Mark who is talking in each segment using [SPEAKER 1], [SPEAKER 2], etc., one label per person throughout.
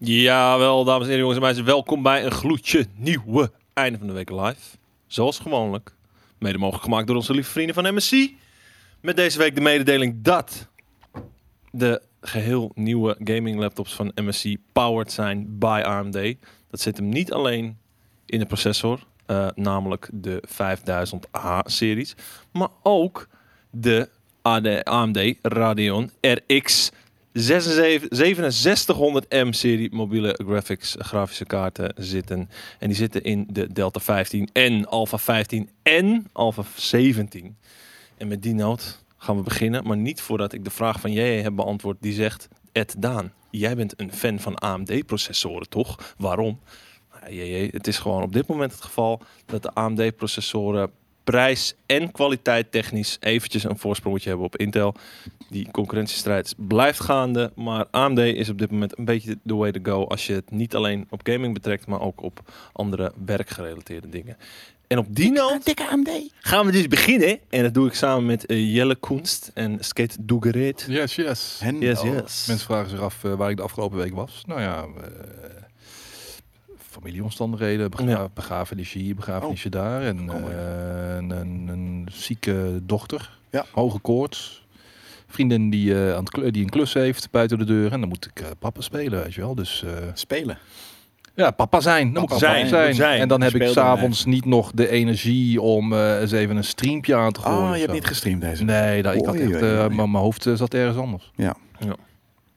[SPEAKER 1] Jawel, dames en heren, jongens en meisjes. Welkom bij een gloedje nieuwe einde van de week live. Zoals gewoonlijk. Mede mogelijk gemaakt door onze lieve vrienden van MSC. Met deze week de mededeling dat de geheel nieuwe gaming laptops van MSC powered zijn by AMD. Dat zit hem niet alleen in de processor, eh, namelijk de 5000H-series, maar ook de AD AMD Radeon RX 6700M-serie mobiele graphics, grafische kaarten zitten. En die zitten in de Delta 15 en Alpha 15 en Alpha 17. En met die noot gaan we beginnen, maar niet voordat ik de vraag van jij heb beantwoord die zegt... Ed Daan, jij bent een fan van AMD-processoren, toch? Waarom? Nou, JJ, het is gewoon op dit moment het geval dat de AMD-processoren prijs en kwaliteit technisch eventjes een voorsprongetje hebben op Intel. Die concurrentiestrijd blijft gaande, maar AMD is op dit moment een beetje the way to go als je het niet alleen op gaming betrekt, maar ook op andere werkgerelateerde dingen. En op die noot
[SPEAKER 2] dikke AMD.
[SPEAKER 1] gaan we dus beginnen. En dat doe ik samen met eh, Jelle Koenst en Skate Doegereet.
[SPEAKER 3] Yes, yes.
[SPEAKER 2] En
[SPEAKER 1] Yes,
[SPEAKER 2] oh,
[SPEAKER 1] yes.
[SPEAKER 3] Mensen vragen zich af eh, waar ik de afgelopen week was. Nou ja, eh, familieomstandigheden, begra
[SPEAKER 1] Ja.
[SPEAKER 3] begrafenis hier, begrafenis
[SPEAKER 2] Oh.
[SPEAKER 3] daar. En
[SPEAKER 2] Oh, mooi.
[SPEAKER 3] eh, een, een, een zieke dochter,
[SPEAKER 2] Ja.
[SPEAKER 3] hoge koorts. Vriendin die, eh, aan het kle- die een klus heeft buiten de deur. En dan moet ik eh, papa spelen, weet je wel. Dus eh,
[SPEAKER 2] Spelen.
[SPEAKER 3] ja, papa zijn. Dan moet ik
[SPEAKER 2] Papa
[SPEAKER 3] zijn,
[SPEAKER 2] zijn,
[SPEAKER 3] zijn.
[SPEAKER 1] moet zijn.
[SPEAKER 3] En dan heb ik
[SPEAKER 2] Speel dan,
[SPEAKER 3] s'avonds niet nog de energie om eh, eens even een streampje aan te gooien.
[SPEAKER 2] Oh,
[SPEAKER 3] of
[SPEAKER 2] je hebt
[SPEAKER 3] zo.
[SPEAKER 2] niet gestreamd deze.
[SPEAKER 3] Nee, dat, ik had
[SPEAKER 2] Oei,
[SPEAKER 3] echt,
[SPEAKER 2] oei,
[SPEAKER 3] eh,
[SPEAKER 2] oei.
[SPEAKER 3] m- mijn hoofd eh, zat ergens anders.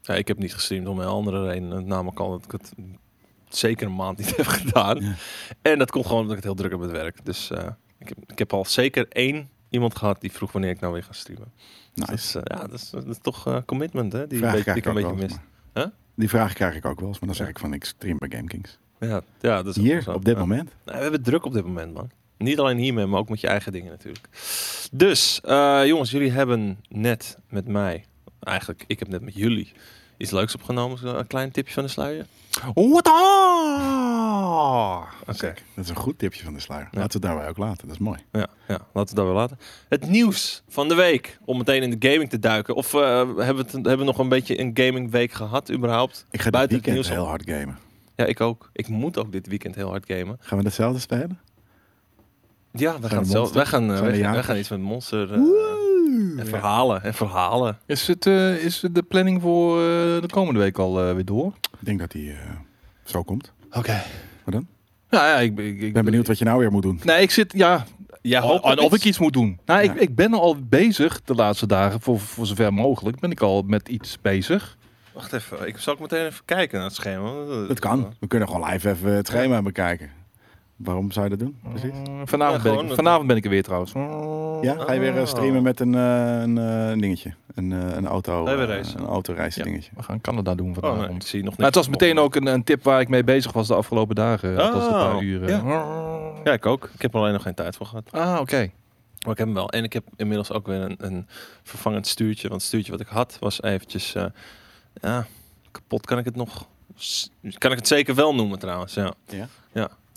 [SPEAKER 1] Ja, ik heb niet gestreamd om een andere reden. eh, Namelijk al dat ik het zeker een maand niet heb gedaan.
[SPEAKER 2] Ja.
[SPEAKER 1] En dat komt gewoon omdat ik het heel druk heb met werk. Dus eh, ik, heb, ik heb al zeker één iemand gehad die vroeg wanneer ik nou weer ga streamen.
[SPEAKER 2] Nice.
[SPEAKER 1] Dus eh, ja, dat is, dat is toch eh, commitment hè, die,
[SPEAKER 2] Vraag
[SPEAKER 1] een beetje-
[SPEAKER 2] krijg
[SPEAKER 1] die ik een
[SPEAKER 2] ook
[SPEAKER 1] beetje
[SPEAKER 2] wel eens,
[SPEAKER 1] mis.
[SPEAKER 2] maar-
[SPEAKER 1] Huh?
[SPEAKER 2] Die vraag krijg ik ook wel eens, maar dan zeg
[SPEAKER 1] Ja.
[SPEAKER 2] ik van ik stream bij GameKings.
[SPEAKER 1] Ja, ja, dat is ook wel
[SPEAKER 2] Hier,
[SPEAKER 1] zo.
[SPEAKER 2] op dit
[SPEAKER 1] Ja.
[SPEAKER 2] moment.
[SPEAKER 1] Nee, we hebben het druk op dit moment, man. Niet alleen hiermee, maar ook met je eigen dingen natuurlijk. Dus, eh, jongens, jullie hebben net met mij, eigenlijk, ik heb net met jullie, iets leuks opgenomen. Zullen we Een klein tipje van de sluier.
[SPEAKER 2] What Oké.
[SPEAKER 1] Ah! Oké.
[SPEAKER 2] Dat is een goed tipje van de sluier.
[SPEAKER 1] Ja.
[SPEAKER 2] Laten we het daarbij ook laten. Dat is mooi.
[SPEAKER 1] Ja, ja, laten we het daar weer laten. Het nieuws van de week, om meteen in de gaming te duiken. Of eh, hebben, we het, hebben we nog een beetje een gamingweek gehad, überhaupt?
[SPEAKER 2] Ik ga dit
[SPEAKER 1] Buiten het
[SPEAKER 2] weekend
[SPEAKER 1] nieuws om.
[SPEAKER 2] heel hard gamen.
[SPEAKER 1] Ja, ik ook. Ik moet ook dit weekend heel hard gamen.
[SPEAKER 2] Gaan we datzelfde spelen?
[SPEAKER 1] Ja, we
[SPEAKER 2] we
[SPEAKER 1] gaan, zelf,
[SPEAKER 2] monster?
[SPEAKER 1] wij gaan, eh,
[SPEAKER 2] Zijn we
[SPEAKER 1] wij, gaan- wij
[SPEAKER 2] jagers?
[SPEAKER 1] gaan iets met Monster eh, en
[SPEAKER 2] Ja.
[SPEAKER 1] verhalen. En verhalen.
[SPEAKER 3] Is, het, eh, is de planning voor eh, de komende week al eh, weer door?
[SPEAKER 2] Ik denk dat die eh, zo komt.
[SPEAKER 1] Oké.
[SPEAKER 2] Wat dan?
[SPEAKER 3] Nou ja, ik, ik,
[SPEAKER 2] Ik ben benieuwd wat je nou weer moet doen.
[SPEAKER 3] Nee, ik zit, ja,
[SPEAKER 1] Ja,
[SPEAKER 3] of,
[SPEAKER 1] hoop
[SPEAKER 3] of
[SPEAKER 1] op
[SPEAKER 3] ik iets moet doen. Nou,
[SPEAKER 2] Ja.
[SPEAKER 3] ik, ik ben al bezig de laatste dagen, voor, voor zover mogelijk, ben ik al met iets bezig.
[SPEAKER 1] Wacht even, ik zal ook meteen even kijken naar het eh, schema.
[SPEAKER 2] Dat
[SPEAKER 1] oh,
[SPEAKER 2] kan. We kunnen gewoon live even het schema bekijken. Waarom zou je dat doen? Precies.
[SPEAKER 3] Mm,
[SPEAKER 1] Ja,
[SPEAKER 3] Vanavond, ben
[SPEAKER 1] gewoon
[SPEAKER 3] ik,
[SPEAKER 1] het-
[SPEAKER 3] vanavond ben ik er weer trouwens. Mm,
[SPEAKER 2] Ja, ga je weer eh,
[SPEAKER 1] Oh.
[SPEAKER 2] streamen met een, eh, een eh, dingetje. Een, eh, een auto.
[SPEAKER 1] Wij weer
[SPEAKER 2] eh,
[SPEAKER 1] racen.
[SPEAKER 2] een autoreis
[SPEAKER 3] Ja.
[SPEAKER 2] dingetje.
[SPEAKER 3] We gaan Canada doen
[SPEAKER 1] Oh,
[SPEAKER 3] vanavond.
[SPEAKER 1] nee, ik zie nog
[SPEAKER 3] Maar
[SPEAKER 1] niks.
[SPEAKER 3] het was meteen ook een, een tip waar ik mee bezig was de afgelopen dagen. eh, Dat was de
[SPEAKER 1] Oh,
[SPEAKER 3] paar uren. Mm.
[SPEAKER 1] ja. Ja, ik ook. Ik heb er alleen nog geen tijd voor gehad.
[SPEAKER 3] Ah, oké.
[SPEAKER 1] Maar ik heb hem wel. En ik heb inmiddels ook weer een, een vervangend stuurtje. Want het stuurtje wat ik had was eventjes... eh, ja, kapot kan ik het nog... s- Kan ik het zeker wel noemen trouwens, ja.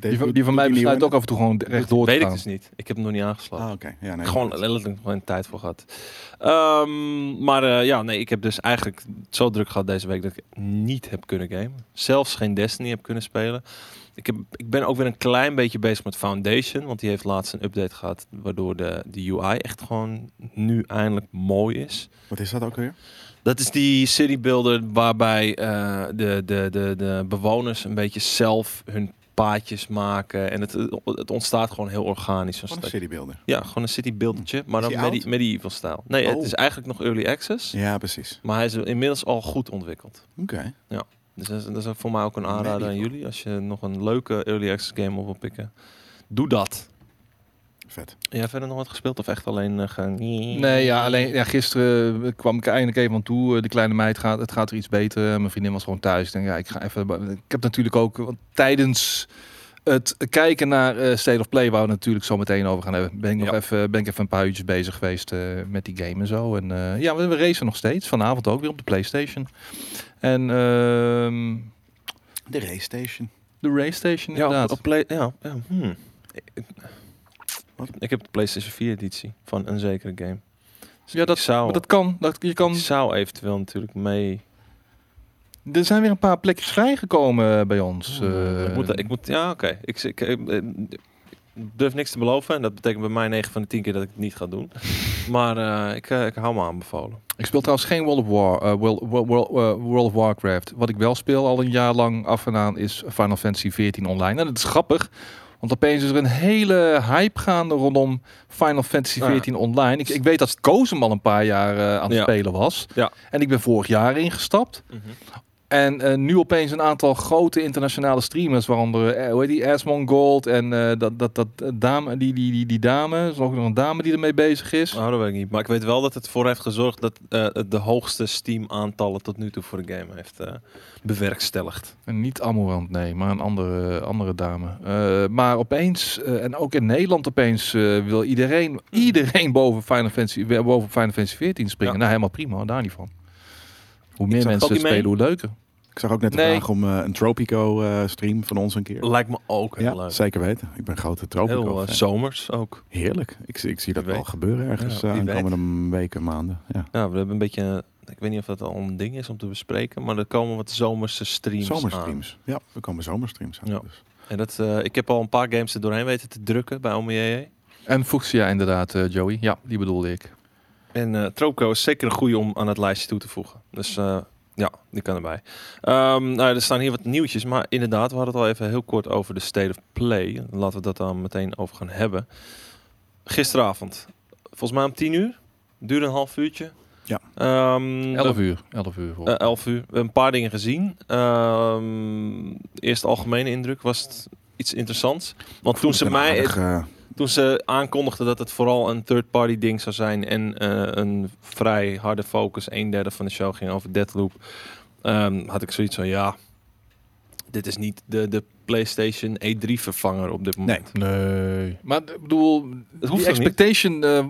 [SPEAKER 3] Die, van- die van mij besluit ook af en toe gewoon rechtdoor te
[SPEAKER 1] Weet ik
[SPEAKER 3] gaan.
[SPEAKER 1] dus niet. Ik heb hem nog niet aangesloten.
[SPEAKER 2] Ah, oké. Ja, nee.
[SPEAKER 1] Gewoon letterlijk nog geen tijd voor gehad. Ehm, maar eh, ja, nee, ik heb dus eigenlijk zo druk gehad deze week dat ik niet heb kunnen gamen. Zelfs geen Destiny heb kunnen spelen. Ik, heb, ik ben ook weer een klein beetje bezig met Foundation. Want die heeft laatst een update gehad. Waardoor de, de UI echt gewoon nu eindelijk mooi is.
[SPEAKER 2] Wat is dat ook weer?
[SPEAKER 1] Dat is die city builder waarbij eh, de, de, de, de bewoners een beetje zelf hun paadjes maken. En het, het ontstaat gewoon heel organisch. zo'n
[SPEAKER 2] Van een
[SPEAKER 1] stadje.
[SPEAKER 2] city builder.
[SPEAKER 1] Ja, gewoon een city buildertje, maar
[SPEAKER 2] Is
[SPEAKER 1] dan
[SPEAKER 2] die
[SPEAKER 1] medi
[SPEAKER 2] oud?
[SPEAKER 1] medieval stijl. Nee, het
[SPEAKER 2] Oh.
[SPEAKER 1] is eigenlijk nog early access,
[SPEAKER 2] Ja, precies.
[SPEAKER 1] maar hij is inmiddels al goed ontwikkeld.
[SPEAKER 2] Oké.
[SPEAKER 1] Dus dat is, dat is ook voor mij ook een aanrader aan
[SPEAKER 2] Medieval.
[SPEAKER 1] jullie. Als je nog een leuke early access game op wil pikken, doe dat.
[SPEAKER 2] Vet.
[SPEAKER 1] Ja, verder nog wat gespeeld of echt alleen eh, gaan?
[SPEAKER 3] Nee, ja, alleen ja, gisteren eh, kwam ik er eindelijk even aan toe. Eh, De kleine meid gaat, het gaat er iets beter. Mijn vriendin was gewoon thuis. Ik denk, ja, ik ga even. Ik heb natuurlijk ook eh, want tijdens het kijken naar eh State of Play, waar we natuurlijk zo meteen over gaan hebben. Ben ik nog
[SPEAKER 1] Ja.
[SPEAKER 3] even, ben ik even een paar uurtjes bezig geweest eh, met die game en zo. En eh, ja, we, we racen nog steeds. Vanavond ook weer op de PlayStation. En ehm,
[SPEAKER 2] De race station.
[SPEAKER 3] de race station
[SPEAKER 1] Ja,
[SPEAKER 3] inderdaad.
[SPEAKER 1] op, op play, ja, ja hmm. ik,
[SPEAKER 2] Wat?
[SPEAKER 1] ik heb de PlayStation 4 editie van een zekere game. Dus
[SPEAKER 3] Ja,
[SPEAKER 1] ik zou,
[SPEAKER 3] maar dat kan. Dat, je kan
[SPEAKER 1] ik zou eventueel natuurlijk mee
[SPEAKER 3] Er zijn weer een paar plekjes vrijgekomen eh, bij ons. eh.
[SPEAKER 1] ik, moet, ik moet, ja, oké. Ik, ik, ik, eh, ik durf niks te beloven. En dat betekent bij mij 9 van de 10 keer dat ik het niet ga doen. Maar eh, ik, eh, ik hou me aanbevolen.
[SPEAKER 3] Ik speel trouwens geen World of, War, eh, World, World, World, eh, World of Warcraft. Wat ik wel speel al een jaar lang af en aan is Final Fantasy 14 online. En dat is grappig, want opeens is er een hele hype gaande rondom Final Fantasy
[SPEAKER 1] Ah Ja.
[SPEAKER 3] 14 online. Ik, ik weet dat Kozem al een paar jaar eh, aan het
[SPEAKER 1] Ja.
[SPEAKER 3] spelen was.
[SPEAKER 1] Ja.
[SPEAKER 3] En ik ben vorig jaar ingestapt.
[SPEAKER 2] Mhm.
[SPEAKER 3] En eh, nu opeens een aantal grote internationale streamers, waaronder eh, hoe heet die Asmon Gold en eh, dat, dat, dat eh, dame, die, die, die, die dame, er is nog een dame die ermee bezig is.
[SPEAKER 1] Nou, dat weet ik niet. Maar ik weet wel dat het voor heeft gezorgd dat eh, het de hoogste Steam-aantallen tot nu toe voor de game heeft eh, bewerkstelligd.
[SPEAKER 3] Een Niet Amorant, nee, maar een andere, andere dame. Eh, maar opeens, eh, en ook in Nederland opeens, eh, wil
[SPEAKER 1] Hmm.
[SPEAKER 3] iedereen, iedereen boven Final Fantasy, weer boven Final Fantasy 14 springen.
[SPEAKER 1] Ja.
[SPEAKER 3] Nou, helemaal prima, hoor, daar niet van. Hoe
[SPEAKER 1] zag
[SPEAKER 3] meer
[SPEAKER 1] dat
[SPEAKER 3] mensen het
[SPEAKER 1] niet mee.
[SPEAKER 3] spelen, hoe leuker.
[SPEAKER 2] Ik zag ook net de
[SPEAKER 3] Nee.
[SPEAKER 2] vraag om eh, een Tropico eh, stream van ons een keer.
[SPEAKER 1] Lijkt me ook heel
[SPEAKER 2] ja,
[SPEAKER 1] leuk.
[SPEAKER 2] zeker weten. Ik ben grote Tropico.
[SPEAKER 1] Heel eh,
[SPEAKER 2] fan.
[SPEAKER 1] zomers ook.
[SPEAKER 2] Heerlijk. Ik, ik zie dat
[SPEAKER 1] Wie
[SPEAKER 2] wel
[SPEAKER 1] weet.
[SPEAKER 2] gebeuren ergens
[SPEAKER 1] Ja,
[SPEAKER 2] eh,
[SPEAKER 1] wie
[SPEAKER 2] de komende weken, maanden. Ja.
[SPEAKER 1] Ja, we hebben een beetje... eh, Ik weet niet of dat al een ding is om te bespreken, maar er komen wat zomerse streams aan.
[SPEAKER 2] Zomerstreams. Ja, er komen zomerstreams aan.
[SPEAKER 1] Ja.
[SPEAKER 2] Dus.
[SPEAKER 1] En dat, eh, ik heb al een paar games er doorheen weten te drukken bij E OMJ.
[SPEAKER 3] En Fuchsia inderdaad, eh, Joey. Ja, die bedoelde ik.
[SPEAKER 1] En eh Tropico is zeker een goede om aan het lijstje toe te voegen. Dus eh, ja, die kan erbij. Ehm, nou, ja, er staan hier wat nieuwtjes. Maar inderdaad, we hadden het al even heel kort over de State of Play. Laten we dat dan meteen over gaan hebben. Gisteravond, volgens mij om tien uur. Duurde een half uurtje.
[SPEAKER 2] Ja.
[SPEAKER 1] Ehm,
[SPEAKER 3] 11 uur, 11 uur. volgens
[SPEAKER 1] eh, 11 uur. We hebben een paar dingen gezien. Ehm, eerst de algemene indruk was het iets interessants. Want toen ze
[SPEAKER 2] Ik ben
[SPEAKER 1] mij...
[SPEAKER 2] aardig, eh,
[SPEAKER 1] Toen ze aankondigden dat het vooral een third-party ding zou zijn en eh, een vrij harde focus, een derde van de show ging over Deadloop, ehm, had ik zoiets van ja, dit is niet de, de PlayStation E3 vervanger op dit moment.
[SPEAKER 3] mij. Nee. Maar ik bedoel,
[SPEAKER 1] hoeft
[SPEAKER 3] die
[SPEAKER 1] ook niet.
[SPEAKER 3] expectation eh,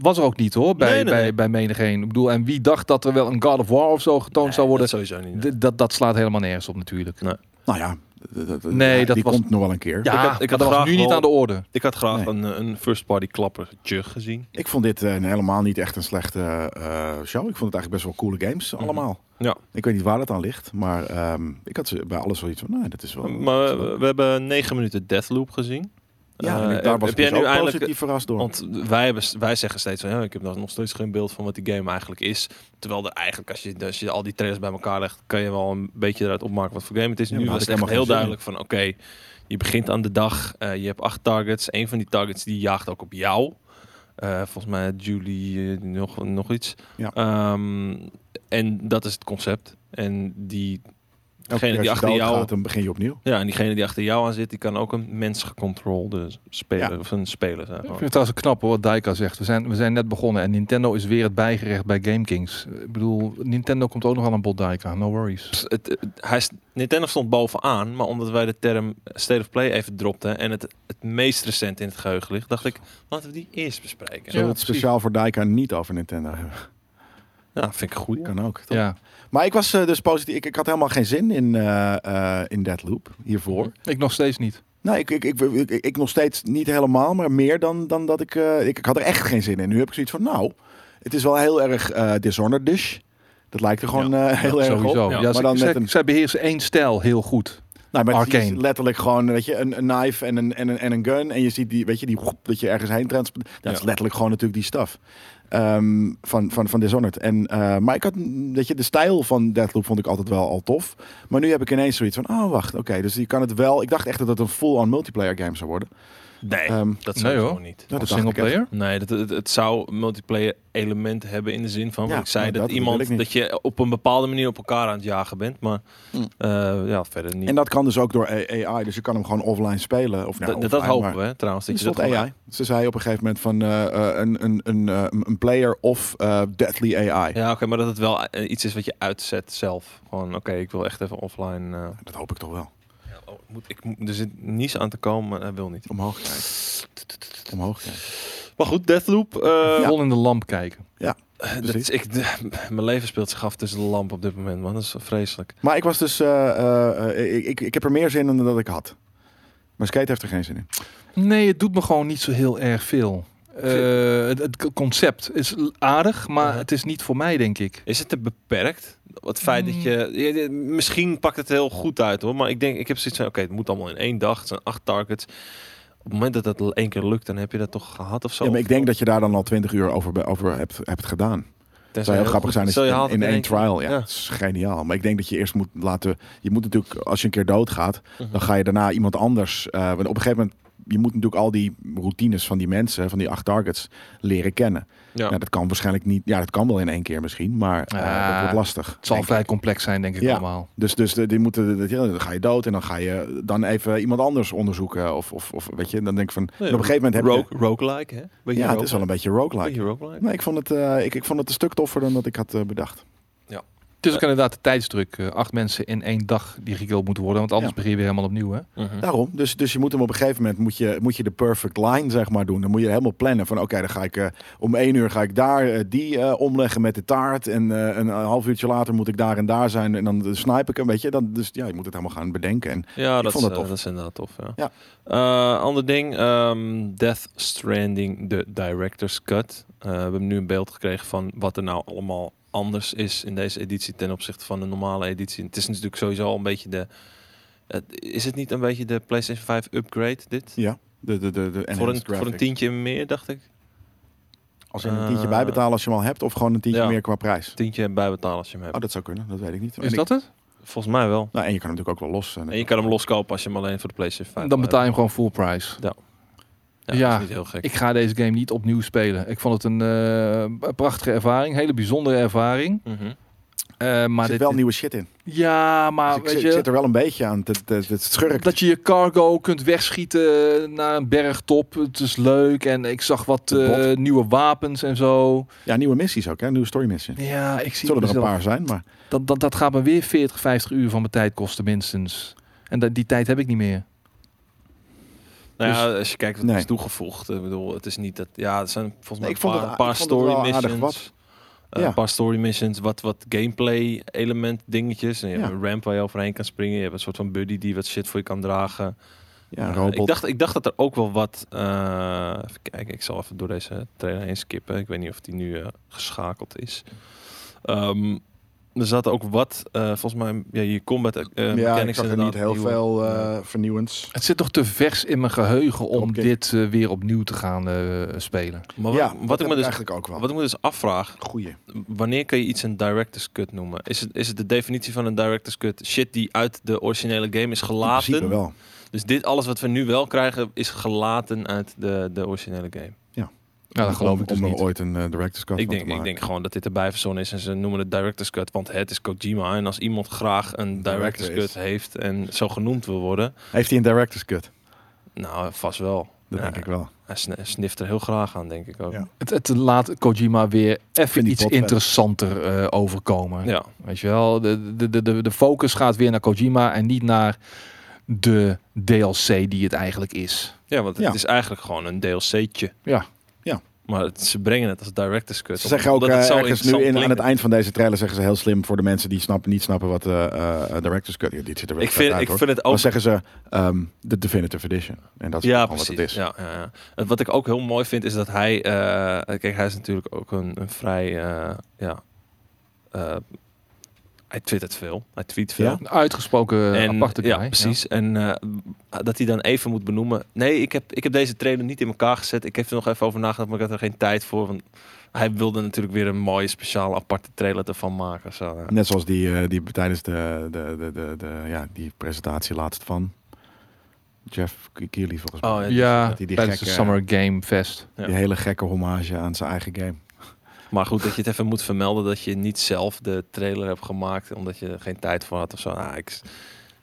[SPEAKER 3] was er ook niet hoor, bij,
[SPEAKER 1] Nee, nee, nee.
[SPEAKER 3] bij, bij menigeen. Ik bedoel, en wie dacht dat er wel een God of War of zo getoond zou worden?
[SPEAKER 1] dat sowieso niet.
[SPEAKER 3] D- dat, dat slaat helemaal nergens op natuurlijk.
[SPEAKER 2] nou ja, d- d- d-
[SPEAKER 3] Nee,
[SPEAKER 2] ja,
[SPEAKER 3] dat
[SPEAKER 2] die
[SPEAKER 3] was-
[SPEAKER 2] komt nog wel een keer.
[SPEAKER 3] Ja,
[SPEAKER 1] Ik had- ik
[SPEAKER 3] maar
[SPEAKER 1] had
[SPEAKER 3] dat was
[SPEAKER 1] graag
[SPEAKER 3] nu niet
[SPEAKER 1] wel-
[SPEAKER 3] aan de orde.
[SPEAKER 1] Ik had graag
[SPEAKER 2] Nee.
[SPEAKER 1] een, eh, een first-party klappertje gezien.
[SPEAKER 2] Ik vond dit eh, helemaal niet echt een slechte eh, show. Ik vond het eigenlijk best wel coole games allemaal.
[SPEAKER 1] Mhm. Ja.
[SPEAKER 2] Ik weet niet waar dat aan ligt, maar ehm, ik had ze bij alles zoiets van, nou, dat is wel... dat
[SPEAKER 1] Maar
[SPEAKER 2] is wel-
[SPEAKER 1] we, we hebben negen minuten Deathloop gezien.
[SPEAKER 2] ja, en
[SPEAKER 1] Eh,
[SPEAKER 2] ik- daar was
[SPEAKER 1] heb
[SPEAKER 2] ik
[SPEAKER 1] jij
[SPEAKER 2] dus
[SPEAKER 1] nu
[SPEAKER 2] ook
[SPEAKER 1] eindelijk-
[SPEAKER 2] positief verrast door.
[SPEAKER 1] Want wij, hebben, wij zeggen steeds van, ja, ik heb nog nog steeds geen beeld van wat die game eigenlijk is. Terwijl er eigenlijk, als je, als je al die trailers bij elkaar legt, kan je wel een beetje eruit opmaken wat voor game het is.
[SPEAKER 2] Ja,
[SPEAKER 1] nu
[SPEAKER 2] maar
[SPEAKER 1] was het
[SPEAKER 2] had ik
[SPEAKER 1] echt
[SPEAKER 2] helemaal
[SPEAKER 1] heel
[SPEAKER 2] geen zin
[SPEAKER 1] duidelijk van, oké, je begint aan de dag, eh, je hebt acht targets. Een van die targets die jaagt ook op jou. Eh, volgens mij Julie eh, nog, nog iets.
[SPEAKER 2] Ja.
[SPEAKER 1] Ehm, en dat is het concept. En die,
[SPEAKER 2] Elke keer
[SPEAKER 1] degene
[SPEAKER 2] als
[SPEAKER 1] die
[SPEAKER 2] je
[SPEAKER 1] achter
[SPEAKER 2] doodgaat,
[SPEAKER 1] jou
[SPEAKER 2] dan begin je opnieuw.
[SPEAKER 1] ja, en diegene die achter jou aan zit, die kan ook een mensgecontrolde speler
[SPEAKER 2] Ja.
[SPEAKER 1] of een speler zijn.
[SPEAKER 3] Ik
[SPEAKER 1] gewoon.
[SPEAKER 3] vind het trouwens knap hoor, wat Daika zegt. We zijn, we zijn net begonnen en Nintendo is weer het bijgerecht bij GameKings. Ik bedoel, Nintendo komt ook nog aan een bod Daika, no worries.
[SPEAKER 1] Pst, het, het- hij, st- Nintendo stond bovenaan, maar omdat wij de term State of Play even dropten en het het meest recent in het geheugen ligt, dacht ik, laten we die eerst bespreken.
[SPEAKER 2] Zullen
[SPEAKER 1] Ja,
[SPEAKER 2] we het
[SPEAKER 3] precies.
[SPEAKER 2] speciaal voor Daika niet over Nintendo hebben?
[SPEAKER 1] vind ik goed.
[SPEAKER 2] Kan ook, toch?
[SPEAKER 3] Ja,
[SPEAKER 2] Maar ik was eh, dus positief. Ik, ik had helemaal geen zin in, eh eh in Deadloop hiervoor.
[SPEAKER 3] ik nog steeds niet.
[SPEAKER 2] Nou, ik, ik, ik, ik, ik nog steeds niet helemaal, maar meer dan, dan dat ik, eh, ik... Ik had er echt geen zin in. Nu heb ik zoiets van, nou, het is wel heel erg eh Dishonored-ish. Dat lijkt er gewoon eh, heel erg op.
[SPEAKER 3] Sowieso.
[SPEAKER 1] Ja,
[SPEAKER 3] Ja,
[SPEAKER 1] maar
[SPEAKER 3] ze-
[SPEAKER 2] dan
[SPEAKER 3] zij,
[SPEAKER 2] met een-
[SPEAKER 3] zij beheersen één stijl heel goed.
[SPEAKER 2] Nou, maar het is
[SPEAKER 3] Arcane.
[SPEAKER 2] letterlijk gewoon weet je, een, een knife en een, en, een, en een gun. En je ziet die, weet je, die woep, dat je ergens heen transport. Dat is
[SPEAKER 1] Ja.
[SPEAKER 2] letterlijk gewoon natuurlijk die staf. ehm, van, van, van Dishonored. En, eh, maar ik had, weet je, de stijl van Deathloop vond ik altijd wel al tof. Maar nu heb ik ineens zoiets van, oh wacht, oké. dus je kan het wel, ik dacht echt dat het een full-on multiplayer game zou worden.
[SPEAKER 1] Nee,
[SPEAKER 2] Ehm,
[SPEAKER 1] dat
[SPEAKER 3] Nee,
[SPEAKER 1] zou
[SPEAKER 3] hoor.
[SPEAKER 1] gewoon niet.
[SPEAKER 2] dat
[SPEAKER 3] Als
[SPEAKER 2] dacht ik echt.
[SPEAKER 3] singleplayer.
[SPEAKER 1] Nee, dat, het, het zou multiplayer elementen hebben in de zin van, wat
[SPEAKER 2] Ja,
[SPEAKER 1] ik zei
[SPEAKER 2] nou,
[SPEAKER 1] dat,
[SPEAKER 2] dat bedoel
[SPEAKER 1] iemand,
[SPEAKER 2] ik niet.
[SPEAKER 1] dat je op een bepaalde manier op elkaar aan het jagen bent, maar
[SPEAKER 2] Hm.
[SPEAKER 1] eh, ja, verder niet.
[SPEAKER 2] En dat kan dus ook door AI, dus je kan hem gewoon offline spelen. Of,
[SPEAKER 1] dat,
[SPEAKER 2] nou,
[SPEAKER 1] dat,
[SPEAKER 2] offline, maar-
[SPEAKER 1] hopen we, hè, trouwens. Dat
[SPEAKER 2] Dat
[SPEAKER 1] je dat
[SPEAKER 2] stond
[SPEAKER 1] gewoon-
[SPEAKER 2] AI. Ze zei op een gegeven moment van eh, eh, een, een, een, eh, een player of eh, deadly AI.
[SPEAKER 1] Ja, oké, maar dat het wel eh, iets is wat je uitzet zelf. Gewoon, oké, ik wil echt even offline. eh,
[SPEAKER 2] Dat hoop ik toch wel.
[SPEAKER 1] oh, moet, ik, moet- er zit niets aan te komen, maar hij wil niet.
[SPEAKER 2] Omhoog kijken. Omhoog kijken.
[SPEAKER 1] Maar goed, Deathloop. eh,
[SPEAKER 3] Vol in de lamp kijken.
[SPEAKER 1] dat is, ik, mijn leven speelt zich af tussen de lamp op dit moment, man. Dat is vreselijk.
[SPEAKER 2] Maar ik was dus. eh, eh, eh, ik, ik, ik heb er meer zin in dan dat ik had. Maar Skate heeft er geen zin in.
[SPEAKER 3] Nee, het doet me gewoon niet zo heel erg veel. Eh, het, het concept is aardig, maar
[SPEAKER 1] Ja.
[SPEAKER 3] het is niet voor mij, denk ik.
[SPEAKER 1] Is het te beperkt? Het feit dat je, je- je- Misschien pakt het heel goed uit hoor. Maar ik denk, ik heb zoiets van: oké, het moet allemaal in één dag. Het zijn acht targets. Op het moment dat dat l- één keer lukt, dan heb je dat toch gehad of zo.
[SPEAKER 2] Ja, maar ik denk dat je daar dan al twintig uur over, be- over hebt, hebt gedaan.
[SPEAKER 1] dat
[SPEAKER 2] Het zou heel grappig zijn als je in, in één trial. Ja,
[SPEAKER 1] Ja.
[SPEAKER 2] het is geniaal. Maar ik denk dat je eerst moet laten. Je moet natuurlijk, als je een keer doodgaat,
[SPEAKER 1] Mhm.
[SPEAKER 2] dan ga je daarna iemand anders. eh, want op een gegeven moment, je moet natuurlijk al die routines van die mensen, van die acht targets, leren kennen.
[SPEAKER 1] Ja.
[SPEAKER 2] Nou, dat kan waarschijnlijk niet. Ja, dat kan wel in één keer misschien, maar eh,
[SPEAKER 3] Ja,
[SPEAKER 2] dat wordt lastig.
[SPEAKER 3] Het zal
[SPEAKER 2] denk ik.
[SPEAKER 3] vrij complex zijn, denk ik
[SPEAKER 2] Ja.
[SPEAKER 3] allemaal.
[SPEAKER 2] Dus, dus de- die moeten, dat- ja, dan ga je dood en dan ga je dan even iemand anders onderzoeken. Of, of, of weet je, dan denk ik van. en op een gegeven moment heb
[SPEAKER 1] Rogue, roguelike, hè?
[SPEAKER 2] je.
[SPEAKER 1] Beetje
[SPEAKER 2] Ja, het
[SPEAKER 1] roguelike.
[SPEAKER 2] is wel een beetje roguelike.
[SPEAKER 1] Beetje roguelike.
[SPEAKER 2] Nee, ik vond het, eh, ik, ik vond het een stuk toffer dan dat ik had eh, bedacht.
[SPEAKER 3] Het is ook inderdaad de tijdsdruk. eh, acht mensen in één dag die gekillt moeten worden. Want anders
[SPEAKER 2] Ja.
[SPEAKER 3] begin je weer helemaal opnieuw. Hè?
[SPEAKER 1] Mhm.
[SPEAKER 2] Daarom. Dus, dus je moet hem op een gegeven moment moet je, moet je de perfect line zeg maar doen. Dan moet je helemaal plannen van oké, dan ga ik eh, om één uur ga ik daar eh, die eh, omleggen met de taart en eh, een half uurtje later moet ik daar en daar zijn en dan eh, snipe ik een beetje. Dan, dus ja, je moet het helemaal gaan bedenken. En
[SPEAKER 1] Ja, dat,
[SPEAKER 2] vond
[SPEAKER 1] is,
[SPEAKER 2] dat
[SPEAKER 1] eh,
[SPEAKER 2] tof.
[SPEAKER 1] dat is inderdaad tof. Ja. Eh, ander ding, ehm, Death Stranding, de director's cut. Eh, we hebben nu een beeld gekregen van wat er nou allemaal anders is in deze editie ten opzichte van de normale editie. Het is natuurlijk sowieso al een beetje de. het- is het niet een beetje de PlayStation 5 upgrade dit?
[SPEAKER 2] de de de, de
[SPEAKER 1] Voor een,
[SPEAKER 2] enhanced
[SPEAKER 1] voor een
[SPEAKER 2] graphics.
[SPEAKER 1] tientje meer, dacht ik.
[SPEAKER 2] Als je een
[SPEAKER 1] Eh,
[SPEAKER 2] tientje bijbetalen als je hem al hebt of gewoon een tientje
[SPEAKER 1] Ja.
[SPEAKER 2] meer qua prijs.
[SPEAKER 1] Tientje bijbetalen als je hem hebt.
[SPEAKER 2] Oh, dat zou kunnen. Dat weet ik niet. En
[SPEAKER 3] Is
[SPEAKER 2] ik-
[SPEAKER 3] dat het?
[SPEAKER 1] Volgens mij wel.
[SPEAKER 2] nou, en je kan hem natuurlijk ook wel los. eh,
[SPEAKER 1] En je kan hem loskopen als je hem alleen voor de PlayStation 5
[SPEAKER 3] Dan
[SPEAKER 1] wil
[SPEAKER 3] betaal je hem gewoon full price.
[SPEAKER 1] hebben. Ja,
[SPEAKER 3] ja,
[SPEAKER 1] dat is niet heel gek.
[SPEAKER 3] Ik ga deze game niet opnieuw spelen. Ik vond het een eh, prachtige ervaring. Hele bijzondere ervaring.
[SPEAKER 1] Mhm.
[SPEAKER 3] Eh, maar
[SPEAKER 2] er zit
[SPEAKER 3] dit,
[SPEAKER 2] wel nieuwe shit in.
[SPEAKER 3] Ja, maar
[SPEAKER 1] Ah,
[SPEAKER 2] Dus ik,
[SPEAKER 3] weet
[SPEAKER 2] zit-
[SPEAKER 3] je...
[SPEAKER 2] ik zit er wel een beetje aan. Het, het, het schurkt.
[SPEAKER 3] Dat je je cargo kunt wegschieten naar een bergtop. Het is leuk. En ik zag wat
[SPEAKER 2] Het bot.
[SPEAKER 3] eh, nieuwe wapens en zo.
[SPEAKER 2] Ja, nieuwe missies ook. Hè? Nieuwe story missies.
[SPEAKER 3] Ja, ik zie
[SPEAKER 2] Zullen er een
[SPEAKER 3] mezelf-
[SPEAKER 2] paar zijn, maar...
[SPEAKER 3] Dat, dat, dat gaat me weer 40, 50 uur van mijn tijd kosten minstens. En dat, die tijd heb ik niet meer.
[SPEAKER 1] Nou
[SPEAKER 3] Dus-
[SPEAKER 1] ja, als je kijkt wat
[SPEAKER 2] Nee.
[SPEAKER 1] is toegevoegd. Ik bedoel, het is niet dat... Ja, het zijn volgens mij
[SPEAKER 2] Nee, ik
[SPEAKER 1] een
[SPEAKER 2] vond
[SPEAKER 1] paar,
[SPEAKER 2] het-
[SPEAKER 1] paar
[SPEAKER 2] ik vond het
[SPEAKER 1] story
[SPEAKER 2] wel aardig
[SPEAKER 1] missions.
[SPEAKER 2] wat.
[SPEAKER 1] Eh,
[SPEAKER 2] Ja.
[SPEAKER 1] Een paar story missions, wat, wat gameplay element dingetjes. En je hebt
[SPEAKER 2] Ja.
[SPEAKER 1] een ramp waar je overheen kan springen. Je hebt een soort van buddy die wat shit voor je kan dragen.
[SPEAKER 2] Ja,
[SPEAKER 1] Eh,
[SPEAKER 2] een robot.
[SPEAKER 1] ik, dacht, ik dacht dat er ook wel wat... eh, even kijken, ik zal even door deze trailer heen skippen. Ik weet niet of die nu eh, geschakeld is. Ehm, er zaten ook wat, eh, volgens mij, ja, je combat eh
[SPEAKER 2] ja, ik
[SPEAKER 1] mechanics
[SPEAKER 2] zag er
[SPEAKER 1] inderdaad
[SPEAKER 2] niet heel
[SPEAKER 1] nieuwe-
[SPEAKER 2] veel eh,
[SPEAKER 1] Nee.
[SPEAKER 2] vernieuwends.
[SPEAKER 3] Het zit toch te vers in mijn geheugen om
[SPEAKER 2] Oké.
[SPEAKER 3] dit eh, weer opnieuw te gaan eh, spelen.
[SPEAKER 1] Maar wat,
[SPEAKER 2] ja,
[SPEAKER 1] wat
[SPEAKER 2] dat
[SPEAKER 1] ik
[SPEAKER 2] heb
[SPEAKER 1] me dus,
[SPEAKER 2] eigenlijk ook wel.
[SPEAKER 1] wat ik me dus afvraag,
[SPEAKER 2] Goeie.
[SPEAKER 1] wanneer kan je iets een director's cut noemen? Is het, is het de definitie van een director's cut shit die uit de originele game is
[SPEAKER 2] In principe
[SPEAKER 1] gelaten?
[SPEAKER 2] wel.
[SPEAKER 1] Dus dit, alles wat we nu wel krijgen, is gelaten uit de, de originele game.
[SPEAKER 3] Nou, dat geloof
[SPEAKER 2] om,
[SPEAKER 3] ik dus
[SPEAKER 2] om er
[SPEAKER 3] niet.
[SPEAKER 2] ooit een eh, director's
[SPEAKER 1] Ik
[SPEAKER 2] cut van
[SPEAKER 1] denk,
[SPEAKER 2] te
[SPEAKER 1] ik
[SPEAKER 2] maken.
[SPEAKER 1] denk gewoon dat dit erbij verzonnen is en ze noemen het director's cut, want het is Kojima. En als iemand graag een director's
[SPEAKER 2] Director is.
[SPEAKER 1] cut heeft en zo genoemd wil worden,
[SPEAKER 2] Heeft hij een director's cut?
[SPEAKER 1] nou, vast wel.
[SPEAKER 2] Dat
[SPEAKER 1] Ja,
[SPEAKER 2] denk ik wel.
[SPEAKER 1] Hij sn- snift er heel graag aan, denk ik ook.
[SPEAKER 2] Ja.
[SPEAKER 1] Ja.
[SPEAKER 3] Het, het laat Kojima weer
[SPEAKER 2] vind
[SPEAKER 3] even
[SPEAKER 2] die
[SPEAKER 3] iets
[SPEAKER 2] pot vet.
[SPEAKER 3] interessanter eh, overkomen. Weet je wel, de, de, de- de, de focus gaat weer naar Kojima en niet naar de DLC die het eigenlijk is.
[SPEAKER 1] Ja, want het
[SPEAKER 2] Ja.
[SPEAKER 1] is eigenlijk gewoon een DLC'tje.
[SPEAKER 3] Ja.
[SPEAKER 2] Ja.
[SPEAKER 1] Maar het, ze brengen het als director's cut.
[SPEAKER 2] Ze zeggen ook
[SPEAKER 1] omdat het
[SPEAKER 2] eh,
[SPEAKER 1] zo
[SPEAKER 2] ergens nu in,
[SPEAKER 1] interessant
[SPEAKER 2] aan het
[SPEAKER 1] klinkt.
[SPEAKER 2] eind van deze trailer zeggen ze heel slim voor de mensen die snappen, niet snappen wat eh, eh, eh, director's cut. Ja, dit zit er wel
[SPEAKER 1] Ik vind,
[SPEAKER 2] uit,
[SPEAKER 1] ik
[SPEAKER 2] hoor.
[SPEAKER 1] vind het ook...
[SPEAKER 2] Dan zeggen ze ehm, de definitive edition. En dat is
[SPEAKER 1] ja,
[SPEAKER 2] gewoon
[SPEAKER 1] precies.
[SPEAKER 2] wat het is.
[SPEAKER 1] Ja, ja, ja. En Wat ik ook heel mooi vind is dat hij... eh, kijk, hij is natuurlijk ook een, een vrij... eh, ja, eh, hij twittert veel. Hij tweet veel.
[SPEAKER 2] Ja? Eh,
[SPEAKER 3] Een uitgesproken eh,
[SPEAKER 1] En,
[SPEAKER 3] aparte guy.
[SPEAKER 1] ja, precies. En eh, dat hij dan even moet benoemen. Nee, ik heb, ik heb deze trailer niet in elkaar gezet. Ik heb er nog even over nagedacht, maar ik had er geen tijd voor. Want hij wilde natuurlijk weer een mooie, speciale, aparte trailer ervan maken. Zo, ja.
[SPEAKER 2] Net zoals die, eh, die tijdens de, de, de, de, de- ja, die presentatie laatst van Jeff Keighley volgens mij.
[SPEAKER 1] Oh, ja.
[SPEAKER 3] Ja,
[SPEAKER 2] Dat hij die
[SPEAKER 3] tijdens
[SPEAKER 2] gekke-
[SPEAKER 3] de Summer Game Fest.
[SPEAKER 1] Ja.
[SPEAKER 2] Die hele gekke hommage aan zijn eigen game.
[SPEAKER 1] Maar goed, dat je het even moet vermelden dat je niet zelf de trailer hebt gemaakt omdat je er geen tijd voor had of zo. Nou, ik,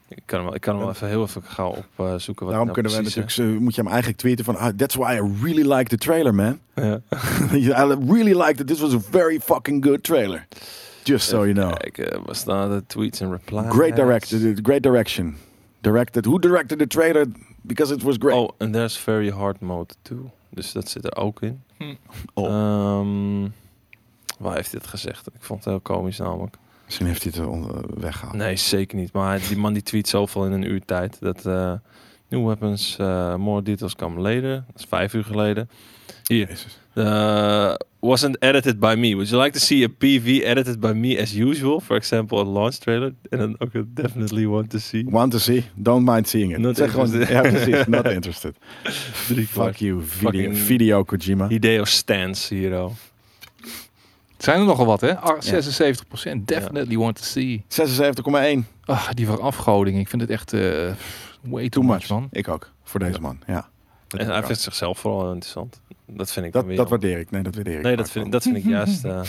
[SPEAKER 1] ik kan hem, wel- ik kan hem wel even heel even gauw eh, opzoeken.
[SPEAKER 2] Daarom kunnen we natuurlijk, zo- moet je hem eigenlijk tweeten van, ah, that's why I really like the trailer, man.
[SPEAKER 1] natuurlijk.
[SPEAKER 2] I really liked it. This was a very fucking good trailer. Just so you know.
[SPEAKER 1] Kijk, eh, waar staan de tweets en replies?
[SPEAKER 2] Great directed, great direction. Directed. Who directed the trailer? Because it was great.
[SPEAKER 1] Oh, and there's very hard mode too. Dus dat zit er ook in.
[SPEAKER 3] Hm.
[SPEAKER 2] Oh.
[SPEAKER 1] Ehm, waar heeft dit gezegd? Ik vond het heel komisch namelijk.
[SPEAKER 2] Misschien heeft hij het eh, on- eh, weggehaald.
[SPEAKER 1] Nee, zeker niet. Maar die man die tweet zoveel in een uur tijd. Dat, eh, New weapons, eh, more details come later. Dat is vijf uur geleden. Hier.
[SPEAKER 2] Jezus.
[SPEAKER 1] Uh, wasn't edited by me. Would you like to see a PV edited by me as usual? For example, a launch trailer. And then okay, definitely want to see.
[SPEAKER 2] Want to see, don't mind seeing it.
[SPEAKER 1] Not
[SPEAKER 2] zeg gewoon, ja,
[SPEAKER 1] interested.
[SPEAKER 2] precies, not interested.
[SPEAKER 1] Drie
[SPEAKER 2] Fuck
[SPEAKER 1] kwart.
[SPEAKER 2] you, video,
[SPEAKER 1] Fucking-
[SPEAKER 2] video Kojima.
[SPEAKER 1] Hideo stance hier al.
[SPEAKER 3] Zijn er nogal wat, hè? Ah, 76 Definitely want to see.
[SPEAKER 2] 76,1.
[SPEAKER 3] Ah, die verafgoding. Ik vind het echt eh, way
[SPEAKER 2] Too much,
[SPEAKER 3] man.
[SPEAKER 2] Ik ook, voor deze man. Ja. Dat
[SPEAKER 1] En
[SPEAKER 2] heb
[SPEAKER 1] hij
[SPEAKER 2] ik ook.
[SPEAKER 1] vindt zichzelf vooral interessant. Dat vind ik dan
[SPEAKER 2] dat,
[SPEAKER 1] weer jammer.
[SPEAKER 2] dat waardeer ik. Nee, dat waardeer ik. Ah,
[SPEAKER 1] Nee,
[SPEAKER 2] vaak
[SPEAKER 1] dat vind,
[SPEAKER 2] wel.
[SPEAKER 1] dat vind ik juist... eh,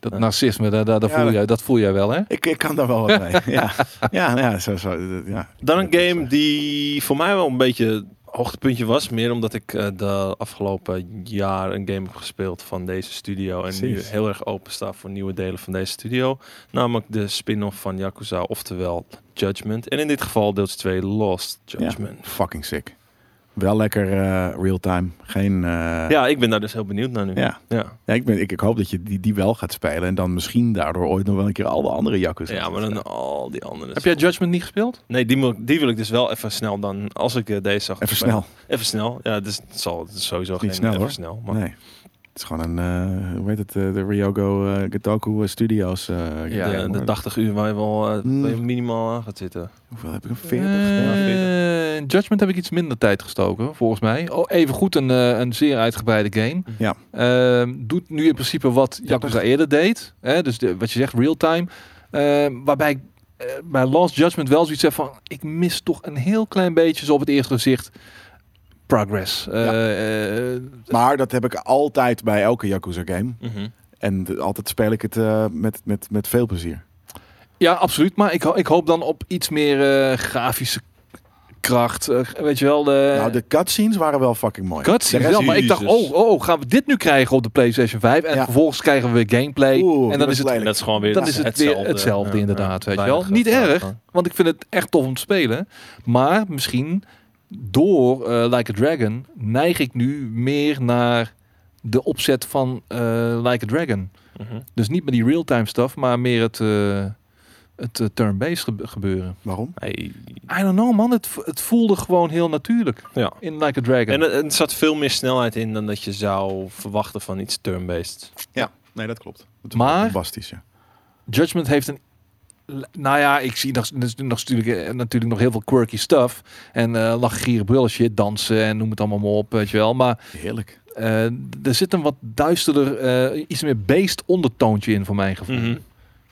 [SPEAKER 3] Dat
[SPEAKER 1] Ja.
[SPEAKER 3] narcisme, daar, daar, daar
[SPEAKER 2] Ja,
[SPEAKER 3] voel
[SPEAKER 2] dat-
[SPEAKER 3] jij, dat voel jij wel, hè?
[SPEAKER 2] Ik, ik kan daar wel wat mee. ja. ja, ja, zo, zo, eh, ja.
[SPEAKER 1] Dan
[SPEAKER 2] Dat
[SPEAKER 1] een
[SPEAKER 2] is,
[SPEAKER 1] game
[SPEAKER 2] eh,
[SPEAKER 1] die voor mij wel een beetje het hoogtepuntje was. Meer omdat ik eh, de afgelopen jaar een game heb gespeeld van deze studio. En nu
[SPEAKER 2] Precies.
[SPEAKER 1] heel erg open sta voor nieuwe delen van deze studio. Namelijk de spin-off van Yakuza, oftewel Judgment. En in dit geval deels 2 Lost Judgment.
[SPEAKER 2] eh, Fucking sick. Wel lekker eh, real-time. Geen... eh,
[SPEAKER 1] Ja. ik ben daar dus heel benieuwd naar nu.
[SPEAKER 2] Ja.
[SPEAKER 1] ja.
[SPEAKER 2] Ja, ik, ben, ik, ik hoop dat je die, die wel gaat spelen. En dan misschien daardoor ooit nog wel een keer alle andere jakkers.
[SPEAKER 1] Ja, maar dan al die andere.
[SPEAKER 3] Heb jij Judgment niet gespeeld?
[SPEAKER 1] Nee, die, moet, die wil ik dus wel even snel dan, als ik eh, deze zag.
[SPEAKER 2] Even
[SPEAKER 1] spelen.
[SPEAKER 2] snel.
[SPEAKER 1] Even snel. Ja, dus het, zal, het is sowieso geen
[SPEAKER 2] niet snel,
[SPEAKER 1] even
[SPEAKER 2] hoor.
[SPEAKER 1] snel. Maar
[SPEAKER 2] Nee. Het is gewoon een... eh, hoe heet het? eh, de Ryogo eh Gotoku eh, Studios. eh,
[SPEAKER 3] Ja,
[SPEAKER 2] game,
[SPEAKER 1] de, de
[SPEAKER 2] hoor.
[SPEAKER 1] 80 uur waar je wel eh,
[SPEAKER 2] Hmm.
[SPEAKER 1] waar je minimaal aan gaat zitten.
[SPEAKER 2] Hoeveel heb ik? Een 40?
[SPEAKER 3] Eh,
[SPEAKER 2] Ja.
[SPEAKER 3] in Judgment heb ik iets minder tijd gestoken, volgens mij. Oh, even goed een, eh, een zeer uitgebreide game.
[SPEAKER 2] Ja.
[SPEAKER 3] Ehm, doet nu in principe wat Yakuza eerder deed. Hè? Dus de, wat je zegt, real-time. Ehm, waarbij ik eh, bij Last Judgment wel zoiets heb van... ik mis toch een heel klein beetje, zo op het eerste gezicht... progress. Eh, eh,
[SPEAKER 2] Maar dat heb ik altijd bij elke Yakuza game.
[SPEAKER 1] Mhm.
[SPEAKER 2] En de- altijd speel ik het eh, met, met, met veel plezier.
[SPEAKER 3] Ja, absoluut. Maar ik, ho- ik hoop dan op iets meer eh, grafische kracht. Eh, weet je wel, de,
[SPEAKER 2] nou, de cutscenes waren wel fucking mooi.
[SPEAKER 3] cutscenes
[SPEAKER 2] de rest- dus-
[SPEAKER 3] wel. Maar ik dacht,
[SPEAKER 1] Jezus.
[SPEAKER 3] oh, oh, gaan we dit nu krijgen op de PlayStation 5? En
[SPEAKER 2] Ja.
[SPEAKER 3] vervolgens krijgen we weer gameplay.
[SPEAKER 2] Oeh,
[SPEAKER 3] en
[SPEAKER 2] dat
[SPEAKER 3] dan
[SPEAKER 2] is
[SPEAKER 3] is het,
[SPEAKER 2] lelijk.
[SPEAKER 1] Dat is gewoon weer
[SPEAKER 3] dan is het weer hetzelfde, inderdaad, weet je wel.
[SPEAKER 1] Weinig,
[SPEAKER 3] Niet
[SPEAKER 1] eh,
[SPEAKER 3] erg.
[SPEAKER 1] van.
[SPEAKER 3] want ik vind het echt tof om te spelen. Maar misschien door eh, Like a Dragon neig ik nu meer naar de opzet van eh, Like a Dragon.
[SPEAKER 1] Mhm.
[SPEAKER 3] Dus niet meer die real-time stuff, maar meer het, eh, het eh, turn-based gebe- gebeuren.
[SPEAKER 2] Waarom?
[SPEAKER 1] Hey.
[SPEAKER 3] I don't know, man. Het, het voelde gewoon heel natuurlijk.
[SPEAKER 1] Ja.
[SPEAKER 3] In Like a Dragon.
[SPEAKER 1] En er er zat veel meer snelheid in dan dat je zou verwachten van iets turn-based.
[SPEAKER 2] Nee, dat klopt. Dat is
[SPEAKER 3] Maar-
[SPEAKER 2] Bombastisch, ja.
[SPEAKER 3] Judgment heeft een... Nou ja, ik zie nog, dus nog natuurlijk, eh, natuurlijk nog heel veel quirky stuff. En uh, lachgieren brullen shit, dansen en noem het allemaal maar op, weet je wel. Maar
[SPEAKER 2] Heerlijk.
[SPEAKER 3] eh, er zit een wat duisterder, eh, iets meer beest ondertoontje in voor mijn gevoel.
[SPEAKER 1] Mhm.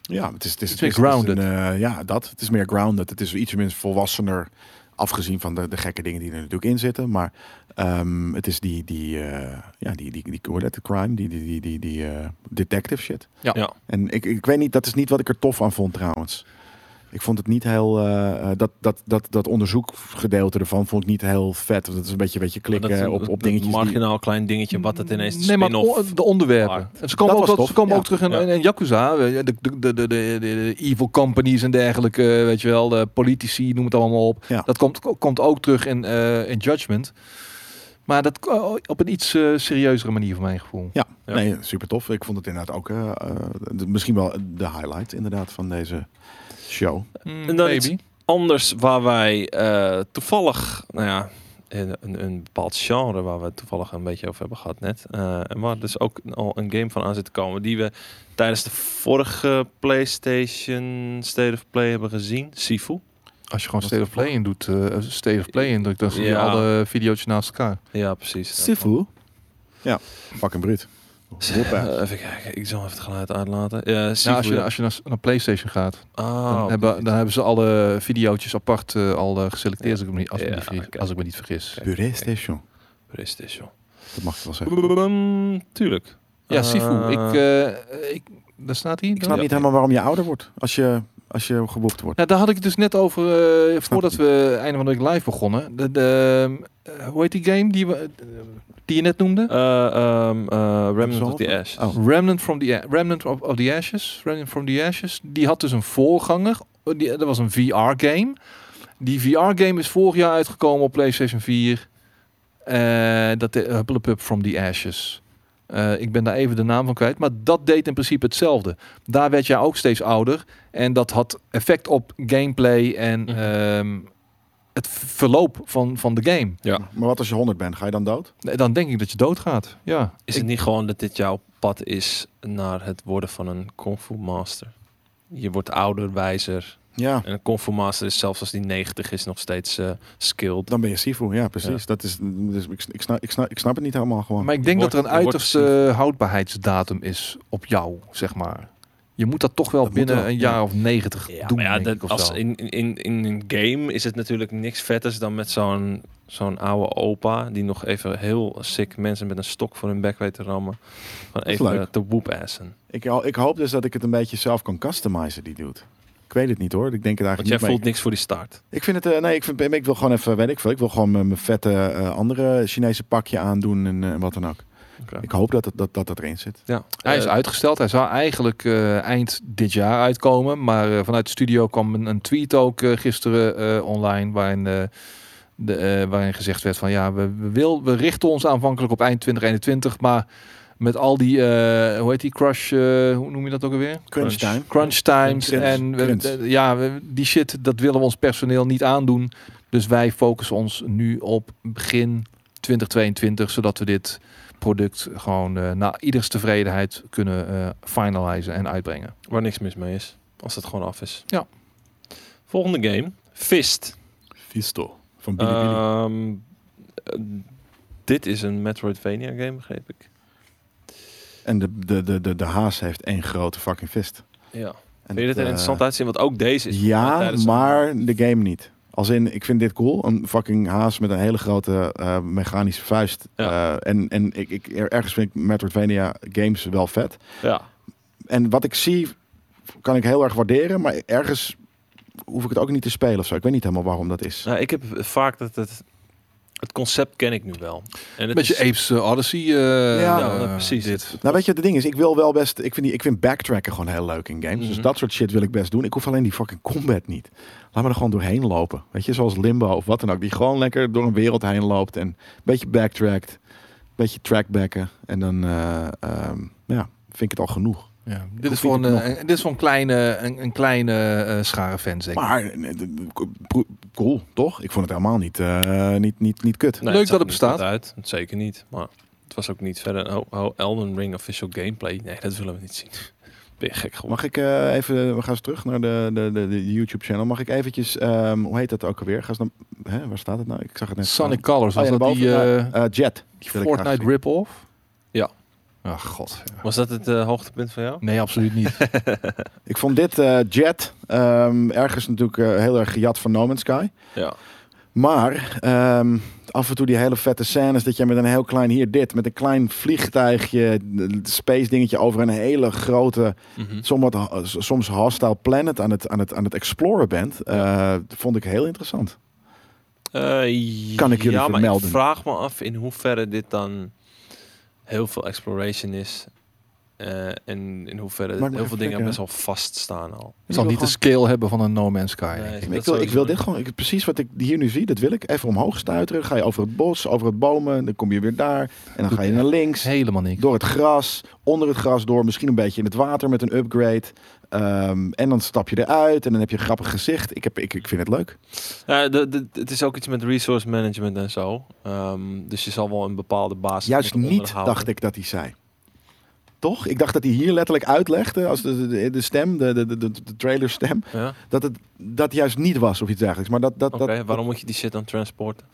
[SPEAKER 2] Ja, het is, het
[SPEAKER 3] Het is
[SPEAKER 2] is, het
[SPEAKER 3] meer
[SPEAKER 2] is een,
[SPEAKER 3] grounded.
[SPEAKER 2] eh, ja, dat. Het is meer grounded. Het is iets meer volwassener. Afgezien van de, de gekke dingen die er natuurlijk in zitten. Maar ehm, het is die, die, eh, ja, die, die, die, hoe heet dat? crime, die, die, die, die, die eh, detective shit.
[SPEAKER 3] Ja.
[SPEAKER 1] Ja.
[SPEAKER 2] En ik, ik weet niet, dat is niet wat ik er tof aan vond trouwens. Ik vond het niet heel, eh, eh, dat, dat, dat, dat onderzoekgedeelte ervan vond ik niet heel vet. Dat is een beetje, beetje
[SPEAKER 1] Maar dat
[SPEAKER 3] eh,
[SPEAKER 2] klikken
[SPEAKER 1] is een-
[SPEAKER 2] op, op
[SPEAKER 1] een
[SPEAKER 2] dingetjes. die-
[SPEAKER 1] marginaal klein dingetje wat het ineens de
[SPEAKER 3] Nee, maar
[SPEAKER 1] spin-off...
[SPEAKER 3] o- de onderwerpen.
[SPEAKER 1] maakt.
[SPEAKER 3] En Ze komen,
[SPEAKER 2] Dat
[SPEAKER 3] ook,
[SPEAKER 2] was
[SPEAKER 3] wel- ze
[SPEAKER 2] tof,
[SPEAKER 3] komen
[SPEAKER 2] ja.
[SPEAKER 3] ook terug in,
[SPEAKER 1] Ja.
[SPEAKER 3] in, in Yakuza. De, de, de, de, de, de evil companies en dergelijke, weet je wel. De politici, noem het allemaal op.
[SPEAKER 2] Ja.
[SPEAKER 3] Dat komt, komt ook terug in, eh, in Judgment. Maar dat ko- op een iets eh, serieuzere manier, voor mijn gevoel.
[SPEAKER 2] Ja,
[SPEAKER 1] Ja.
[SPEAKER 2] nee, super tof. Ik vond het inderdaad ook eh, eh, de- misschien wel de highlight inderdaad van deze show.
[SPEAKER 3] Mm,
[SPEAKER 1] En dan iets- Anders waar wij eh, toevallig, nou ja, een, een, een bepaald genre waar we het toevallig een beetje over hebben gehad net. eh, en waar dus ook al een game van aan zit te komen die we tijdens de vorige PlayStation State of Play hebben gezien. Sifu.
[SPEAKER 3] Als je gewoon State of Play in doet, eh State of Play indrukt, dan zie je
[SPEAKER 1] Ja.
[SPEAKER 3] alle video's naast elkaar.
[SPEAKER 1] Ja, precies.
[SPEAKER 2] Ja, fucking bruut. Hoppa.
[SPEAKER 1] Eh, even kijken, ik zal even het geluid uitlaten. Ja, Sifu.
[SPEAKER 3] Nou, als je,
[SPEAKER 1] ja.
[SPEAKER 3] als je naar, naar PlayStation gaat, dan,
[SPEAKER 1] Ah,
[SPEAKER 3] hebben, dan hebben ze alle video's apart eh, al eh, geselecteerd, als, ik me niet, als, ik me
[SPEAKER 1] Ja,
[SPEAKER 3] niet vergis-
[SPEAKER 1] oké.
[SPEAKER 3] als ik me niet vergis.
[SPEAKER 1] Oké.
[SPEAKER 2] Puree station.
[SPEAKER 1] PlayStation.
[SPEAKER 2] Dat mag ik wel zeggen.
[SPEAKER 1] Blablabam, Tuurlijk.
[SPEAKER 3] Ja,
[SPEAKER 1] Eh,
[SPEAKER 3] Sifu. Ik, eh, ik, daar staat hij.
[SPEAKER 2] Ik snap
[SPEAKER 1] Ja.
[SPEAKER 2] niet helemaal waarom je ouder wordt als je, als je geboekt wordt.
[SPEAKER 3] Nou, daar had ik het dus net over eh, voordat
[SPEAKER 2] ik
[SPEAKER 3] we einde van de week live begonnen. De, de, eh, hoe heet die game die, we, eh, die je net noemde?
[SPEAKER 1] eh, ehm, eh, Remnant
[SPEAKER 2] Absolve?
[SPEAKER 1] of the Ash.
[SPEAKER 2] Oh.
[SPEAKER 3] Remnant, from the, A- Remnant of, of the Ashes. Remnant from the Ashes. Die had dus een voorganger. Eh, Die, dat was een VR-game. Die VR-game is vorig jaar uitgekomen op PlayStation 4. Eh, dat de Hupplepup from the Ashes. Eh, ik ben daar even de naam van kwijt. Maar dat deed in principe hetzelfde. Daar werd jij ook steeds ouder. En dat had effect op gameplay en
[SPEAKER 1] Mhm.
[SPEAKER 3] ehm, het verloop van, van de game.
[SPEAKER 2] Maar wat als je 100 bent? Ga je dan dood?
[SPEAKER 3] Nee, Dan denk ik dat je doodgaat. Ja.
[SPEAKER 1] Is
[SPEAKER 3] Ik-
[SPEAKER 1] het niet gewoon dat dit jouw pad is naar het worden van een kung fu master? Je wordt ouder, wijzer.
[SPEAKER 2] Ja.
[SPEAKER 1] En een kung fu master is zelfs als die 90 is nog steeds eh, skilled.
[SPEAKER 2] Dan ben je Sifu. Ja, precies. Dat is, dus ik, ik, snap, ik, snap, ik snap het niet helemaal gewoon.
[SPEAKER 3] Maar ik denk
[SPEAKER 1] wordt-
[SPEAKER 3] dat er een
[SPEAKER 1] het wordt
[SPEAKER 3] uiterste houdbaarheidsdatum is op jou, zeg maar. Je moet dat toch wel
[SPEAKER 2] Dat moet
[SPEAKER 3] binnen
[SPEAKER 2] wel,
[SPEAKER 3] een
[SPEAKER 2] ja.
[SPEAKER 3] jaar of negentig
[SPEAKER 1] Ja,
[SPEAKER 3] doen.
[SPEAKER 1] maar ja,
[SPEAKER 3] denk
[SPEAKER 1] dat-
[SPEAKER 3] ik, of
[SPEAKER 1] als
[SPEAKER 3] zo.
[SPEAKER 1] in, in, in een game is het natuurlijk niks vetters dan met zo'n zo'n oude opa die nog even heel sick mensen met een stok voor hun bek weet te rammen. Gewoon
[SPEAKER 2] is
[SPEAKER 1] even
[SPEAKER 2] leuk.
[SPEAKER 1] eh, te whoop-assen.
[SPEAKER 2] Ik, ho- ik hoop dus dat ik het een beetje zelf kan customizen, die dude. Ik weet het niet hoor. Ik denk het eigenlijk
[SPEAKER 1] Want jij
[SPEAKER 2] niet mee.
[SPEAKER 1] voelt niks voor die start.
[SPEAKER 2] Ik vind het, eh, nee, ik, vind, ik wil gewoon even, weet ik veel, ik wil gewoon mijn mijn vette eh, andere Chinese pakje aandoen en eh, wat dan ook.
[SPEAKER 1] Oké.
[SPEAKER 2] Ik hoop dat het, dat, dat het erin zit.
[SPEAKER 1] Ja.
[SPEAKER 3] Hij is
[SPEAKER 1] Eh,
[SPEAKER 3] uitgesteld. Hij zou eigenlijk eh, eind dit jaar uitkomen. Maar eh, vanuit de studio kwam een, een tweet ook eh, gisteren eh, online. Waarin, eh, de, eh, waarin gezegd werd van ja, we, we, wil, we richten ons aanvankelijk op eind 2021. Maar met al die, eh, hoe heet die, crush, eh, hoe noem je dat ook alweer?
[SPEAKER 1] Crunch.
[SPEAKER 2] Crunch time.
[SPEAKER 3] Crunch times.
[SPEAKER 2] Crunch.
[SPEAKER 3] En we-
[SPEAKER 2] Crunch.
[SPEAKER 3] eh, ja, we- die shit, dat willen we ons personeel niet aandoen. Dus wij focussen ons nu op begin 2022, zodat we dit product gewoon eh naar ieders tevredenheid kunnen eh finalizen en uitbrengen.
[SPEAKER 1] Waar niks mis mee is. Als het gewoon af is.
[SPEAKER 3] Ja.
[SPEAKER 1] Volgende game. Fist.
[SPEAKER 2] Fisto. Van Billy Billy.
[SPEAKER 1] Ehm, eh, dit is een Metroidvania game, begreep ik.
[SPEAKER 2] En de, de, de, de, de haas heeft één grote fucking fist.
[SPEAKER 1] Ja.
[SPEAKER 2] En
[SPEAKER 1] Vind je dit er
[SPEAKER 2] eh,
[SPEAKER 1] interessant uitzien? Want ook deze is...
[SPEAKER 2] Ja,
[SPEAKER 1] tijdens-
[SPEAKER 2] maar de game niet. Als in, ik vind dit cool. Een fucking haas met een hele grote eh, mechanische vuist.
[SPEAKER 1] Ja.
[SPEAKER 2] Eh, en en ik, ik, ergens vind ik Metroidvania games wel vet.
[SPEAKER 1] Ja.
[SPEAKER 2] En wat ik zie, kan ik heel erg waarderen. Maar ergens hoef ik het ook niet te spelen of zo. Ik weet niet helemaal waarom dat is.
[SPEAKER 1] Nou, ik heb vaak dat het... Het concept ken ik nu wel. En het
[SPEAKER 3] Met je
[SPEAKER 1] is-
[SPEAKER 3] Apes eh, Odyssey.
[SPEAKER 2] Ja,
[SPEAKER 3] ja,
[SPEAKER 1] nou, precies.
[SPEAKER 3] eh, Dit.
[SPEAKER 2] Nou, weet je, het ding is, ik wil wel best. Ik vind, die, ik vind backtracken gewoon heel leuk in games.
[SPEAKER 1] Mhm.
[SPEAKER 2] Dus dat soort shit wil ik best doen. Ik hoef alleen die fucking combat niet. Laat me er gewoon doorheen lopen. Weet je, zoals Limbo of wat dan ook. Die gewoon lekker door een wereld heen loopt en een beetje backtrackt. Een beetje trackbacken. En dan, eh, ehm, ja, vind ik het al genoeg.
[SPEAKER 3] Ja,
[SPEAKER 2] hoef
[SPEAKER 3] dit,
[SPEAKER 2] niet
[SPEAKER 3] is voor
[SPEAKER 2] te
[SPEAKER 3] een, eh, een- dit is voor een kleine, een, een kleine eh, schare fans, denk ik.
[SPEAKER 2] Maar eh, nee, de- de- pro- cool, toch? Ik vond het helemaal niet, eh, niet, niet, niet kut.
[SPEAKER 1] Nee,
[SPEAKER 3] Leuk
[SPEAKER 1] zag
[SPEAKER 3] dat het
[SPEAKER 1] er niet
[SPEAKER 3] bestaat.
[SPEAKER 1] goed Uit. Zeker niet. Maar het was ook niet verder... Oh, oh, Elden Ring official gameplay. Nee, dat willen we niet zien. Ben je gek geworden.
[SPEAKER 2] Mag ik eh, even, we gaan eens terug naar de, de, de, de YouTube-channel. Mag ik eventjes, ehm, hoe heet dat ook alweer? Ga eens naar, hè, waar staat het nou? Ik zag het net.
[SPEAKER 3] Sonic Colors,
[SPEAKER 2] Oh,
[SPEAKER 3] was
[SPEAKER 2] ja,
[SPEAKER 3] dat die,
[SPEAKER 2] daarboven,
[SPEAKER 3] eh,
[SPEAKER 2] Eh, Jet.
[SPEAKER 3] die
[SPEAKER 2] wil ik graag
[SPEAKER 3] Fortnite
[SPEAKER 2] zien.
[SPEAKER 3] rip-off?
[SPEAKER 1] Ja.
[SPEAKER 3] Ach, Ah, god. ja.
[SPEAKER 1] Was dat het eh, hoogtepunt van jou?
[SPEAKER 3] Nee, absoluut niet.
[SPEAKER 2] Ik vond dit eh, Jet ehm, ergens natuurlijk eh, heel erg gejat van No Man's Sky.
[SPEAKER 1] Ja.
[SPEAKER 2] Maar ehm, af en toe die hele vette scènes dat je met een heel klein hier dit, met een klein vliegtuigje, eh, space dingetje over een hele grote,
[SPEAKER 1] Mhm.
[SPEAKER 2] somewhat, ho- soms hostile planet aan het, aan het, aan het exploren bent, eh, vond ik heel interessant.
[SPEAKER 1] Eh,
[SPEAKER 2] Kan ik
[SPEAKER 1] ja,
[SPEAKER 2] jullie
[SPEAKER 1] maar
[SPEAKER 2] vermelden.
[SPEAKER 1] Ik vraag me af in hoeverre dit dan heel veel exploration is. eh, en in hoeverre
[SPEAKER 2] maar
[SPEAKER 1] heel
[SPEAKER 2] even
[SPEAKER 1] veel dingen
[SPEAKER 2] kijken,
[SPEAKER 1] best wel vaststaan al.
[SPEAKER 3] Het zal
[SPEAKER 2] Ik wil
[SPEAKER 3] niet de scale hebben van een No Man's Sky.
[SPEAKER 1] Nee, dat
[SPEAKER 3] denk ik.
[SPEAKER 2] Ik wil, ik
[SPEAKER 1] sowieso
[SPEAKER 2] wil
[SPEAKER 1] niet.
[SPEAKER 2] dit gewoon, ik, precies wat ik hier nu zie, dat wil ik. Even omhoog stuiteren, ga je over het bos, over het bomen, dan kom je weer daar. En dan ga je naar links.
[SPEAKER 3] Helemaal niks.
[SPEAKER 2] Door het gras, onder het gras door, misschien een beetje in het water met een upgrade. Ehm, en dan stap je eruit en dan heb je een grappig gezicht. Ik, heb, ik, ik vind het leuk.
[SPEAKER 1] Ja, de- de- het is ook iets met resource management en zo. Ehm, dus je zal wel een bepaalde basis
[SPEAKER 2] Juist
[SPEAKER 1] moeten
[SPEAKER 2] niet
[SPEAKER 1] onderhouden.
[SPEAKER 2] dacht ik dat hij zei. Toch? Ik dacht dat hij hier letterlijk uitlegde, als de, de, de stem, de, de, de, de trailerstem,
[SPEAKER 1] Ja?
[SPEAKER 2] dat het dat juist niet was of iets dergelijks. Maar dat, dat,
[SPEAKER 1] Oké,
[SPEAKER 2] dat,
[SPEAKER 1] waarom moet je die shit dan transporten?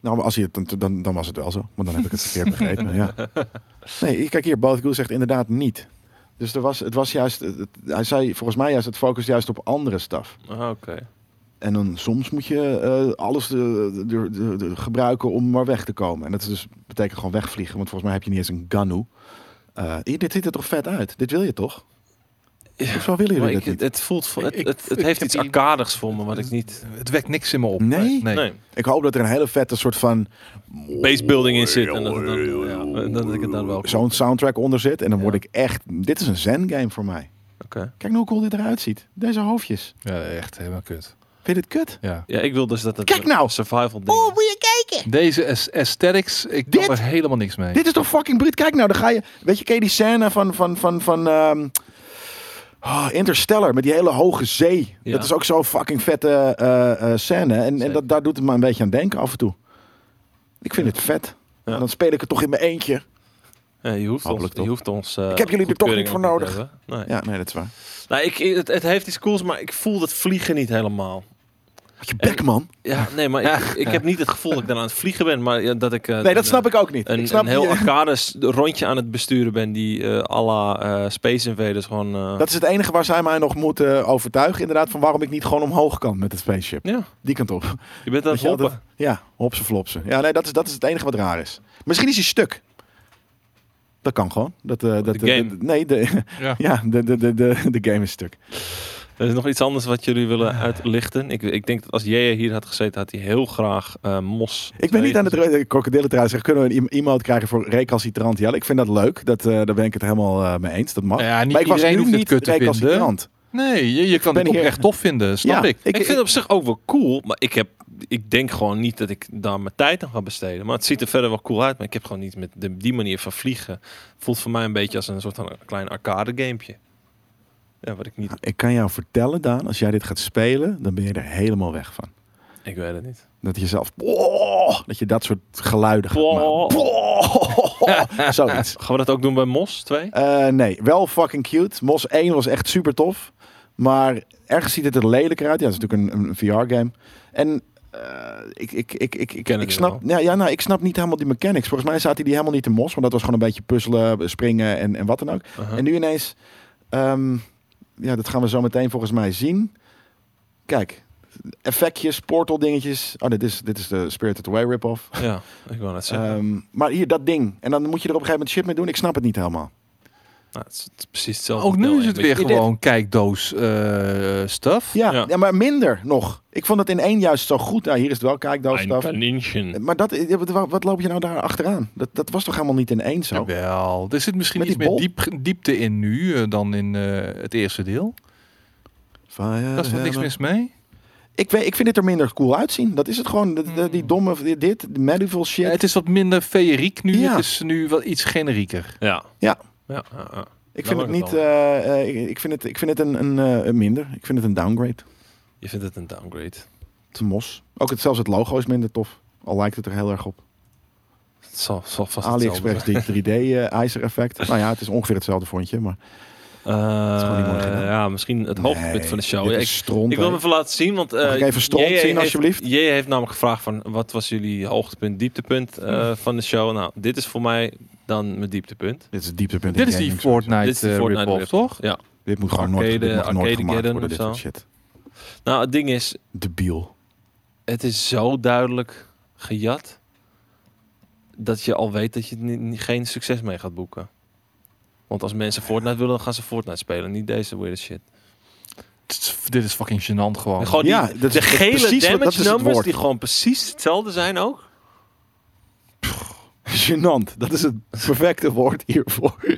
[SPEAKER 2] Nou, maar als hij het, dan, dan, dan was het wel zo. Want dan heb ik het verkeerd begrepen. ja. Nee, kijk hier, Both Cool zegt inderdaad niet. Dus er was, het was juist, het- het- hij zei volgens mij juist, het focus juist op andere staf.
[SPEAKER 1] Ah, Oké.
[SPEAKER 2] En dan soms moet je eh, alles eh, de- de- de- gebruiken om maar weg te komen. En dat is dus, betekent gewoon wegvliegen, want volgens mij heb je niet eens een Ganu. Eh, hier, dit ziet er toch vet uit? Dit wil je toch?
[SPEAKER 1] Ja,
[SPEAKER 2] Hoezo willen
[SPEAKER 1] Maar
[SPEAKER 2] jullie
[SPEAKER 1] ik,
[SPEAKER 2] dit
[SPEAKER 1] het,
[SPEAKER 2] niet?
[SPEAKER 1] het voelt voor, het,
[SPEAKER 3] Ik-
[SPEAKER 1] het, het
[SPEAKER 3] ik
[SPEAKER 1] heeft
[SPEAKER 3] heb
[SPEAKER 1] iets
[SPEAKER 3] die-
[SPEAKER 1] arcadigs voor me wat ik niet.
[SPEAKER 3] Het wekt niks in me op.
[SPEAKER 2] Nee?
[SPEAKER 3] nee.
[SPEAKER 1] Nee,
[SPEAKER 2] Ik hoop dat er een hele vette soort van...
[SPEAKER 1] base building in zit en dat, het dan, ja, dat ik het dan wel.
[SPEAKER 2] Zo'n soundtrack onder zit. En dan word
[SPEAKER 1] Ja.
[SPEAKER 2] ik echt... Dit is een zen-game voor mij.
[SPEAKER 1] Oké.
[SPEAKER 2] Kijk nou hoe cool dit eruit ziet. Deze hoofdjes.
[SPEAKER 3] Ja, echt helemaal kut.
[SPEAKER 2] Vind je dit kut?
[SPEAKER 3] Ja.
[SPEAKER 1] Ja, ik wil dus dat het
[SPEAKER 2] Kijk
[SPEAKER 1] een
[SPEAKER 2] nou!
[SPEAKER 1] survival ding. is.
[SPEAKER 3] Deze as- aesthetics, ik
[SPEAKER 2] Dit?
[SPEAKER 3] kan er helemaal niks mee.
[SPEAKER 2] Dit is toch fucking bruut? Kijk nou, dan ga je... Weet je, ken je die scène van... van, van, van ehm, Oh, Interstellar, met die hele hoge zee.
[SPEAKER 1] Ja.
[SPEAKER 2] Dat is ook zo'n fucking vette eh, eh, scène. En, en
[SPEAKER 1] Zeker.
[SPEAKER 2] dat, daar doet het me een beetje aan denken af en toe. Ik vind het vet.
[SPEAKER 1] Ja.
[SPEAKER 2] En dan speel ik het toch in mijn eentje.
[SPEAKER 1] Ja, je hoeft
[SPEAKER 2] Hopelijk
[SPEAKER 1] ons, je
[SPEAKER 2] toch.
[SPEAKER 1] hoeft ons eh,
[SPEAKER 2] Ik heb jullie er toch niet
[SPEAKER 1] goedkeuring
[SPEAKER 2] voor
[SPEAKER 1] ook
[SPEAKER 2] nodig.
[SPEAKER 1] hebben. Nee.
[SPEAKER 2] Ja, nee, dat is waar.
[SPEAKER 1] Nou, ik, het, het heeft iets cools, maar ik voel dat vliegen niet helemaal.
[SPEAKER 2] Had je bek, man.
[SPEAKER 1] Ja, nee, maar ik, ik heb niet het gevoel dat ik dan aan het vliegen ben, maar ja, dat ik... eh,
[SPEAKER 2] Nee, dat
[SPEAKER 1] een,
[SPEAKER 2] snap ik ook niet.
[SPEAKER 1] Een,
[SPEAKER 2] ik snap
[SPEAKER 1] een heel
[SPEAKER 2] je-
[SPEAKER 1] arcade s- rondje aan het besturen ben die eh à la eh, Space Invaders gewoon... eh,
[SPEAKER 2] Dat is het enige waar zij mij nog moeten overtuigen. Inderdaad, van waarom ik niet gewoon omhoog kan met het spaceship.
[SPEAKER 1] Ja,
[SPEAKER 2] Die kant op.
[SPEAKER 1] je bent aan het
[SPEAKER 2] Weet je,
[SPEAKER 1] hoppen.
[SPEAKER 2] altijd- Ja, hopsen flopsen. Ja, nee, dat is, dat is het enige wat raar is. Misschien is hij stuk. Dat kan gewoon. Dat, eh, dat,
[SPEAKER 1] de game.
[SPEAKER 2] dat- nee, de,
[SPEAKER 3] Ja.
[SPEAKER 2] ja. de, de, de, de, de game is stuk.
[SPEAKER 1] Er is nog iets anders wat jullie willen uitlichten. Ik, ik denk dat als jij hier had gezeten, had hij heel graag eh, Mos...
[SPEAKER 2] Ik ben niet aan
[SPEAKER 1] het
[SPEAKER 2] het re- krokodillen trouwens. zeggen, Kunnen we een e- iemand krijgen voor recalcitrant? Ja, ik vind dat leuk. Dat, eh, daar ben ik het helemaal eh, mee eens. Dat mag.
[SPEAKER 3] Nou ja, niet
[SPEAKER 2] maar ik was
[SPEAKER 3] iedereen
[SPEAKER 2] nu
[SPEAKER 3] hoeft het
[SPEAKER 2] niet
[SPEAKER 3] kut te vinden.
[SPEAKER 2] recalcitrant.
[SPEAKER 3] Nee, je, je kan
[SPEAKER 2] ben
[SPEAKER 3] het ook
[SPEAKER 2] hier-
[SPEAKER 3] echt tof vinden, snap
[SPEAKER 2] Ja,
[SPEAKER 3] ik.
[SPEAKER 1] Ik, vind het op zich ook wel cool, maar ik, heb, ik denk gewoon niet dat ik daar mijn tijd aan ga besteden. Maar het ziet er verder wel cool uit, maar ik heb gewoon niet met de, die manier van vliegen. Voelt voor mij een beetje als een soort van een klein arcade gamepje. Ja, wat ik niet...
[SPEAKER 2] Ik kan jou vertellen, Daan, als jij dit gaat spelen, dan ben je er helemaal weg van.
[SPEAKER 1] Ik weet het niet.
[SPEAKER 2] Dat je zelf... Boah, dat je dat soort geluiden gaat
[SPEAKER 1] Boah.
[SPEAKER 2] maken. Boah. Zoiets.
[SPEAKER 1] Gaan we dat ook doen bij Mos 2?
[SPEAKER 2] Eh, nee, wel fucking cute. Mos 1 was echt super tof. Maar ergens ziet het er lelijker uit. Ja, dat is natuurlijk een, een VR-game. En eh, ik, ik, ik, ik, ik,
[SPEAKER 1] ken
[SPEAKER 2] ik
[SPEAKER 1] het
[SPEAKER 2] snap, ja, ja, nou, ik snap niet helemaal die mechanics. Volgens mij zaten die helemaal niet in Mos. Want dat was gewoon een beetje puzzelen, springen en, en wat dan ook.
[SPEAKER 3] Uh-huh.
[SPEAKER 1] Aha.
[SPEAKER 2] En nu ineens... ehm, ja, dat gaan we zo meteen volgens mij zien. Kijk, effectjes, portal dingetjes. Oh, dit is, dit is de Spirited Away rip-off.
[SPEAKER 1] Ja, ik wil net zeggen.
[SPEAKER 2] Ehm, maar hier, dat ding. En dan moet je er op een gegeven moment shit mee doen. Ik snap het niet helemaal.
[SPEAKER 1] Nou, het, is, het is precies hetzelfde.
[SPEAKER 3] Ook nu
[SPEAKER 1] deel,
[SPEAKER 3] is het
[SPEAKER 1] een beetje-
[SPEAKER 3] weer gewoon kijkdoos eh stuff.
[SPEAKER 2] Ja,
[SPEAKER 1] Ja.
[SPEAKER 2] ja. maar minder nog. Ik vond het in één juist zo goed. Nou, hier is het wel
[SPEAKER 1] Een
[SPEAKER 2] kijkdoofstaf.
[SPEAKER 1] kaninchen.
[SPEAKER 2] Maar dat, wat loop je nou daar achteraan? Dat, dat was toch helemaal niet in één zo?
[SPEAKER 3] Wel, er zit misschien
[SPEAKER 2] Met
[SPEAKER 3] iets
[SPEAKER 2] die
[SPEAKER 3] meer
[SPEAKER 2] bol?
[SPEAKER 3] diep, diepte in nu eh, dan in eh, het eerste deel. Daar is wel niks mis mee.
[SPEAKER 2] Ik, weet, ik vind het er minder cool uitzien. Dat is het gewoon. De- de- die domme, die- dit, de medieval shit.
[SPEAKER 3] Ja, het is wat minder feeriek nu.
[SPEAKER 2] Ja.
[SPEAKER 3] Het is nu wel iets generieker.
[SPEAKER 1] Ja.
[SPEAKER 2] Ja.
[SPEAKER 1] ja, ja, ja.
[SPEAKER 2] ik,
[SPEAKER 1] daar
[SPEAKER 2] vind het
[SPEAKER 1] wordt
[SPEAKER 2] niet,
[SPEAKER 1] het
[SPEAKER 2] eh, eh, ik, ik vind het Ik vind het een, een eh, een minder. Ik vind het een downgrade.
[SPEAKER 1] Je vindt het een downgrade.
[SPEAKER 2] Te mos. Ook het, zelfs het logo is minder tof. Al lijkt het er heel erg op.
[SPEAKER 1] Het zal, zal vast
[SPEAKER 2] AliExpress, die 3D-ijzer effect. Nou ja, het is ongeveer hetzelfde vondje. Maar is gewoon niet mooi gedaan.
[SPEAKER 1] Eh, ja, misschien het hoogtepunt
[SPEAKER 2] Nee,
[SPEAKER 1] van de show.
[SPEAKER 2] dit
[SPEAKER 1] Ja,
[SPEAKER 2] is
[SPEAKER 1] ik,
[SPEAKER 2] stront,
[SPEAKER 1] ik wil
[SPEAKER 2] hè.
[SPEAKER 1] hem even laten zien, want... eh,
[SPEAKER 2] Mag ik even stront
[SPEAKER 1] JJ
[SPEAKER 2] zien,
[SPEAKER 1] heeft-
[SPEAKER 2] alsjeblieft?
[SPEAKER 1] JJ heeft namelijk gevraagd van... wat was jullie hoogtepunt, dieptepunt eh,
[SPEAKER 2] Hm.
[SPEAKER 1] van de show? Nou, dit is voor mij dan mijn dieptepunt.
[SPEAKER 2] Dit is het dieptepunt. in
[SPEAKER 3] Dit is die
[SPEAKER 2] gaming.
[SPEAKER 3] Fortnite,
[SPEAKER 1] dit is de
[SPEAKER 3] eh,
[SPEAKER 1] Fortnite
[SPEAKER 3] rip-off,
[SPEAKER 1] rip-off.
[SPEAKER 3] toch?
[SPEAKER 1] Ja.
[SPEAKER 2] Dit moet gewoon nooit,
[SPEAKER 1] Arcade-
[SPEAKER 2] dit mag nooit
[SPEAKER 1] Arcade
[SPEAKER 2] gemaakt
[SPEAKER 1] Garden
[SPEAKER 2] worden. Dit
[SPEAKER 1] of
[SPEAKER 2] soort
[SPEAKER 1] zo.
[SPEAKER 2] shit.
[SPEAKER 1] Nou, het ding is,
[SPEAKER 2] Debiel.
[SPEAKER 1] het is zo duidelijk gejat... dat je al weet dat je ni- ni- geen succes mee gaat boeken. Want als mensen Fortnite willen, dan gaan ze Fortnite spelen. Niet deze weird shit.
[SPEAKER 3] Het is- Dit is fucking gênant gewoon.
[SPEAKER 1] En gewoon die,
[SPEAKER 2] Oh, Ja, dat is-
[SPEAKER 1] de
[SPEAKER 2] dat is
[SPEAKER 1] gele
[SPEAKER 2] precies wat- dat is
[SPEAKER 1] damage
[SPEAKER 2] het
[SPEAKER 1] numbers
[SPEAKER 2] woord.
[SPEAKER 1] die gewoon precies hetzelfde zijn ook.
[SPEAKER 2] Genant, dat is het perfecte woord hiervoor.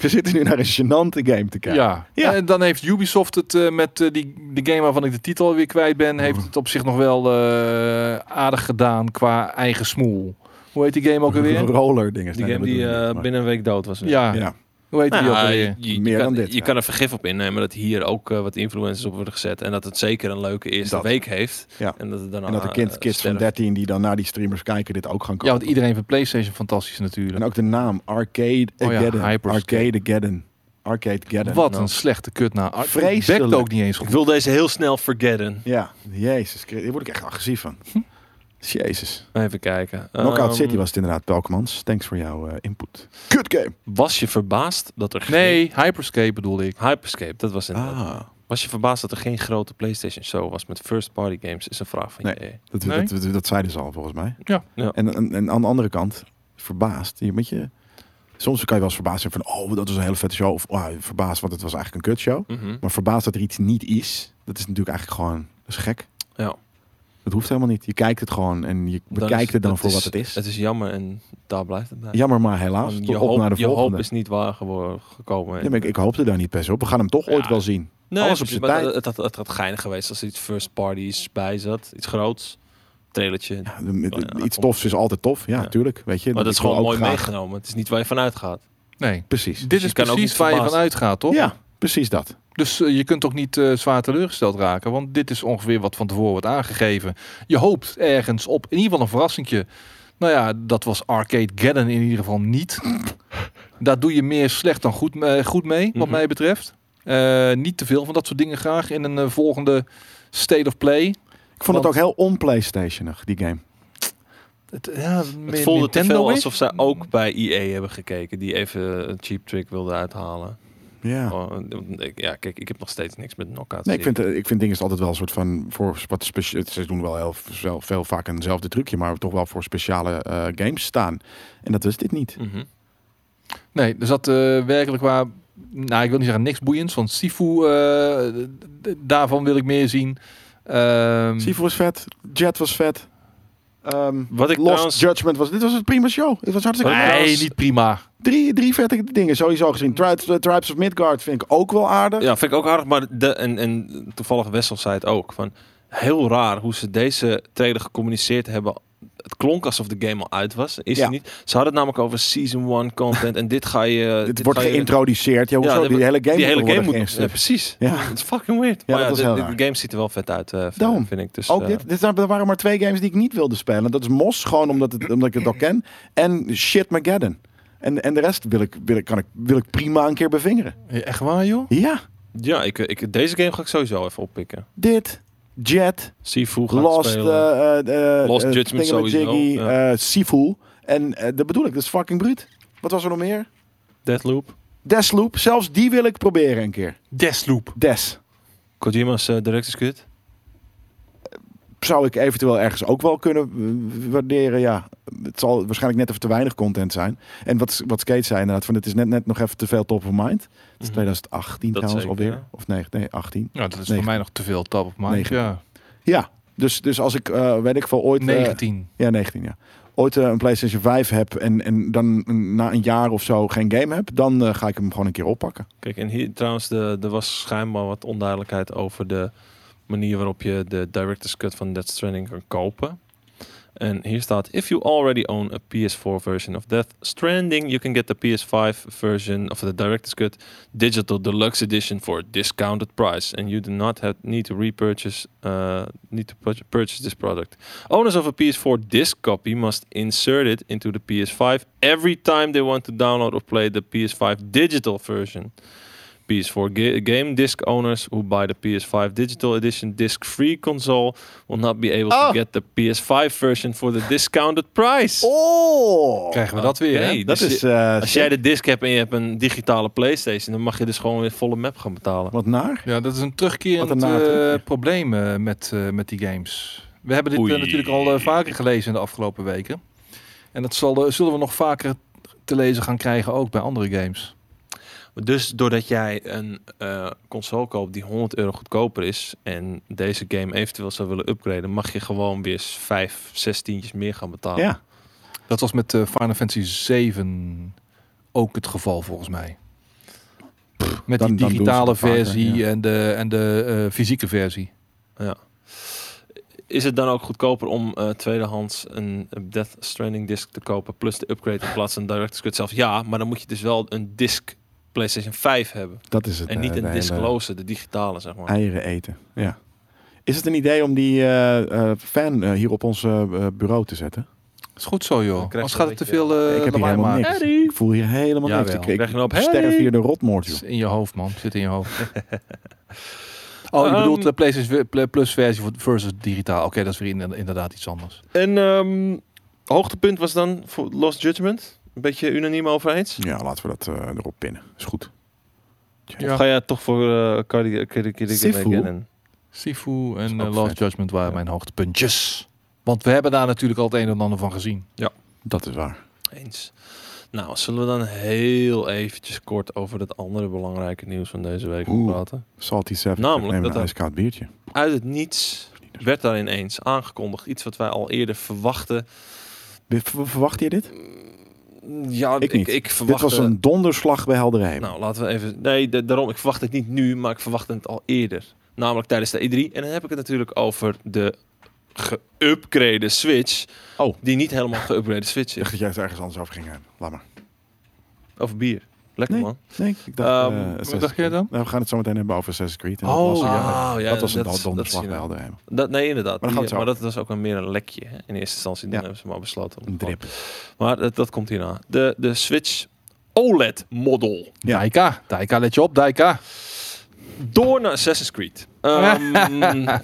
[SPEAKER 2] We zitten nu naar een genante game te kijken.
[SPEAKER 3] Ja.
[SPEAKER 2] Ja.
[SPEAKER 3] en dan heeft Ubisoft het eh, met eh, die, de game waarvan ik de titel weer kwijt ben, heeft
[SPEAKER 2] Mm.
[SPEAKER 3] het op zich nog wel eh, aardig gedaan qua eigen smoel. Hoe heet die game ook alweer?
[SPEAKER 2] Roller dingen.
[SPEAKER 1] Die
[SPEAKER 2] Nee,
[SPEAKER 1] game
[SPEAKER 2] dat
[SPEAKER 1] die
[SPEAKER 2] bedoel ik
[SPEAKER 1] eh,
[SPEAKER 2] niet, maar-
[SPEAKER 1] binnen een week dood was.
[SPEAKER 3] Ja,
[SPEAKER 2] Ja.
[SPEAKER 3] hoe heet die ook
[SPEAKER 1] Nou,
[SPEAKER 3] alweer?
[SPEAKER 1] je, je- je
[SPEAKER 2] Meer
[SPEAKER 1] kan,
[SPEAKER 2] dan dit,
[SPEAKER 1] je
[SPEAKER 2] ja.
[SPEAKER 1] kan er vergif op innemen dat hier ook eh, wat influencers op worden gezet. En dat het zeker een leuke eerste
[SPEAKER 2] Dat.
[SPEAKER 1] week heeft.
[SPEAKER 2] Ja.
[SPEAKER 1] En dat het daarna,
[SPEAKER 2] En dat de kind,
[SPEAKER 1] eh,
[SPEAKER 2] kids van
[SPEAKER 1] sterft.
[SPEAKER 2] 13 die dan naar die streamers kijken dit ook gaan kopen.
[SPEAKER 3] Ja, want iedereen vindt PlayStation fantastisch
[SPEAKER 2] En
[SPEAKER 3] natuurlijk.
[SPEAKER 2] ook de naam Arcade
[SPEAKER 3] Oh ja,
[SPEAKER 2] Geddon.
[SPEAKER 3] Hyperscape.
[SPEAKER 2] Arcade Geddon. Arcade Geddon.
[SPEAKER 3] Wat
[SPEAKER 1] Nou.
[SPEAKER 3] een slechte kut nou.
[SPEAKER 2] Vreselijk.
[SPEAKER 3] Bekt ook niet eens
[SPEAKER 1] Ik
[SPEAKER 3] goed.
[SPEAKER 1] wil deze heel snel forgetten.
[SPEAKER 2] Ja, jezus. Christus, Hier word ik echt agressief van. Jezus.
[SPEAKER 1] Even kijken.
[SPEAKER 2] Knockout
[SPEAKER 1] Hm? Ehm,
[SPEAKER 2] City was het inderdaad, Pelkmans. Thanks voor jouw eh, input. Good game.
[SPEAKER 1] Was je verbaasd dat er geen...
[SPEAKER 3] Nee, Hyperscape bedoelde ik.
[SPEAKER 1] Hyperscape, dat was inderdaad.
[SPEAKER 2] Ah.
[SPEAKER 1] Was je verbaasd dat er geen grote PlayStation show was met first party games? Is een vraag van
[SPEAKER 2] Nee.
[SPEAKER 1] je.
[SPEAKER 2] Dat,
[SPEAKER 3] Nee?
[SPEAKER 2] dat, dat, dat zeiden ze al volgens mij.
[SPEAKER 3] Ja.
[SPEAKER 1] Ja.
[SPEAKER 2] En, en, en aan de andere kant, verbaasd. Je, moet je, soms kan je wel eens verbaasd zijn van, oh, dat was een hele vette show. Of oh, verbaasd, want het was eigenlijk een kutshow.
[SPEAKER 1] Mhm.
[SPEAKER 2] Maar verbaasd dat er iets niet is, dat is natuurlijk eigenlijk gewoon, dat is gek.
[SPEAKER 1] Ja.
[SPEAKER 2] Dat hoeft helemaal niet. Je kijkt het gewoon en je
[SPEAKER 1] Dan
[SPEAKER 2] bekijkt
[SPEAKER 1] is-
[SPEAKER 2] het dan
[SPEAKER 1] dat
[SPEAKER 2] voor wat het is.
[SPEAKER 1] Het is jammer en daar blijft het bij.
[SPEAKER 2] Jammer maar helaas.
[SPEAKER 1] Want
[SPEAKER 2] Tot
[SPEAKER 1] je,
[SPEAKER 2] op
[SPEAKER 1] hoop,
[SPEAKER 2] naar de
[SPEAKER 1] je hoop
[SPEAKER 2] volgende.
[SPEAKER 1] is niet waar geworden, gekomen.
[SPEAKER 2] Ja, maar ik, ik hoopte daar niet best op. We gaan hem toch ooit
[SPEAKER 1] Ja.
[SPEAKER 2] wel zien.
[SPEAKER 1] Nee,
[SPEAKER 2] Alles op
[SPEAKER 1] precies,
[SPEAKER 2] zijn
[SPEAKER 1] maar Het,
[SPEAKER 2] tijd.
[SPEAKER 1] het, het had geinig geweest als er iets first parties bij zat. Iets groots. Trailertje.
[SPEAKER 2] Ja, de- de-
[SPEAKER 1] Oh ja,
[SPEAKER 2] iets
[SPEAKER 1] komt-
[SPEAKER 2] tofs is altijd tof. Ja,
[SPEAKER 1] Ja.
[SPEAKER 2] tuurlijk. Weet je.
[SPEAKER 1] maar dat is
[SPEAKER 2] Ik wil
[SPEAKER 1] gewoon
[SPEAKER 2] ook
[SPEAKER 1] mooi
[SPEAKER 2] graag-
[SPEAKER 1] meegenomen. Het is niet waar je vanuit gaat.
[SPEAKER 3] Nee.
[SPEAKER 2] Precies.
[SPEAKER 3] Dit
[SPEAKER 1] Dus je
[SPEAKER 3] is
[SPEAKER 1] kan ook
[SPEAKER 3] precies
[SPEAKER 1] niet
[SPEAKER 3] waar je van
[SPEAKER 1] verbaasd-
[SPEAKER 3] uitgaat, toch?
[SPEAKER 2] Ja, Precies dat.
[SPEAKER 3] Dus eh, je kunt ook niet eh, zwaar teleurgesteld raken. Want dit is ongeveer wat van tevoren wordt aangegeven. Je hoopt ergens op in ieder geval een verrassingje. Nou ja, dat was Arcade Gadden in ieder geval niet. Daar doe je meer slecht dan goed, eh, goed mee, wat
[SPEAKER 1] Mhm.
[SPEAKER 3] mij betreft. Eh, niet te veel van dat soort dingen graag in een eh, volgende State of Play.
[SPEAKER 2] Ik vond
[SPEAKER 3] Want-
[SPEAKER 2] het ook heel on-PlayStationig, die game.
[SPEAKER 3] Het, ja,
[SPEAKER 1] Het voelde te veel alsof zij ook bij EA hebben gekeken. Die even een cheap trick wilde uithalen.
[SPEAKER 2] Ja.
[SPEAKER 1] Oh, ik- Ja, kijk, ik heb nog steeds niks met knockouts.
[SPEAKER 2] Nee, ik vind, eh, ik vind dingen altijd wel een soort van voor wat specia- Ze doen wel heel veel, veel vaak eenzelfde trucje, maar toch wel voor speciale eh, games staan. En dat was dit niet.
[SPEAKER 1] Mhm.
[SPEAKER 3] Nee, er zat eh, werkelijk waar... Nou, ik wil niet zeggen niks boeiends. Want Sifu, eh, d- d- daarvan wil ik meer zien. Ehm,
[SPEAKER 2] Sifu was vet, Jet was vet. Ehm
[SPEAKER 1] Wat ik
[SPEAKER 2] Lost
[SPEAKER 1] trouwens-
[SPEAKER 2] Judgment was. Dit was een prima show. Het was hartstikke
[SPEAKER 1] Wat ik
[SPEAKER 3] Nee,
[SPEAKER 1] trouwens-
[SPEAKER 3] niet prima.
[SPEAKER 2] Drie, drie vette dingen sowieso gezien. Tri- eh, Tribes of Midgard vind ik ook wel aardig.
[SPEAKER 1] Mm. Ja, vind ik ook aardig. Maar de, en, en toevallig Wessel zei het ook. Van, heel raar hoe ze deze trailer gecommuniceerd hebben. Het klonk alsof de game al uit was. Is
[SPEAKER 2] Ja.
[SPEAKER 1] het niet. Ze hadden het namelijk over Season 1 content. en dit ga je...
[SPEAKER 2] dit, wordt
[SPEAKER 1] ga je-
[SPEAKER 2] geïntroduceerd. Ja,
[SPEAKER 1] Ja,
[SPEAKER 2] hoezo?
[SPEAKER 1] dit
[SPEAKER 2] die
[SPEAKER 1] wordt-
[SPEAKER 2] hele game
[SPEAKER 1] die hele
[SPEAKER 2] moet
[SPEAKER 1] game
[SPEAKER 2] worden
[SPEAKER 1] moet... Ja,
[SPEAKER 2] geïntroduceerd.
[SPEAKER 1] precies.
[SPEAKER 2] Ja.
[SPEAKER 1] Dat is fucking weird.
[SPEAKER 2] Ja,
[SPEAKER 1] maar
[SPEAKER 2] dat is
[SPEAKER 1] de,
[SPEAKER 2] heel
[SPEAKER 1] de-
[SPEAKER 2] raar.
[SPEAKER 1] de game ziet er wel vet uit, eh,
[SPEAKER 2] Daarom.
[SPEAKER 1] vind ik. Dus,
[SPEAKER 2] Ook
[SPEAKER 1] eh,
[SPEAKER 2] dit, dit zijn, er waren maar twee games die ik niet wilde spelen. Dat is Mos, gewoon omdat, het, omdat ik het al ken. En Shit Mageddon. En, en de rest wil ik, wil, ik, kan ik, wil ik prima een keer bevingeren.
[SPEAKER 3] Echt waar, joh?
[SPEAKER 2] Ja,
[SPEAKER 1] Ja, ik, ik, deze game ga ik sowieso even oppikken.
[SPEAKER 2] dit, Jet,
[SPEAKER 1] Sifu gaat
[SPEAKER 2] Lost,
[SPEAKER 1] spelen.
[SPEAKER 2] eh, eh, eh,
[SPEAKER 1] Lost
[SPEAKER 2] eh,
[SPEAKER 1] Judgment
[SPEAKER 2] Thingamajiggy,
[SPEAKER 1] sowieso, ja.
[SPEAKER 2] eh, Sifu. En eh, dat bedoel ik, dat is fucking bruut. Wat was er nog meer?
[SPEAKER 1] Deathloop.
[SPEAKER 2] Desloop, zelfs die wil ik proberen een keer.
[SPEAKER 3] Desloop.
[SPEAKER 2] Des.
[SPEAKER 1] Kojima's eh, Director's Cut.
[SPEAKER 2] Zou ik eventueel ergens ook wel kunnen eh, waarderen, ja. Het zal waarschijnlijk net even te weinig content zijn. En wat, wat Skate zei inderdaad, van het is net, net nog even te veel top of mind. Het is
[SPEAKER 1] Mhm.
[SPEAKER 2] 2018
[SPEAKER 1] Dat
[SPEAKER 2] trouwens
[SPEAKER 1] zeker,
[SPEAKER 2] alweer.
[SPEAKER 1] ja.
[SPEAKER 2] Of nee, nee, 18.
[SPEAKER 3] Ja, dat is
[SPEAKER 2] Negen.
[SPEAKER 3] voor mij nog te veel top of mind.
[SPEAKER 2] Negen.
[SPEAKER 3] Ja.
[SPEAKER 2] Ja, dus, dus als ik, eh, weet ik veel, ooit... eh,
[SPEAKER 3] 19.
[SPEAKER 2] Ja, 19 ja. Ooit eh, een PlayStation 5 heb en, en dan een- na een jaar of zo geen game heb, dan eh, ga ik hem gewoon een keer oppakken.
[SPEAKER 1] Kijk, en hier trouwens, de, er was schijnbaar wat onduidelijkheid over de manier waarop je de Director's Cut van Death Stranding kan kopen. En hier staat: If you already own a PS4 version of Death Stranding, you can get the PS5 version of the Director's Cut Digital Deluxe Edition for a discounted price. And you do not have, need to repurchase, uh, need to purch- purchase this product. Owners of a PS4 disc copy must insert it into the PS5 every time they want to download or play the PS5 digital version. PS4 ga- game disc owners who buy the PS5 Digital Edition disc free console will not be able
[SPEAKER 2] Oh.
[SPEAKER 1] to get the PS5 version for the discounted price.
[SPEAKER 2] Oh!
[SPEAKER 3] Krijgen we dat weer,
[SPEAKER 1] Oké,
[SPEAKER 3] hè?
[SPEAKER 1] dus
[SPEAKER 2] dat
[SPEAKER 1] je-
[SPEAKER 2] is... eh,
[SPEAKER 1] als jij de disc hebt en je hebt een digitale PlayStation, dan mag je dus gewoon weer volle map gaan betalen.
[SPEAKER 2] Wat naar?
[SPEAKER 3] Ja, dat is een terugkerend
[SPEAKER 2] Wat een nare
[SPEAKER 3] eh,
[SPEAKER 2] terugkeer.
[SPEAKER 3] probleem eh, met, eh, met die games. We hebben dit eh,
[SPEAKER 1] Oei.
[SPEAKER 3] natuurlijk al eh, vaker gelezen in de afgelopen weken. En dat zal, eh, zullen we nog vaker te lezen gaan krijgen ook bij andere games.
[SPEAKER 1] Dus doordat jij een eh, console koopt die 100 euro goedkoper is en deze game eventueel zou willen upgraden, mag je gewoon weer 5, 16 meer gaan betalen.
[SPEAKER 2] Ja.
[SPEAKER 3] Dat was met eh, Final Fantasy 7 ook het geval volgens mij. Met
[SPEAKER 2] dan- dan doen ze
[SPEAKER 3] die
[SPEAKER 2] dat
[SPEAKER 3] digitale
[SPEAKER 2] vaker,
[SPEAKER 3] versie
[SPEAKER 2] ja.
[SPEAKER 3] en de, en de eh, fysieke versie.
[SPEAKER 1] Is het dan ook goedkoper om eh, tweedehands een Death Stranding disc te kopen plus de upgrade in plaats van een Director's Cut zelf? Ja, maar dan moet je dus wel een disc PlayStation 5 hebben
[SPEAKER 2] Dat is het.
[SPEAKER 1] en
[SPEAKER 2] eh,
[SPEAKER 1] niet
[SPEAKER 2] de
[SPEAKER 1] een
[SPEAKER 2] hele
[SPEAKER 1] disclose, de digitale zeg maar.
[SPEAKER 2] Eieren eten, ja. Is het een idee om die eh, eh, fan eh, hier op ons eh, eh, bureau te zetten?
[SPEAKER 3] Is goed zo, joh.
[SPEAKER 1] Dan krijg
[SPEAKER 3] Anders
[SPEAKER 1] je
[SPEAKER 3] gaat
[SPEAKER 1] een
[SPEAKER 3] het te
[SPEAKER 1] beetje-
[SPEAKER 3] veel eh
[SPEAKER 2] ik heb hier
[SPEAKER 3] lawaai
[SPEAKER 2] helemaal
[SPEAKER 3] maken.
[SPEAKER 2] niks. Ik voel hier helemaal niks.
[SPEAKER 1] Jawel.
[SPEAKER 2] Ik, ik
[SPEAKER 1] Krijg je nou op,
[SPEAKER 2] sterf
[SPEAKER 1] hey!
[SPEAKER 2] hier de rotmoord, joh.
[SPEAKER 3] Het is in je hoofd, man. Het zit in je hoofd. oh, je
[SPEAKER 1] Ehm.
[SPEAKER 3] bedoelt de PlayStation Pl- Plus versie voor- versus digitaal. Oké, dat is weer inder- inderdaad iets anders.
[SPEAKER 1] En ehm, hoogtepunt was dan voor Lost Judgment, een beetje unaniem over eens.
[SPEAKER 2] Ja, laten we dat eh, erop pinnen. Is goed.
[SPEAKER 3] Ja.
[SPEAKER 1] Of ga jij toch voor eh Cardi- Cardi- Cardi-
[SPEAKER 2] Sifu?
[SPEAKER 1] Cardi-
[SPEAKER 3] Sifu
[SPEAKER 2] Is
[SPEAKER 3] en
[SPEAKER 2] ook
[SPEAKER 3] eh, Lost
[SPEAKER 2] vet.
[SPEAKER 3] Judgment waren
[SPEAKER 2] Ja.
[SPEAKER 3] mijn hoogtepuntjes. Want we hebben daar natuurlijk al het een en ander van gezien.
[SPEAKER 2] Dat is waar.
[SPEAKER 1] Eens. Nou, zullen we dan heel eventjes kort over het andere belangrijke nieuws van deze week gaan
[SPEAKER 2] Oeh.
[SPEAKER 1] praten?
[SPEAKER 2] Salty Seven.
[SPEAKER 1] Namelijk
[SPEAKER 2] Neem
[SPEAKER 1] dat
[SPEAKER 2] een
[SPEAKER 1] er-
[SPEAKER 2] ijskoud biertje.
[SPEAKER 1] Uit het niets werd daar ineens aangekondigd. Iets wat wij al eerder verwachten.
[SPEAKER 2] Ver- Verwacht je dit?
[SPEAKER 1] Ja,
[SPEAKER 2] Ik
[SPEAKER 1] ik,
[SPEAKER 2] niet.
[SPEAKER 1] ik,
[SPEAKER 2] Dit
[SPEAKER 1] verwacht...
[SPEAKER 2] was een donderslag bij Helderheim.
[SPEAKER 1] Nou, laten we even... Nee, da- daarom, ik verwacht het niet nu, maar ik verwacht het al eerder. Namelijk tijdens de E3. En dan heb ik het natuurlijk over de geüpgrade Switch.
[SPEAKER 2] Oh.
[SPEAKER 1] Die niet helemaal geüpgrade Switch
[SPEAKER 2] Ik dacht
[SPEAKER 1] is.
[SPEAKER 2] eh, dat jij het ergens anders over ging hebben. Laat maar.
[SPEAKER 1] Over bier. Lekker man.
[SPEAKER 2] Nee, ik dacht,
[SPEAKER 1] Ehm,
[SPEAKER 2] eh,
[SPEAKER 1] wat
[SPEAKER 2] Assassin's
[SPEAKER 3] dacht jij
[SPEAKER 2] Creed.
[SPEAKER 3] dan?
[SPEAKER 2] Nou, we gaan het zo meteen hebben over Assassin's Creed. En
[SPEAKER 3] Oh,
[SPEAKER 2] dat was, een-
[SPEAKER 1] ah, ja,
[SPEAKER 2] dat was een
[SPEAKER 1] dat-
[SPEAKER 2] dol-
[SPEAKER 1] dat zie
[SPEAKER 2] donderslag
[SPEAKER 1] je
[SPEAKER 2] bij
[SPEAKER 1] wel.
[SPEAKER 2] Helderheim.
[SPEAKER 1] Dat, nee, inderdaad.
[SPEAKER 2] Maar
[SPEAKER 1] Die-
[SPEAKER 2] dan gaan we
[SPEAKER 1] Maar,
[SPEAKER 2] het zo
[SPEAKER 1] dat was ook maar meer een lekje hè, in eerste instantie. Dan
[SPEAKER 2] Ja.
[SPEAKER 1] hebben ze maar besloten. om
[SPEAKER 2] Een
[SPEAKER 1] gewoon-
[SPEAKER 2] drip.
[SPEAKER 1] Maar dat, dat komt hierna. De, de Switch OLED-model.
[SPEAKER 2] Ja.
[SPEAKER 3] Daika, Daika, let je op, Daika.
[SPEAKER 1] Door naar Assassin's Creed. Ehm,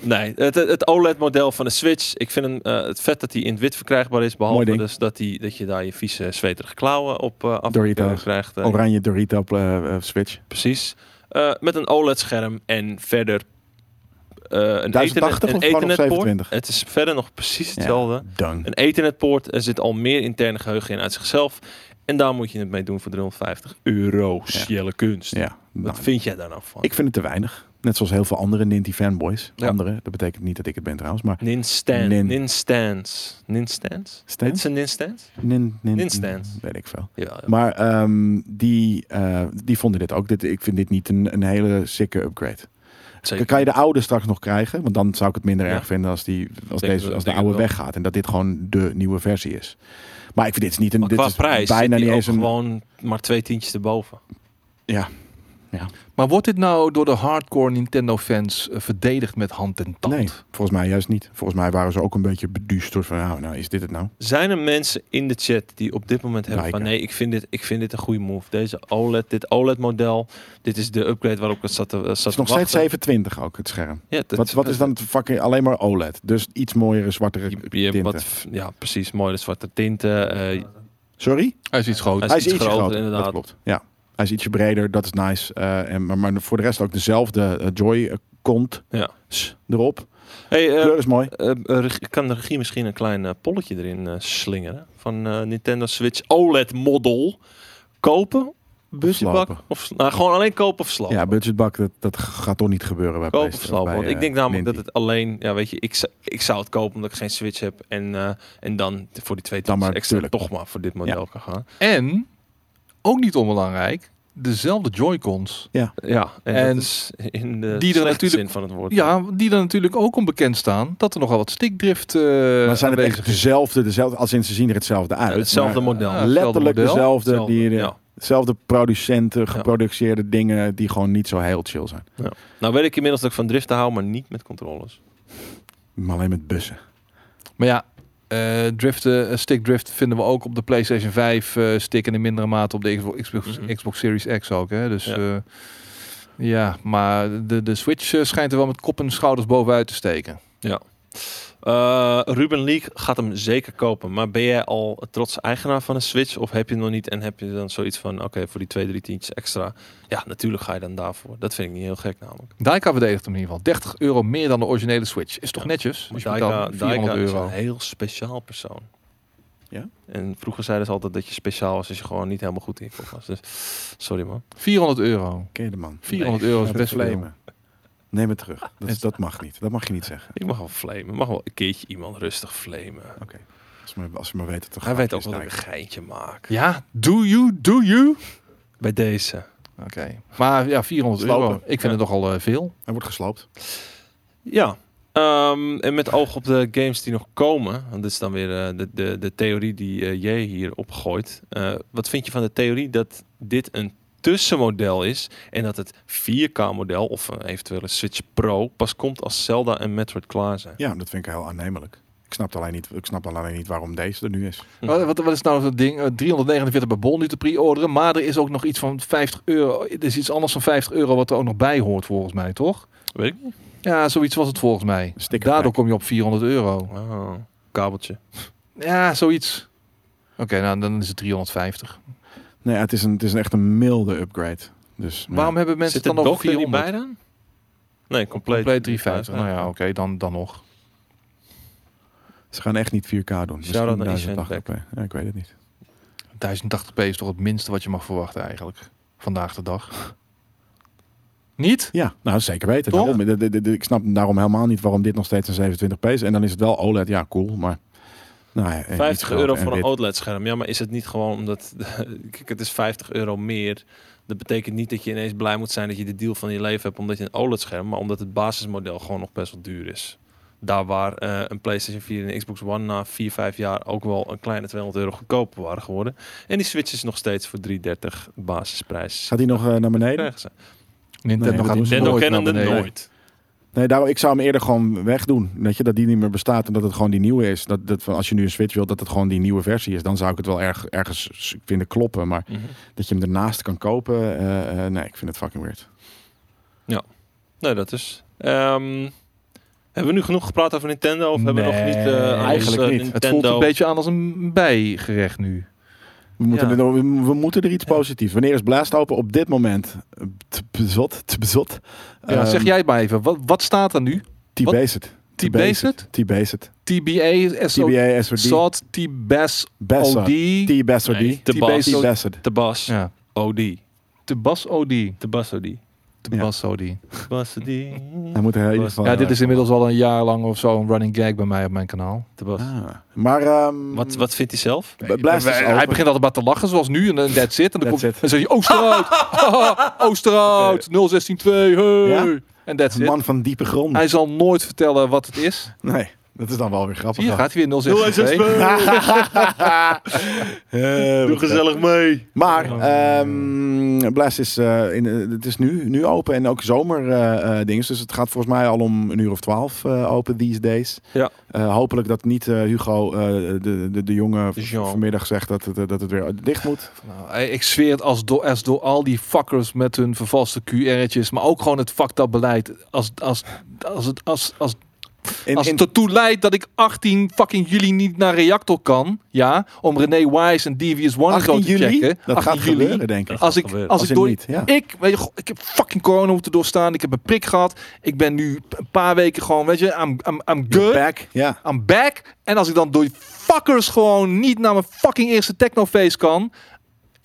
[SPEAKER 1] nee, het, het OLED-model van de Switch. Ik vind hem, eh, het vet dat hij in het wit verkrijgbaar is. Behalve
[SPEAKER 2] Mooi ding.
[SPEAKER 1] dus dat, hij, dat je daar je vieze zweterige klauwen op eh af
[SPEAKER 2] Doritos.
[SPEAKER 1] krijgt. eh,
[SPEAKER 2] Oranje Dorito eh, eh, Switch.
[SPEAKER 1] Precies. Eh, met een OLED-scherm en verder eh, een ethernet,
[SPEAKER 2] 1080 of
[SPEAKER 1] een
[SPEAKER 2] gewoon op
[SPEAKER 1] Ethernet-poort.
[SPEAKER 2] 27?
[SPEAKER 1] Het is verder nog precies
[SPEAKER 2] Ja.
[SPEAKER 1] hetzelfde.
[SPEAKER 2] Dang.
[SPEAKER 1] Een Ethernet-poort. Er zit al meer interne geheugen in uit zichzelf. En daar moet je het mee doen voor 350 euro.
[SPEAKER 2] Ja.
[SPEAKER 1] Ciele kunst.
[SPEAKER 2] Ja, nou,
[SPEAKER 1] Wat vind jij daar nou van?
[SPEAKER 2] ik vind het te weinig. Net zoals heel veel andere Ninty fanboys.
[SPEAKER 1] Ja.
[SPEAKER 2] Andere, dat betekent niet dat ik het ben trouwens, maar
[SPEAKER 1] Ninstan.
[SPEAKER 2] Nin-
[SPEAKER 1] Ninstans. Ninstans? Dit
[SPEAKER 2] steeds
[SPEAKER 1] is een Ninstans?
[SPEAKER 2] nin, nin,
[SPEAKER 1] Ninstans.
[SPEAKER 2] weet ik veel.
[SPEAKER 1] Ja, ja.
[SPEAKER 2] Maar ehm, die, eh, die vonden dit ook. Dit, ik vind dit niet een, een hele sikke upgrade.
[SPEAKER 1] zeker.
[SPEAKER 2] Kan je de oude straks nog krijgen? Want dan zou ik het minder
[SPEAKER 1] Ja.
[SPEAKER 2] erg vinden als, die, als,
[SPEAKER 1] Denk
[SPEAKER 2] deze,
[SPEAKER 1] we-
[SPEAKER 2] als de
[SPEAKER 1] denk
[SPEAKER 2] oude
[SPEAKER 1] ik wel.
[SPEAKER 2] weggaat. En dat dit gewoon de nieuwe versie is. Maar ik vind dit is niet een.
[SPEAKER 1] Maar
[SPEAKER 2] Dit
[SPEAKER 1] qua
[SPEAKER 2] is
[SPEAKER 1] prijs
[SPEAKER 2] bijna
[SPEAKER 1] zit
[SPEAKER 2] niet
[SPEAKER 1] die
[SPEAKER 2] eens
[SPEAKER 1] ook
[SPEAKER 2] een.
[SPEAKER 1] gewoon maar twee tientjes erboven.
[SPEAKER 3] Maar wordt dit nou door de hardcore Nintendo-fans eh, verdedigd met hand en tand?
[SPEAKER 2] Nee, volgens mij juist niet. Volgens mij waren ze ook een beetje beduusterd van. Nou, nou is dit het nou?
[SPEAKER 1] Zijn er mensen in de chat die op dit moment hebben van
[SPEAKER 2] Lijken.
[SPEAKER 1] nee, ik vind dit, ik vind dit een goede move. Deze OLED, dit OLED model, dit is de upgrade waarop ik zat te, zat
[SPEAKER 2] Het is nog steeds 720 ook, het scherm.
[SPEAKER 1] Ja, dat-
[SPEAKER 2] Wat, wat is dan het fucking alleen maar OLED? Dus iets mooiere, zwartere
[SPEAKER 1] Je, je hebt
[SPEAKER 2] tinten.
[SPEAKER 1] wat, ja, precies. Mooie zwarte tinten. eh,
[SPEAKER 2] Sorry?
[SPEAKER 3] Hij is iets groter.
[SPEAKER 1] Hij
[SPEAKER 2] Hij
[SPEAKER 1] is
[SPEAKER 2] is
[SPEAKER 1] iets
[SPEAKER 2] ietsje
[SPEAKER 1] groter,
[SPEAKER 2] groter,
[SPEAKER 1] inderdaad.
[SPEAKER 2] Dat klopt. Ja. Hij is ietsje breder, dat is nice. Eh, en, maar, maar voor de rest ook dezelfde eh, Joy-Cont
[SPEAKER 1] Ja.
[SPEAKER 2] erop.
[SPEAKER 1] hey, eh,
[SPEAKER 2] Kleur is mooi.
[SPEAKER 1] eh, eh, reg- kan de regie misschien een klein eh, polletje erin eh, slingeren? Van eh, Nintendo Switch OLED model. Kopen, busjebak
[SPEAKER 2] slopen.
[SPEAKER 1] of... s- Nou, gewoon alleen kopen of slopen.
[SPEAKER 2] Ja, budgetbak, dat, dat gaat toch niet gebeuren bij
[SPEAKER 1] kopen of
[SPEAKER 2] PlayStation,
[SPEAKER 1] slopen.
[SPEAKER 2] bij,
[SPEAKER 1] Want ik
[SPEAKER 2] eh,
[SPEAKER 1] denk namelijk dat
[SPEAKER 2] Ninty.
[SPEAKER 1] het alleen... Ja, weet je, ik, z- ik zou het kopen omdat ik geen Switch heb. En, eh, en dan voor die twee
[SPEAKER 2] Dan maar,
[SPEAKER 1] tientjes extra
[SPEAKER 2] tuurlijk.
[SPEAKER 1] toch maar voor dit model kan gaan.
[SPEAKER 3] En, ook niet onbelangrijk, dezelfde Joy-Cons.
[SPEAKER 1] Ja, en,
[SPEAKER 3] En
[SPEAKER 1] dat is in de
[SPEAKER 3] die er
[SPEAKER 1] slechte
[SPEAKER 3] natuurlijk-
[SPEAKER 1] zin van het woord.
[SPEAKER 3] Ja, die er natuurlijk ook onbekend staan dat er nogal wat stickdrift eh
[SPEAKER 2] Maar zijn het
[SPEAKER 3] aanwezig
[SPEAKER 2] echt
[SPEAKER 3] is.
[SPEAKER 2] dezelfde, dezelfde, als in ze zien er hetzelfde uit.
[SPEAKER 1] hetzelfde
[SPEAKER 2] maar
[SPEAKER 1] model.
[SPEAKER 3] Ja,
[SPEAKER 2] Letterlijk
[SPEAKER 3] hetzelfde model,
[SPEAKER 2] dezelfde, die,
[SPEAKER 1] Hetzelfde,
[SPEAKER 2] de-
[SPEAKER 1] ja.
[SPEAKER 2] dezelfde producenten, geproduceerde dingen die gewoon niet zo heel chill zijn.
[SPEAKER 1] Nou weet ik inmiddels dat ik van driften hou, maar niet met controllers.
[SPEAKER 2] Maar alleen met bussen.
[SPEAKER 3] Maar ja, eh driften, eh, stickdrift vinden we ook op de PlayStation 5 eh, stick en in mindere mate op de Xbox, Xbox,
[SPEAKER 1] Mhm.
[SPEAKER 3] Xbox Series X ook. Hè? Dus
[SPEAKER 1] Ja.
[SPEAKER 3] ja. ja, maar de, de Switch eh, schijnt er wel met kop en schouders bovenuit te steken.
[SPEAKER 1] Eh, Ruben Leek gaat hem zeker kopen. Maar ben jij al trots eigenaar van een Switch? Of heb je hem nog niet en heb je dan zoiets van... Oké, voor die twee, drie tientjes extra. Ja, natuurlijk ga je dan daarvoor. Dat vind ik niet heel gek namelijk.
[SPEAKER 3] Daika verdedigt hem in ieder geval. 30 euro meer dan de originele Switch. Is toch
[SPEAKER 1] Ja.
[SPEAKER 3] netjes?
[SPEAKER 1] Maar
[SPEAKER 3] Dus je betaalt 400
[SPEAKER 1] Daika is
[SPEAKER 3] euro.
[SPEAKER 1] een heel speciaal persoon.
[SPEAKER 2] Ja?
[SPEAKER 1] En vroeger zeiden ze altijd dat je speciaal was als je gewoon niet helemaal goed in je kop was. Dus, sorry man.
[SPEAKER 3] 400 euro.
[SPEAKER 2] Ken je de man?
[SPEAKER 3] 400 euro is
[SPEAKER 2] Gaat
[SPEAKER 3] best
[SPEAKER 2] het
[SPEAKER 3] veel.
[SPEAKER 2] flamen. Neem het terug. Dat, is- dat mag niet. Dat mag je niet zeggen.
[SPEAKER 1] Ik mag wel flamen. Ik mag wel een keertje iemand rustig flamen.
[SPEAKER 2] Als ze maar, als ze maar weten dat er
[SPEAKER 1] Hij weet
[SPEAKER 2] grapje
[SPEAKER 1] ook wel
[SPEAKER 2] is,
[SPEAKER 1] dat
[SPEAKER 2] nou,
[SPEAKER 1] ik een geintje maak.
[SPEAKER 3] Ja, do you, do you?
[SPEAKER 1] Bij deze.
[SPEAKER 3] Oké. Maar ja, 400 euro.
[SPEAKER 2] Slopen.
[SPEAKER 3] Ik vind het nogal eh, veel.
[SPEAKER 2] Hij wordt gesloopt.
[SPEAKER 1] Ja. Ehm, en met oog op de games die nog komen, want dit is dan weer eh, de, de, de theorie die eh, jij hier opgooit. Eh, wat vind je van de theorie dat dit een tussenmodel is en dat het 4K-model of een eventuele Switch Pro pas komt als Zelda en Metroid klaar zijn?
[SPEAKER 2] Ja, dat vind ik heel aannemelijk. Ik snap alleen niet, ik snap alleen niet waarom deze er nu is.
[SPEAKER 1] Hm.
[SPEAKER 3] Wat, wat, wat is nou dat ding? Eh, 349 bij Bol nu te pre-orderen. Maar er is ook nog iets van 50 euro. Er is iets anders dan 50 euro wat er ook nog bij hoort volgens mij, toch?
[SPEAKER 1] Weet ik niet.
[SPEAKER 3] Ja, zoiets was het volgens mij.
[SPEAKER 2] Sticker
[SPEAKER 3] Daardoor
[SPEAKER 2] pack.
[SPEAKER 3] kom je op 400 euro.
[SPEAKER 1] Oh, kabeltje.
[SPEAKER 3] Ja, zoiets. Oké, nou dan is het 350.
[SPEAKER 2] Nee, ja, het, is een, het is een echt een milde upgrade. Dus ja.
[SPEAKER 3] Waarom hebben mensen
[SPEAKER 1] Zit
[SPEAKER 3] het
[SPEAKER 1] er
[SPEAKER 3] dan
[SPEAKER 1] nog
[SPEAKER 3] over
[SPEAKER 1] er niet
[SPEAKER 3] 400?
[SPEAKER 1] bij dan? Nee, compleet.
[SPEAKER 3] Compleet 350. Nou ja, oké, dan, dan nog.
[SPEAKER 2] ze gaan echt niet 4K doen. Misschien
[SPEAKER 1] Shout-out naar Ishan
[SPEAKER 2] 1080p. Ja, ik weet het niet.
[SPEAKER 3] 1080p is toch het minste wat je mag verwachten eigenlijk. Vandaag de dag. Niet?
[SPEAKER 2] Ja, nou zeker weten.
[SPEAKER 3] Toch?
[SPEAKER 2] Daarom, de- de- de- de- ik snap daarom helemaal niet waarom dit nog steeds een 27p is. En dan is het wel OLED. Ja, cool. Maar nou, ja, eh,
[SPEAKER 1] 50
[SPEAKER 2] iets groter
[SPEAKER 1] euro
[SPEAKER 2] en
[SPEAKER 1] voor een
[SPEAKER 2] wit.
[SPEAKER 1] OLED-scherm. Ja, maar is het niet gewoon omdat... Kijk, het is 50 euro meer. Dat betekent niet dat je ineens blij moet zijn dat je de deal van je leven hebt omdat je een OLED-scherm, maar omdat het basismodel gewoon nog best wel duur is. Daar waar eh, een PlayStation 4 en een Xbox One na 4, 5 jaar ook wel een kleine 200 euro goedkoper waren geworden. En die Switch is nog steeds voor 330 basisprijs.
[SPEAKER 2] Gaat die nog eh, naar beneden?
[SPEAKER 1] krijgen ze.
[SPEAKER 3] Nintendo
[SPEAKER 2] Nee,
[SPEAKER 3] gaat
[SPEAKER 2] dat is
[SPEAKER 1] Nintendo
[SPEAKER 3] nooit
[SPEAKER 1] kennen
[SPEAKER 3] naar
[SPEAKER 1] het
[SPEAKER 3] beneden.
[SPEAKER 1] nooit.
[SPEAKER 2] Nee, daarom, ik zou hem eerder gewoon wegdoen. Weet je, dat die niet meer bestaat en dat het gewoon die nieuwe is. Dat, dat, van als je nu een Switch wilt, dat het gewoon die nieuwe versie is. Dan zou ik het wel erg, ergens s- vinden kloppen. Maar
[SPEAKER 1] Mhm.
[SPEAKER 2] dat je hem ernaast kan kopen, eh, eh, nee, ik vind het fucking weird.
[SPEAKER 1] Nee, dat is. Ehm, hebben we nu genoeg gepraat over Nintendo? Of hebben we nog
[SPEAKER 3] Nee,
[SPEAKER 1] niet. eh, aan
[SPEAKER 2] eigenlijk
[SPEAKER 1] ons, eh,
[SPEAKER 2] niet. Het
[SPEAKER 1] Nintendo...
[SPEAKER 3] Het voelt een beetje aan als een bijgerecht nu.
[SPEAKER 2] We moeten,
[SPEAKER 1] Ja.
[SPEAKER 2] er, we, we moeten er iets
[SPEAKER 1] Ja.
[SPEAKER 2] positiefs. Wanneer is Blast open? Op dit moment. eh, Te bezot, te bezot. Ehm,
[SPEAKER 3] Ja, zeg jij het maar even. Wat, wat staat er nu?
[SPEAKER 2] T-Based.
[SPEAKER 3] T-Based?
[SPEAKER 2] T-Based.
[SPEAKER 3] TBA, SO,
[SPEAKER 2] TBA, SOD.
[SPEAKER 3] SOT, TBAS,
[SPEAKER 2] Bessa.
[SPEAKER 3] OD.
[SPEAKER 2] T-Based.
[SPEAKER 1] Nee,
[SPEAKER 3] Die
[SPEAKER 1] Tabas.
[SPEAKER 3] beest-
[SPEAKER 2] T-Based.
[SPEAKER 1] Tabas.
[SPEAKER 3] Ja,
[SPEAKER 1] OD.
[SPEAKER 3] TBAS OD.
[SPEAKER 1] Tabas OD.
[SPEAKER 3] TBAS OD.
[SPEAKER 1] Tabas OD.
[SPEAKER 2] Hij moet er in ieder geval...
[SPEAKER 3] Ja, dit is inmiddels al een jaar lang of zo een running gag bij mij op mijn kanaal.
[SPEAKER 1] Tabas.
[SPEAKER 2] Ah. Maar... ehm,
[SPEAKER 1] Wat, wat vindt hij zelf?
[SPEAKER 2] Blast is
[SPEAKER 3] Hij-
[SPEAKER 2] dus open.
[SPEAKER 3] Hij begint altijd maar te lachen, zoals nu. En dan that's it. En dan,
[SPEAKER 2] That's
[SPEAKER 3] komt,
[SPEAKER 2] it.
[SPEAKER 3] dan zeg je Oosterhout. Haha, oh, Oosterhout. 0162.
[SPEAKER 2] Ja?
[SPEAKER 3] Hey. En that's
[SPEAKER 2] Een
[SPEAKER 3] it.
[SPEAKER 2] man van diepe grond.
[SPEAKER 3] Hij zal nooit vertellen wat het is.
[SPEAKER 2] Nee, dat is dan wel weer grappig.
[SPEAKER 3] Zie je,
[SPEAKER 2] dan.
[SPEAKER 3] gaat hij weer 062.
[SPEAKER 2] Eh, wat
[SPEAKER 1] gezellig mee.
[SPEAKER 2] Maar ehm Blast is, eh, in, eh, het is nu, nu open en ook zomer eh, eh, dingen. Dus het gaat volgens mij al om een uur of twaalf eh, open these days.
[SPEAKER 1] Ja.
[SPEAKER 2] Eh, hopelijk dat niet eh, Hugo, eh, de, de, de jongen
[SPEAKER 1] De
[SPEAKER 2] v-
[SPEAKER 1] Jean.
[SPEAKER 2] vanmiddag zegt dat het, eh, dat het weer dicht moet.
[SPEAKER 3] Nou, hey, ik zweer het als, door als door al die fuckers met hun vervalste QR'tjes. Maar ook gewoon het fucked up beleid. Als, als, als, het, als, als
[SPEAKER 2] In,
[SPEAKER 3] Als
[SPEAKER 2] in-
[SPEAKER 3] het ertoe leidt dat ik 18 fucking juli niet naar Reactor kan, ja, om René Wise en Devious One
[SPEAKER 2] 18
[SPEAKER 3] zo te
[SPEAKER 2] juli?
[SPEAKER 3] checken.
[SPEAKER 2] Dat
[SPEAKER 3] 18
[SPEAKER 2] gaat
[SPEAKER 3] juli.
[SPEAKER 2] gebeuren, denk ik.
[SPEAKER 1] Dat
[SPEAKER 3] Als
[SPEAKER 1] gaat
[SPEAKER 3] ik,
[SPEAKER 1] gebeuren.
[SPEAKER 3] als
[SPEAKER 2] Als
[SPEAKER 3] ik
[SPEAKER 2] in
[SPEAKER 3] door,
[SPEAKER 2] niet, ja.
[SPEAKER 3] ik, weet je, goh, ik heb fucking corona moeten doorstaan. Ik heb een prik gehad. Ik ben nu een paar weken gewoon, weet je, I'm, I'm, I'm
[SPEAKER 2] You're
[SPEAKER 3] good.
[SPEAKER 2] back. Ja.
[SPEAKER 3] I'm back. En als ik dan door die fuckers gewoon niet naar mijn fucking eerste technofeest kan,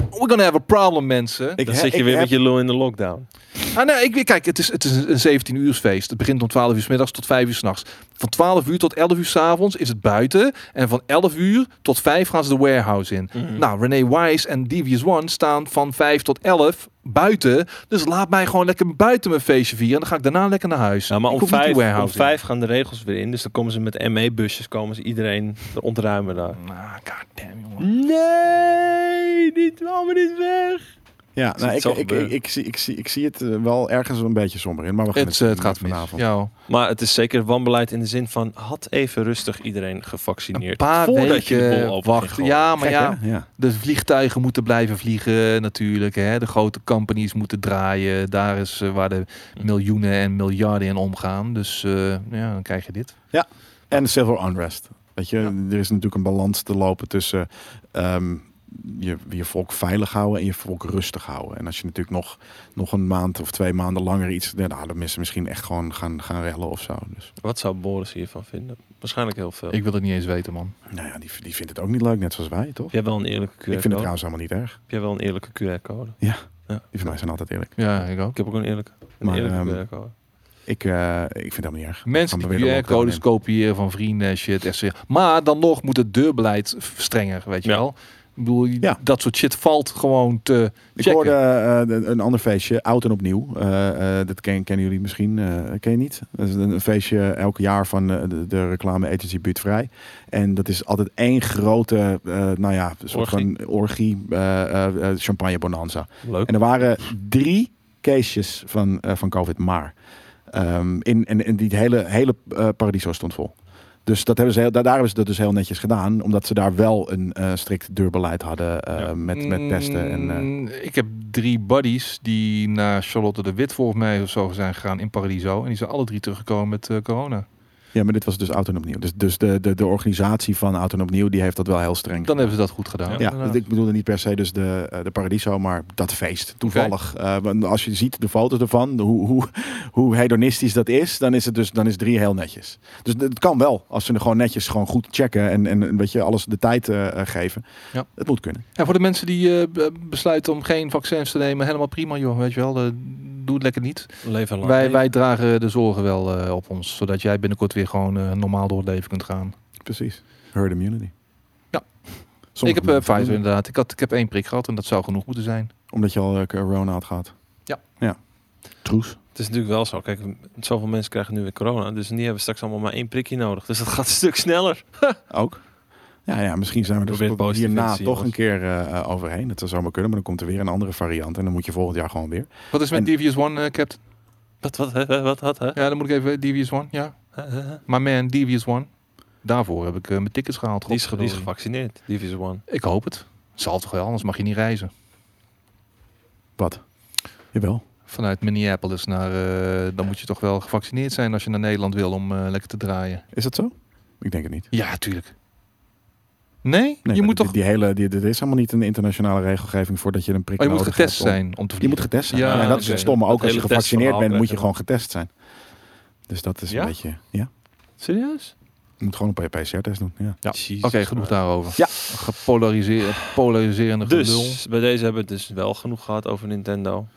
[SPEAKER 3] we're gonna have a problem, mensen.
[SPEAKER 2] Ik,
[SPEAKER 1] Dan
[SPEAKER 2] he-
[SPEAKER 1] zit je
[SPEAKER 2] ik
[SPEAKER 1] weer
[SPEAKER 2] heb-
[SPEAKER 1] met je lul in de lockdown.
[SPEAKER 3] Ah, nee, ik, kijk, het is, het is een 17 uur feest. Het begint om 12 uur 's middags tot 5 uur s'nachts. Van 12 uur tot 11 uur 's avonds is het buiten. En van 11 uur tot 5 gaan ze de warehouse in.
[SPEAKER 1] Mhm.
[SPEAKER 3] Nou, René Wise en Devious One staan van 5 tot 11 buiten. Dus laat mij gewoon lekker buiten mijn feestje vieren. En dan ga ik daarna lekker naar huis.
[SPEAKER 1] Nou, maar
[SPEAKER 3] ik
[SPEAKER 1] om
[SPEAKER 3] hoef niet die
[SPEAKER 1] vijf, om
[SPEAKER 3] warehouse in.
[SPEAKER 1] vijf gaan de regels weer in. Dus dan komen ze met ME-busjes, komen ze iedereen er ontruimen daar.
[SPEAKER 3] Ah, goddamn,
[SPEAKER 1] Hm?
[SPEAKER 3] jongen.
[SPEAKER 1] Nee, niet, waarom niet weg?
[SPEAKER 2] Ja, nou,
[SPEAKER 1] het
[SPEAKER 2] ik,
[SPEAKER 1] zal
[SPEAKER 2] ik, ik,
[SPEAKER 1] gebeuren.
[SPEAKER 2] ik zie, ik, zie, ik zie het eh, wel ergens een beetje somber in. Maar we gaan
[SPEAKER 3] Het, eh, het gaat mis.
[SPEAKER 2] vanavond.
[SPEAKER 3] Ja, hoor.
[SPEAKER 1] Maar het is zeker wanbeleid in de zin van... had even rustig iedereen gevaccineerd.
[SPEAKER 3] een paar
[SPEAKER 1] voordat je de bol
[SPEAKER 3] weken
[SPEAKER 1] open ging
[SPEAKER 3] wachten.
[SPEAKER 1] gooien.
[SPEAKER 3] Ja, maar
[SPEAKER 2] Gek,
[SPEAKER 3] ja,
[SPEAKER 2] hè? ja.
[SPEAKER 3] De vliegtuigen moeten blijven vliegen natuurlijk. Hè? De grote companies moeten draaien. Daar is eh, waar de
[SPEAKER 2] Hm.
[SPEAKER 3] miljoenen en miljarden in omgaan. Dus eh, ja, dan krijg je dit.
[SPEAKER 2] En civil unrest. Weet je, er is natuurlijk een balans te lopen tussen ehm, je, je volk veilig houden en je volk rustig houden. En als je natuurlijk nog, nog een maand of twee maanden langer iets... ja, Nou, dan mensen misschien echt gewoon gaan, gaan rellen of zo. Dus,
[SPEAKER 1] Wat zou Boris hiervan vinden? Waarschijnlijk heel veel.
[SPEAKER 3] Ik wil het niet eens weten, man.
[SPEAKER 2] nou ja, die, die vindt het ook niet leuk, net zoals wij, toch?
[SPEAKER 1] Heb jij wel een eerlijke QR-code?
[SPEAKER 2] Ik vind het trouwens helemaal niet erg.
[SPEAKER 1] Heb jij wel een eerlijke QR-code?
[SPEAKER 2] Die van mij zijn altijd eerlijk.
[SPEAKER 3] Ja, ik ook.
[SPEAKER 1] Ik heb ook een eerlijke, een
[SPEAKER 2] Maar,
[SPEAKER 1] eerlijke
[SPEAKER 2] ehm,
[SPEAKER 1] QR-code.
[SPEAKER 2] Ik, eh, ik vind het helemaal niet erg.
[SPEAKER 3] Mensen
[SPEAKER 2] Gaan
[SPEAKER 3] die
[SPEAKER 2] we weer de lockdown
[SPEAKER 3] QR-codes
[SPEAKER 2] in.
[SPEAKER 3] kopiëren van vrienden en shit. Echt zeg. Maar dan nog moet het deurbeleid f- strenger, weet je
[SPEAKER 1] Ja.
[SPEAKER 3] wel. Ik bedoel,
[SPEAKER 2] Ja.
[SPEAKER 3] dat soort shit valt gewoon te
[SPEAKER 2] Ik
[SPEAKER 3] checken.
[SPEAKER 2] hoorde eh, de- een ander feestje, oud en opnieuw. Eh, eh, dat ken, kennen jullie misschien, eh ken je niet? Dat is een, een feestje elk jaar van eh, de, de reclame agency Buurtvrij. En dat is altijd één grote, eh, nou ja, soort
[SPEAKER 1] Orgie.
[SPEAKER 2] van orgie, eh, eh, eh, champagne bonanza.
[SPEAKER 1] Leuk.
[SPEAKER 2] En er waren drie cases van, eh, van COVID maar. Ehm, in, en, en die hele, hele eh, Paradiso stond vol. Dus dat hebben ze heel, daar, daar hebben ze dat dus heel netjes gedaan. Omdat ze daar wel een eh, strikt deurbeleid hadden eh,
[SPEAKER 1] Ja.
[SPEAKER 2] met, met testen. En, eh,
[SPEAKER 3] Mm, Ik heb drie buddies die naar Charlotte de Wit volgens mij of zo zijn gegaan in Paradiso. En die zijn alle drie teruggekomen met eh, corona.
[SPEAKER 2] Ja, maar dit was dus Auto en Opnieuw. Dus, dus de, de, de organisatie van Auto en Opnieuw, die heeft dat wel heel streng.
[SPEAKER 3] Dan hebben ze dat goed gedaan.
[SPEAKER 1] Ja.
[SPEAKER 2] ja,
[SPEAKER 3] Inderdaad.
[SPEAKER 2] ik bedoelde niet per se dus de, eh, de Paradiso, maar dat feest. Toevallig. Eh, want als je ziet de foto's ervan, hoe, hoe, hoe hedonistisch dat is, dan is het dus dan is drie heel netjes. Dus d- het kan wel, als ze er gewoon netjes gewoon goed checken en, en en weet je, alles de tijd eh, eh, geven.
[SPEAKER 3] Ja.
[SPEAKER 2] Het moet kunnen.
[SPEAKER 3] En voor de mensen die eh, be- besluiten om geen vaccins te nemen, helemaal prima joh. Weet je wel, eh, doe het lekker niet.
[SPEAKER 1] Leven lang.
[SPEAKER 3] Wij, wij dragen de zorgen wel eh, op ons. Zodat jij binnenkort weer gewoon eh, normaal door het leven kunt gaan.
[SPEAKER 2] Precies. Herd immunity.
[SPEAKER 3] Ja.
[SPEAKER 2] Sommige
[SPEAKER 3] ik heb eh
[SPEAKER 2] mensen doen
[SPEAKER 3] Pfizer
[SPEAKER 2] het,
[SPEAKER 3] inderdaad. Ik, had, ik heb één prik gehad en dat zou genoeg moeten zijn.
[SPEAKER 2] Omdat je al eh, corona had gehad.
[SPEAKER 3] Ja.
[SPEAKER 2] ja. Troes.
[SPEAKER 1] Het is natuurlijk wel zo. Kijk, zoveel mensen krijgen nu weer corona. Dus die hebben straks allemaal maar één prikje nodig. Dus dat gaat een stuk sneller.
[SPEAKER 2] Ook. Ja, ja, misschien zijn we
[SPEAKER 1] Probeer het
[SPEAKER 2] er
[SPEAKER 1] positief in
[SPEAKER 2] hierna
[SPEAKER 1] te zien,
[SPEAKER 2] toch een
[SPEAKER 1] jongens.
[SPEAKER 2] keer eh, eh, overheen. Dat zou zomaar kunnen, maar dan komt er weer een andere variant. En dan moet je volgend jaar gewoon weer.
[SPEAKER 3] Wat is met
[SPEAKER 2] En-
[SPEAKER 3] Devious One, eh, Captain?
[SPEAKER 1] Wat, wat, hè, wat, wat, hè?
[SPEAKER 3] Ja, dan moet ik even Devious One, ja.
[SPEAKER 1] Hè, hè, hè?
[SPEAKER 3] Maar man, Devious One. Daarvoor heb ik eh, mijn tickets gehaald.
[SPEAKER 1] Die is, ge- die is
[SPEAKER 3] godverdorie.
[SPEAKER 1] gevaccineerd, Division One.
[SPEAKER 3] Ik hoop het. Zal toch wel, anders mag je niet reizen.
[SPEAKER 2] Wat? Jawel.
[SPEAKER 3] Vanuit Minneapolis naar... eh, dan moet je toch wel gevaccineerd zijn als je naar Nederland wil om eh, lekker te draaien.
[SPEAKER 2] Is dat zo? Ik denk het niet.
[SPEAKER 3] Ja, tuurlijk. Nee?
[SPEAKER 2] Nee,
[SPEAKER 3] je
[SPEAKER 2] maar
[SPEAKER 3] moet
[SPEAKER 2] die-
[SPEAKER 3] toch...
[SPEAKER 2] Die hele, die, er is helemaal niet een internationale regelgeving voor dat je een prik
[SPEAKER 3] oh, je moet
[SPEAKER 2] nodig
[SPEAKER 3] getest
[SPEAKER 2] hebt om-
[SPEAKER 3] zijn om te
[SPEAKER 2] Je
[SPEAKER 3] vliegen.
[SPEAKER 2] moet getest zijn.
[SPEAKER 3] Ja,
[SPEAKER 2] Ja, en dat is
[SPEAKER 1] oké.
[SPEAKER 2] het stomme.
[SPEAKER 1] Dat
[SPEAKER 2] Ook als je
[SPEAKER 1] hele
[SPEAKER 2] gevaccineerd
[SPEAKER 1] testverhaal
[SPEAKER 2] bent, moet je
[SPEAKER 1] krijgen
[SPEAKER 2] gewoon getest zijn. Dus dat is
[SPEAKER 1] Ja?
[SPEAKER 2] een beetje... Ja,
[SPEAKER 1] Serieus?
[SPEAKER 2] je moet gewoon een PCR-test doen. Ja.
[SPEAKER 3] Ja.
[SPEAKER 1] Jezus,
[SPEAKER 3] Oké, genoeg
[SPEAKER 1] man.
[SPEAKER 3] daarover.
[SPEAKER 2] Ja.
[SPEAKER 3] Gepolariseerd, polariserende gelul.
[SPEAKER 1] Dus bij deze hebben we het dus wel genoeg gehad over Nintendo.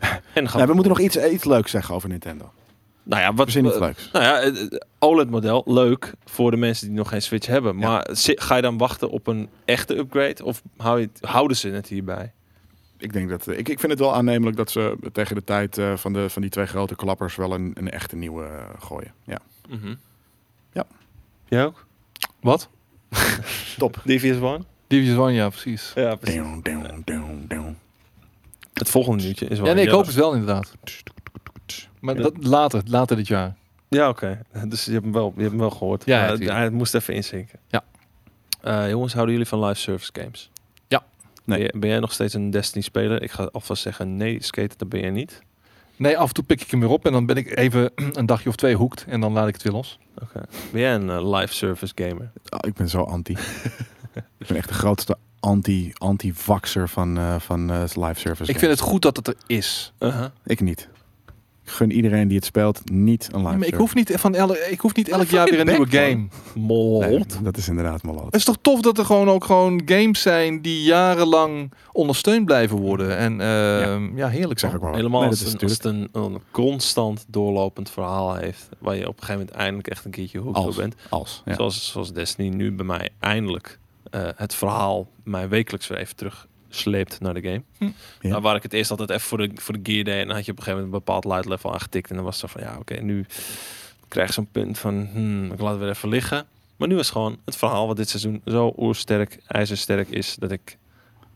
[SPEAKER 1] En gaan
[SPEAKER 2] Nou, we moeten nog iets, iets leuks zeggen over Nintendo.
[SPEAKER 1] Nou ja,
[SPEAKER 2] Wat
[SPEAKER 1] wat,
[SPEAKER 2] is iets
[SPEAKER 1] eh,
[SPEAKER 2] leuks?
[SPEAKER 1] Nou ja, het- het OLED-model, leuk voor de mensen die nog geen Switch hebben.
[SPEAKER 2] Ja.
[SPEAKER 1] Maar zi- ga je dan wachten op een echte upgrade? Of hou je het- houden ze het hierbij?
[SPEAKER 2] Ik, denk dat, eh, ik, ik vind het wel aannemelijk dat ze tegen de tijd eh, van, de, van die twee grote klappers wel een, een echte nieuwe eh, gooien. Ja. Ja.
[SPEAKER 1] Jij ook?
[SPEAKER 3] Wat?
[SPEAKER 2] Top.
[SPEAKER 1] DVS One?
[SPEAKER 3] Division One, ja, precies.
[SPEAKER 1] Ja,
[SPEAKER 2] Down, down, down, down.
[SPEAKER 1] Het volgende nieuwtje is wel...
[SPEAKER 3] Ja, nee, ik
[SPEAKER 1] jelle.
[SPEAKER 3] hoop het wel inderdaad. Maar
[SPEAKER 1] Ja.
[SPEAKER 3] dat later, later dit jaar.
[SPEAKER 1] Ja, oké. Dus je hebt hem wel, je hebt hem wel gehoord.
[SPEAKER 3] Ja,
[SPEAKER 1] Maar het,
[SPEAKER 3] natuurlijk.
[SPEAKER 1] hij moest even inzinken.
[SPEAKER 3] Ja.
[SPEAKER 1] Eh, jongens, houden jullie van live service games?
[SPEAKER 3] Ja.
[SPEAKER 1] Nee. Ben,
[SPEAKER 2] Nee.
[SPEAKER 1] jij, ben jij nog steeds een Destiny-speler? Ik ga alvast zeggen, nee, skater, dat ben jij niet.
[SPEAKER 3] Nee, af en toe pik ik hem weer op en dan ben ik even een dagje of twee hoekt en dan laat ik het weer
[SPEAKER 2] Dus
[SPEAKER 3] los.
[SPEAKER 1] Ben jij een eh, live service gamer?
[SPEAKER 2] Ah, ik ben zo anti. ik ben echt de grootste anti- anti-vaxer van, eh, van eh, live service.
[SPEAKER 3] Ik vind het goed dat het er is.
[SPEAKER 2] Ik niet. Ik gun iedereen die het speelt niet een live
[SPEAKER 3] Ja, maar ik
[SPEAKER 2] service.
[SPEAKER 3] hoef niet, van el- ik hoef niet elk
[SPEAKER 1] Wat
[SPEAKER 3] jaar weer een
[SPEAKER 1] fucking
[SPEAKER 3] nieuwe
[SPEAKER 1] back,
[SPEAKER 3] game.
[SPEAKER 1] man. Mol.
[SPEAKER 2] Nee, dat is inderdaad malot.
[SPEAKER 3] Het is toch tof dat er gewoon ook gewoon games zijn die jarenlang ondersteund blijven worden. En ehm, ja. heerlijk
[SPEAKER 2] Ik zeg
[SPEAKER 3] zeg
[SPEAKER 2] ook maar wat.
[SPEAKER 1] Helemaal
[SPEAKER 2] Nee,
[SPEAKER 1] als,
[SPEAKER 2] dat is
[SPEAKER 1] een, als
[SPEAKER 2] natuurlijk
[SPEAKER 1] het een, een constant doorlopend verhaal heeft. Waar je op een gegeven moment eindelijk echt een keertje hoek
[SPEAKER 2] Als.
[SPEAKER 1] op bent.
[SPEAKER 2] als. Ja.
[SPEAKER 1] Zoals, zoals Destiny nu bij mij eindelijk eh, het verhaal mij wekelijks weer even terugsleept naar de game.
[SPEAKER 3] Hm.
[SPEAKER 2] Ja.
[SPEAKER 1] Nou, waar ik het eerst altijd even voor de, voor de gear deed. En dan had je op een gegeven moment een bepaald light level aangetikt. En dan was het zo van, ja oké, nu krijg je zo'n punt van, hmm, ik laat het weer even liggen. Maar nu is gewoon het verhaal wat dit seizoen zo oersterk, ijzersterk is. Dat ik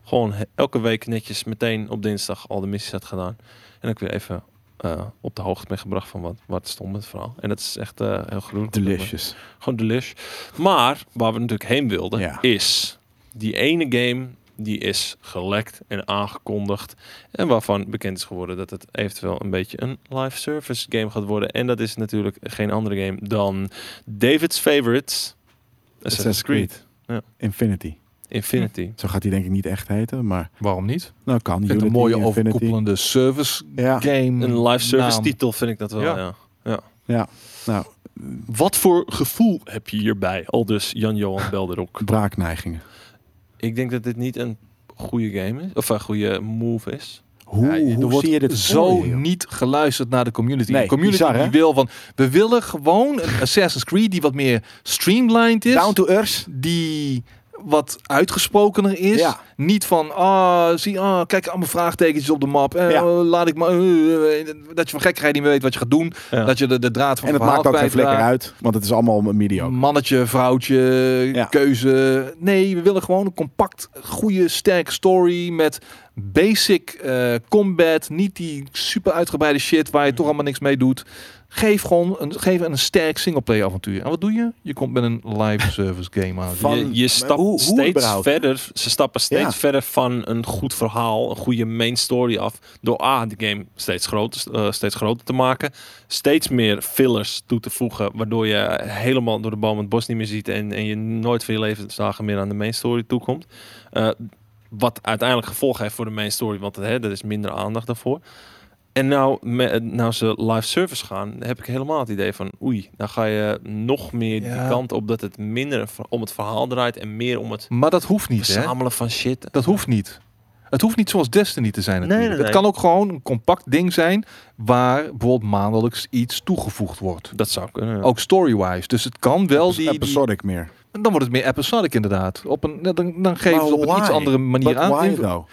[SPEAKER 1] gewoon he- elke week netjes meteen op dinsdag al de missies had gedaan. En dat ik weer even eh, op de hoogte ben gebracht van wat, wat stond met het verhaal. En dat is echt eh, heel groen.
[SPEAKER 2] Delicious.
[SPEAKER 1] Gewoon delish. Maar waar we natuurlijk heen wilden
[SPEAKER 2] Ja.
[SPEAKER 1] is die ene game die is gelekt en aangekondigd en waarvan bekend is geworden dat het eventueel een beetje een live service game gaat worden. En dat is natuurlijk geen andere game dan David's favorite Assassin's
[SPEAKER 2] Assassin's
[SPEAKER 1] Creed,
[SPEAKER 2] Creed.
[SPEAKER 1] Ja.
[SPEAKER 2] Infinity.
[SPEAKER 1] Infinity.
[SPEAKER 2] Zo gaat hij denk ik niet echt heten, maar
[SPEAKER 3] Waarom niet?
[SPEAKER 2] nou kan.
[SPEAKER 3] Ik vind het een
[SPEAKER 2] Unity,
[SPEAKER 3] mooie
[SPEAKER 2] Infinity. Ah,
[SPEAKER 3] overkoepelende service
[SPEAKER 2] Ja,
[SPEAKER 3] game.
[SPEAKER 1] Een live service
[SPEAKER 3] naam.
[SPEAKER 1] titel vind ik dat wel.
[SPEAKER 3] Ja.
[SPEAKER 1] Hm. Ja.
[SPEAKER 2] nou,
[SPEAKER 1] Wat voor gevoel heb je hierbij? Al dus Jan-Johan Belderok.
[SPEAKER 2] braakneigingen.
[SPEAKER 1] ik denk dat dit niet een goede game is of een goede move is.
[SPEAKER 2] Hoe,
[SPEAKER 3] Ja,
[SPEAKER 2] hoe
[SPEAKER 3] er wordt
[SPEAKER 2] zie je dit
[SPEAKER 3] zo
[SPEAKER 2] voor je, joh?
[SPEAKER 3] niet geluisterd naar de community.
[SPEAKER 2] Nee,
[SPEAKER 3] de community
[SPEAKER 2] bizar, hè?
[SPEAKER 3] die wil van, we willen gewoon een Assassin's Creed die wat meer streamlined is,
[SPEAKER 2] Down to earth.
[SPEAKER 3] die wat uitgesprokener is.
[SPEAKER 2] Ja.
[SPEAKER 3] Niet van, ah, zie, ah, kijk allemaal vraagtekentjes op de map. Eh,
[SPEAKER 2] Ja.
[SPEAKER 3] laat ik maar, eh, eh, eh, dat je van gekkigheid niet meer weet wat je gaat doen.
[SPEAKER 1] Ja.
[SPEAKER 3] Dat je de, de draad van Mm,
[SPEAKER 2] En
[SPEAKER 3] het
[SPEAKER 2] het
[SPEAKER 3] verhaal
[SPEAKER 2] maakt ook geen
[SPEAKER 3] kwijtraakt.
[SPEAKER 2] vlekker uit, want het is allemaal mediocre.
[SPEAKER 3] Mannetje, vrouwtje,
[SPEAKER 2] Ja.
[SPEAKER 3] keuze. Nee, we willen gewoon een compact, goede, sterke story met basic eh, combat. Niet die super uitgebreide shit waar je toch allemaal niks mee doet. Geef gewoon een, geef een sterk singleplayer avontuur. En wat doe je? Je komt met een live service game aan.
[SPEAKER 2] Van-
[SPEAKER 1] je, je
[SPEAKER 2] maar
[SPEAKER 1] stapt
[SPEAKER 2] hoe- hoe
[SPEAKER 1] steeds
[SPEAKER 2] überhaupt?
[SPEAKER 1] verder. Ze stappen steeds
[SPEAKER 2] Ja.
[SPEAKER 1] verder van een goed verhaal, een goede main story af. Door A, de game steeds groter, eh, steeds groter te maken. Steeds meer fillers toe te voegen. Waardoor je helemaal door de boom het bos niet meer ziet. En, en je nooit van je levensdagen meer aan de main story toekomt. Eh, wat uiteindelijk gevolg heeft voor de main story. Want hè, er is minder aandacht daarvoor. En nou, me, nou ze live service gaan, heb ik helemaal het idee van oei, nou ga je nog meer
[SPEAKER 3] Ja.
[SPEAKER 1] die kant op dat het minder een ver- om het verhaal draait en meer om het
[SPEAKER 3] Maar dat hoeft niet, hè?
[SPEAKER 1] verzamelen van shit.
[SPEAKER 3] Dat hoeft niet. Het hoeft niet zoals Destiny te zijn natuurlijk.
[SPEAKER 1] nee, nee.
[SPEAKER 3] Het kan ook gewoon een compact ding zijn waar bijvoorbeeld maandelijks iets toegevoegd wordt.
[SPEAKER 1] Dat zou kunnen.
[SPEAKER 3] Ook story-wise. Dus het kan wel die, die,
[SPEAKER 2] Episodic meer.
[SPEAKER 3] En Dan wordt het meer episodic inderdaad. Op een, dan, dan geven
[SPEAKER 2] Maar
[SPEAKER 3] ze op een iets
[SPEAKER 2] why?
[SPEAKER 3] andere manier
[SPEAKER 2] But
[SPEAKER 3] aan.
[SPEAKER 2] why
[SPEAKER 3] Inv-
[SPEAKER 2] though?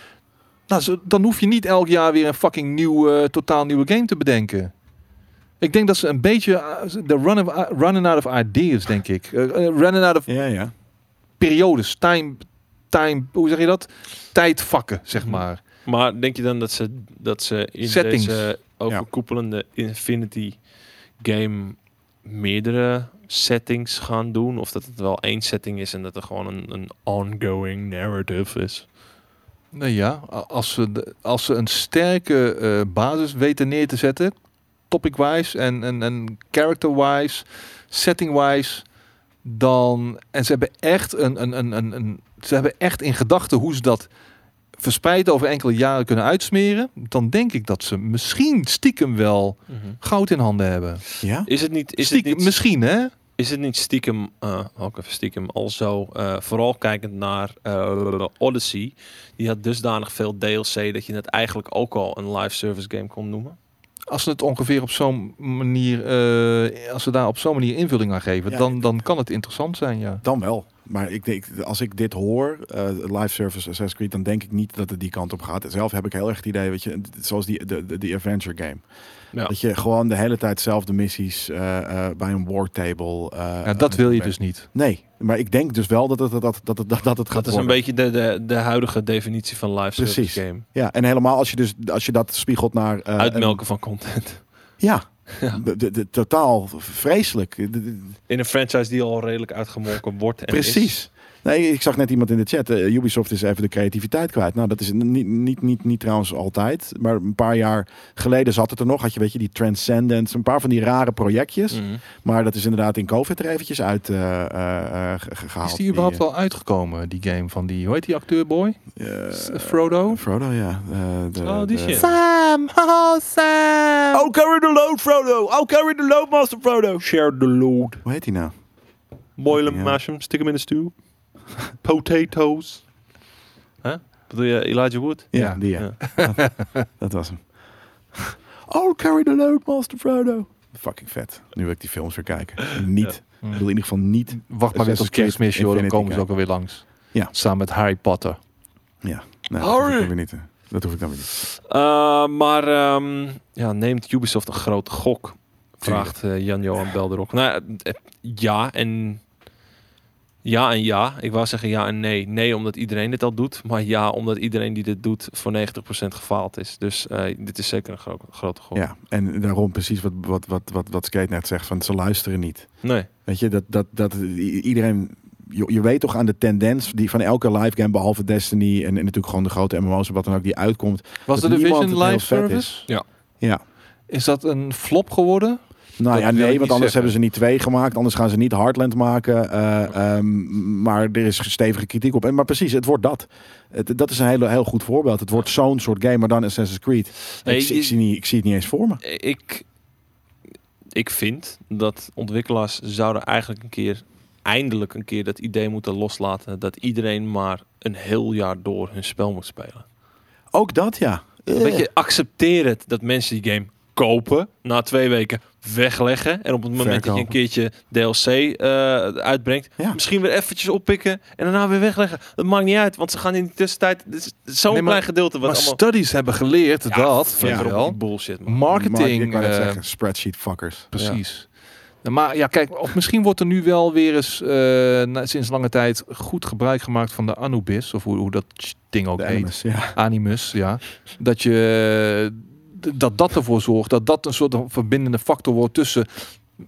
[SPEAKER 3] Nou, zo- dan hoef je niet elk jaar weer een fucking nieuw, eh, totaal nieuwe game te bedenken. Ik denk dat ze een beetje eh, de run of, running out of ideas, denk ik. Eh, eh, running out of
[SPEAKER 2] Ja, ja.
[SPEAKER 3] periodes, time, time, hoe zeg je dat? Tijdvakken, zeg
[SPEAKER 1] Mhm.
[SPEAKER 3] maar.
[SPEAKER 1] Maar denk je dan dat ze, dat ze in
[SPEAKER 3] Settings.
[SPEAKER 1] deze overkoepelende Infinity game meerdere settings gaan doen? Of dat het wel één setting is en dat er gewoon een, een ongoing narrative is?
[SPEAKER 3] Nou ja, a- als ze, de- als ze een sterke eh, basis weten neer te zetten, topic-wise en, en, en character-wise, setting-wise, dan. En ze hebben echt een, een, een, een, een- Ze hebben echt in gedachten hoe ze dat verspreid over enkele jaren kunnen uitsmeren. Dan denk ik dat ze misschien stiekem wel goud in handen hebben.
[SPEAKER 2] Ja?
[SPEAKER 1] Mhm. Is het niet, is
[SPEAKER 3] stiekem,
[SPEAKER 1] het niet
[SPEAKER 3] misschien, hè?
[SPEAKER 1] Is het niet stiekem, eh ook even stiekem, al zo, eh, vooral kijkend naar eh, Odyssey, die had dusdanig veel DLC dat je het eigenlijk ook al een live service game kon noemen?
[SPEAKER 3] Als ze het ongeveer op zo'n manier, eh, als ze daar op zo'n manier invulling aan geven,
[SPEAKER 2] Ja,
[SPEAKER 3] dan, dan kan het interessant zijn, ja.
[SPEAKER 2] Dan wel. Maar ik denk, als ik dit hoor, eh, live service Assassin's Creed, dan denk ik niet dat het die kant op gaat. Zelf heb ik heel erg het idee, weet je, zoals die, de, de, die adventure game.
[SPEAKER 1] Ja.
[SPEAKER 2] Dat je gewoon de hele tijd zelf de missies eh, eh, bij een war table... eh,
[SPEAKER 3] Ja,
[SPEAKER 2] aan
[SPEAKER 3] dat
[SPEAKER 2] het
[SPEAKER 3] wil
[SPEAKER 2] doen
[SPEAKER 3] je
[SPEAKER 2] bent.
[SPEAKER 3] dus niet.
[SPEAKER 2] Nee, maar ik denk dus wel dat het, dat, dat, dat, dat, dat het gaat
[SPEAKER 1] Dat is een
[SPEAKER 2] worden.
[SPEAKER 1] beetje de, de, de huidige definitie van live service
[SPEAKER 2] Precies.
[SPEAKER 1] game.
[SPEAKER 2] Ja, en helemaal als je, dus, als je dat spiegelt naar... eh,
[SPEAKER 1] Uitmelken van content.
[SPEAKER 2] een- ja,
[SPEAKER 1] Ja.
[SPEAKER 2] De, de, de- totaal vreselijk. De- de-
[SPEAKER 1] In een franchise die al redelijk uitgemolken wordt. En
[SPEAKER 2] Precies.
[SPEAKER 1] is.
[SPEAKER 2] Nee, ik zag net iemand in de chat. eh, Ubisoft is even de creativiteit kwijt. Nou, dat is niet, niet, niet, niet trouwens altijd. Maar een paar jaar geleden zat het er nog. Had je, weet je, die Transcendence. Een paar van die rare projectjes.
[SPEAKER 1] Mhm.
[SPEAKER 2] Maar dat is inderdaad in COVID er eventjes uit eh, eh, eh, ge- ge- gehaald.
[SPEAKER 3] Is die überhaupt al uitgekomen, die game van die, hoe heet die acteurboy?
[SPEAKER 2] eh,
[SPEAKER 3] S- Frodo?
[SPEAKER 2] Frodo, ja. Eh, de-
[SPEAKER 1] Oh, die
[SPEAKER 2] de-
[SPEAKER 1] shit.
[SPEAKER 3] Sam! Oh, Sam!
[SPEAKER 2] Oh, carry the load, Frodo. Oh, carry the load, Master Frodo.
[SPEAKER 1] Share the load.
[SPEAKER 2] Hoe heet die nou?
[SPEAKER 1] Boil
[SPEAKER 2] Ja.
[SPEAKER 1] hem, mash hem, stick hem in de stew. Potatoes. Huh? Bedoel je Elijah Wood?
[SPEAKER 2] Ja,
[SPEAKER 3] Ja,
[SPEAKER 2] die ja. dat, dat was hem. Oh, carry the load, Master Frodo. Fucking vet. Nu wil ik die films weer kijken. Niet.
[SPEAKER 3] Hm.
[SPEAKER 2] Ik wil in ieder geval niet.
[SPEAKER 3] Wacht maar weer tot
[SPEAKER 2] Assassin's Creed
[SPEAKER 3] kerstmis, joh, dan
[SPEAKER 2] Infinity
[SPEAKER 3] komen ze
[SPEAKER 2] Guide.
[SPEAKER 3] ook alweer langs.
[SPEAKER 2] Ja.
[SPEAKER 3] Samen met Harry Potter.
[SPEAKER 2] Nee, dat hoef ik
[SPEAKER 1] Harry!
[SPEAKER 2] dan weer niet. hè. Dat hoef ik dan weer niet.
[SPEAKER 1] Eh, maar ehm, ja, neemt Ubisoft een grote gok? Vraagt eh, Jan-Johan Belderok. Nou, eh, ja en... Ja en ja. Ik wou zeggen ja en nee. Nee, omdat iedereen dit al doet. Maar ja, omdat iedereen die dit doet voor 90% gefaald is. Dus eh, dit is zeker een gro- grote gok.
[SPEAKER 2] Ja, en daarom precies wat, wat, wat, wat, wat Skate net zegt, van ze luisteren niet.
[SPEAKER 1] Nee.
[SPEAKER 2] Weet je, dat, dat, dat i- iedereen... Je, je weet toch aan de tendens die van elke live game, behalve Destiny en, en natuurlijk gewoon de grote MMO's en wat dan ook, die uitkomt.
[SPEAKER 3] Was de
[SPEAKER 2] Dat niemand het
[SPEAKER 3] Division
[SPEAKER 2] heel
[SPEAKER 3] live
[SPEAKER 2] vet
[SPEAKER 3] service?
[SPEAKER 1] Ja.
[SPEAKER 2] Ja.
[SPEAKER 3] Is dat een flop geworden?
[SPEAKER 2] Nou
[SPEAKER 3] Dat wil
[SPEAKER 2] ja,
[SPEAKER 3] ik
[SPEAKER 2] nee,
[SPEAKER 3] niet
[SPEAKER 2] want
[SPEAKER 3] zeggen.
[SPEAKER 2] anders hebben ze niet twee gemaakt. Anders gaan ze niet Hardland maken. eh, ehm, maar er is stevige kritiek op. En, maar precies, het wordt dat. Het- dat is een hele, heel goed voorbeeld. Het wordt zo'n soort game, maar dan Assassin's Creed.
[SPEAKER 1] Nee,
[SPEAKER 2] ik, zie-
[SPEAKER 1] je-
[SPEAKER 2] ik zie niet, ik zie het niet eens voor me.
[SPEAKER 1] ik, ik vind dat ontwikkelaars zouden eigenlijk een keer, eindelijk een keer dat idee moeten loslaten dat iedereen maar een heel jaar door hun spel moet spelen.
[SPEAKER 2] Ook dat, ja.
[SPEAKER 1] Weet je, accepteer het dat mensen die game kopen, na twee weken wegleggen en op het moment dat je een
[SPEAKER 2] Verkopen.
[SPEAKER 1] keertje DLC eh, uitbrengt,
[SPEAKER 2] Ja.
[SPEAKER 1] misschien weer eventjes oppikken en daarna weer wegleggen. Dat maakt niet uit, want ze gaan in de tussentijd, dit is zo'n
[SPEAKER 3] Nee, maar-
[SPEAKER 1] klein gedeelte wat
[SPEAKER 3] maar
[SPEAKER 1] allemaal...
[SPEAKER 3] studies hebben geleerd
[SPEAKER 1] Ja,
[SPEAKER 3] dat,
[SPEAKER 1] flikker
[SPEAKER 3] weet je
[SPEAKER 1] op
[SPEAKER 3] wel.
[SPEAKER 1] die bullshit, man.
[SPEAKER 3] Marketing,
[SPEAKER 2] ik wou net
[SPEAKER 3] eh,
[SPEAKER 2] zeggen, spreadsheet fuckers.
[SPEAKER 3] Precies. Ja, Maar ja, kijk, of misschien wordt er nu wel weer eens eh, na- sinds lange tijd goed gebruik gemaakt van de Anubis, of hoe, hoe dat ding ook
[SPEAKER 2] De
[SPEAKER 3] heet.
[SPEAKER 2] animus, ja.
[SPEAKER 3] Animus, ja. Dat je eh, d- dat dat ervoor zorgt dat dat een soort van verbindende factor wordt tussen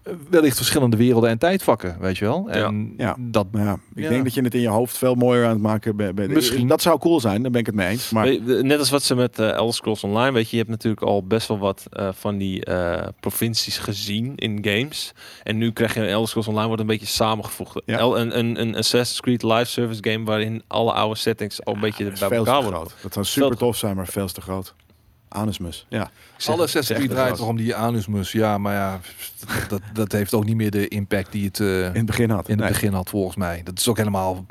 [SPEAKER 3] eh, wellicht verschillende werelden en tijdvakken, weet je wel? En
[SPEAKER 2] Ja.
[SPEAKER 3] dat
[SPEAKER 2] Maar ja, ik
[SPEAKER 3] Ja.
[SPEAKER 2] denk dat je het in je hoofd veel mooier aan het maken bent. bent.
[SPEAKER 3] Misschien.
[SPEAKER 2] Dat zou cool zijn, daar ben ik het mee eens. Maar
[SPEAKER 1] Weet je, Net als wat ze met eh Elder Scrolls Online, weet je, je hebt natuurlijk al best wel wat eh, van die eh, provincies gezien in games. En nu krijg je een Elder Scrolls Online, wordt een beetje samengevoegd.
[SPEAKER 2] Ja.
[SPEAKER 1] El- een, een, een Assassin's Creed live service game waarin alle oude settings al een beetje
[SPEAKER 2] Ah, dat is
[SPEAKER 1] bij
[SPEAKER 2] veel te
[SPEAKER 1] elkaar worden.
[SPEAKER 2] groot. Dat zou
[SPEAKER 1] Veel
[SPEAKER 2] super
[SPEAKER 1] te-
[SPEAKER 2] tof zijn, maar veel te groot. Anusmus, ja.
[SPEAKER 1] Ik zeg
[SPEAKER 3] Alle
[SPEAKER 1] het,
[SPEAKER 3] zes
[SPEAKER 1] ik zeg
[SPEAKER 3] drie
[SPEAKER 1] het.
[SPEAKER 3] draait
[SPEAKER 2] gast.
[SPEAKER 3] toch om die anusmus. Ja, maar ja, dat, dat, dat heeft ook niet meer de impact die het eh,
[SPEAKER 2] In het begin had.
[SPEAKER 3] in het
[SPEAKER 2] Nee.
[SPEAKER 3] begin had, volgens mij. Dat is ook helemaal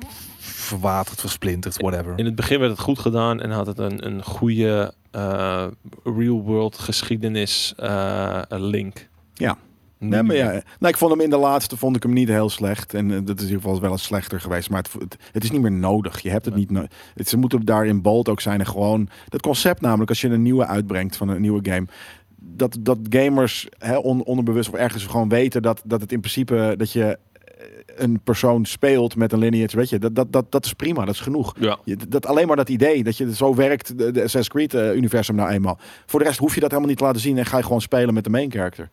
[SPEAKER 3] verwaterd, versplinterd, whatever.
[SPEAKER 1] In het begin werd het goed gedaan en had het een, een goede eh, real-world geschiedenis eh, link.
[SPEAKER 2] Ja. Nee, maar ja. Nou, ik vond hem in de laatste vond ik hem niet heel slecht. En eh, dat is in ieder geval wel eens slechter geweest. Maar het, vo- het, het is niet meer nodig. Je hebt het
[SPEAKER 1] Nee.
[SPEAKER 2] niet nodig. Ze moeten daarin bold ook zijn. En gewoon dat concept namelijk, als je een nieuwe uitbrengt van een nieuwe game. Dat, dat gamers hè, on- onderbewust of ergens gewoon weten dat, dat het in principe dat je eh, een persoon speelt met een lineage. Weet je, dat, dat, dat, dat is prima. Dat is genoeg.
[SPEAKER 1] Ja.
[SPEAKER 2] Je- dat alleen maar dat idee dat je zo werkt, de, de Assassin's Creed eh, universum nou eenmaal. Voor de rest hoef je dat helemaal niet te laten zien en ga je gewoon spelen met de main character.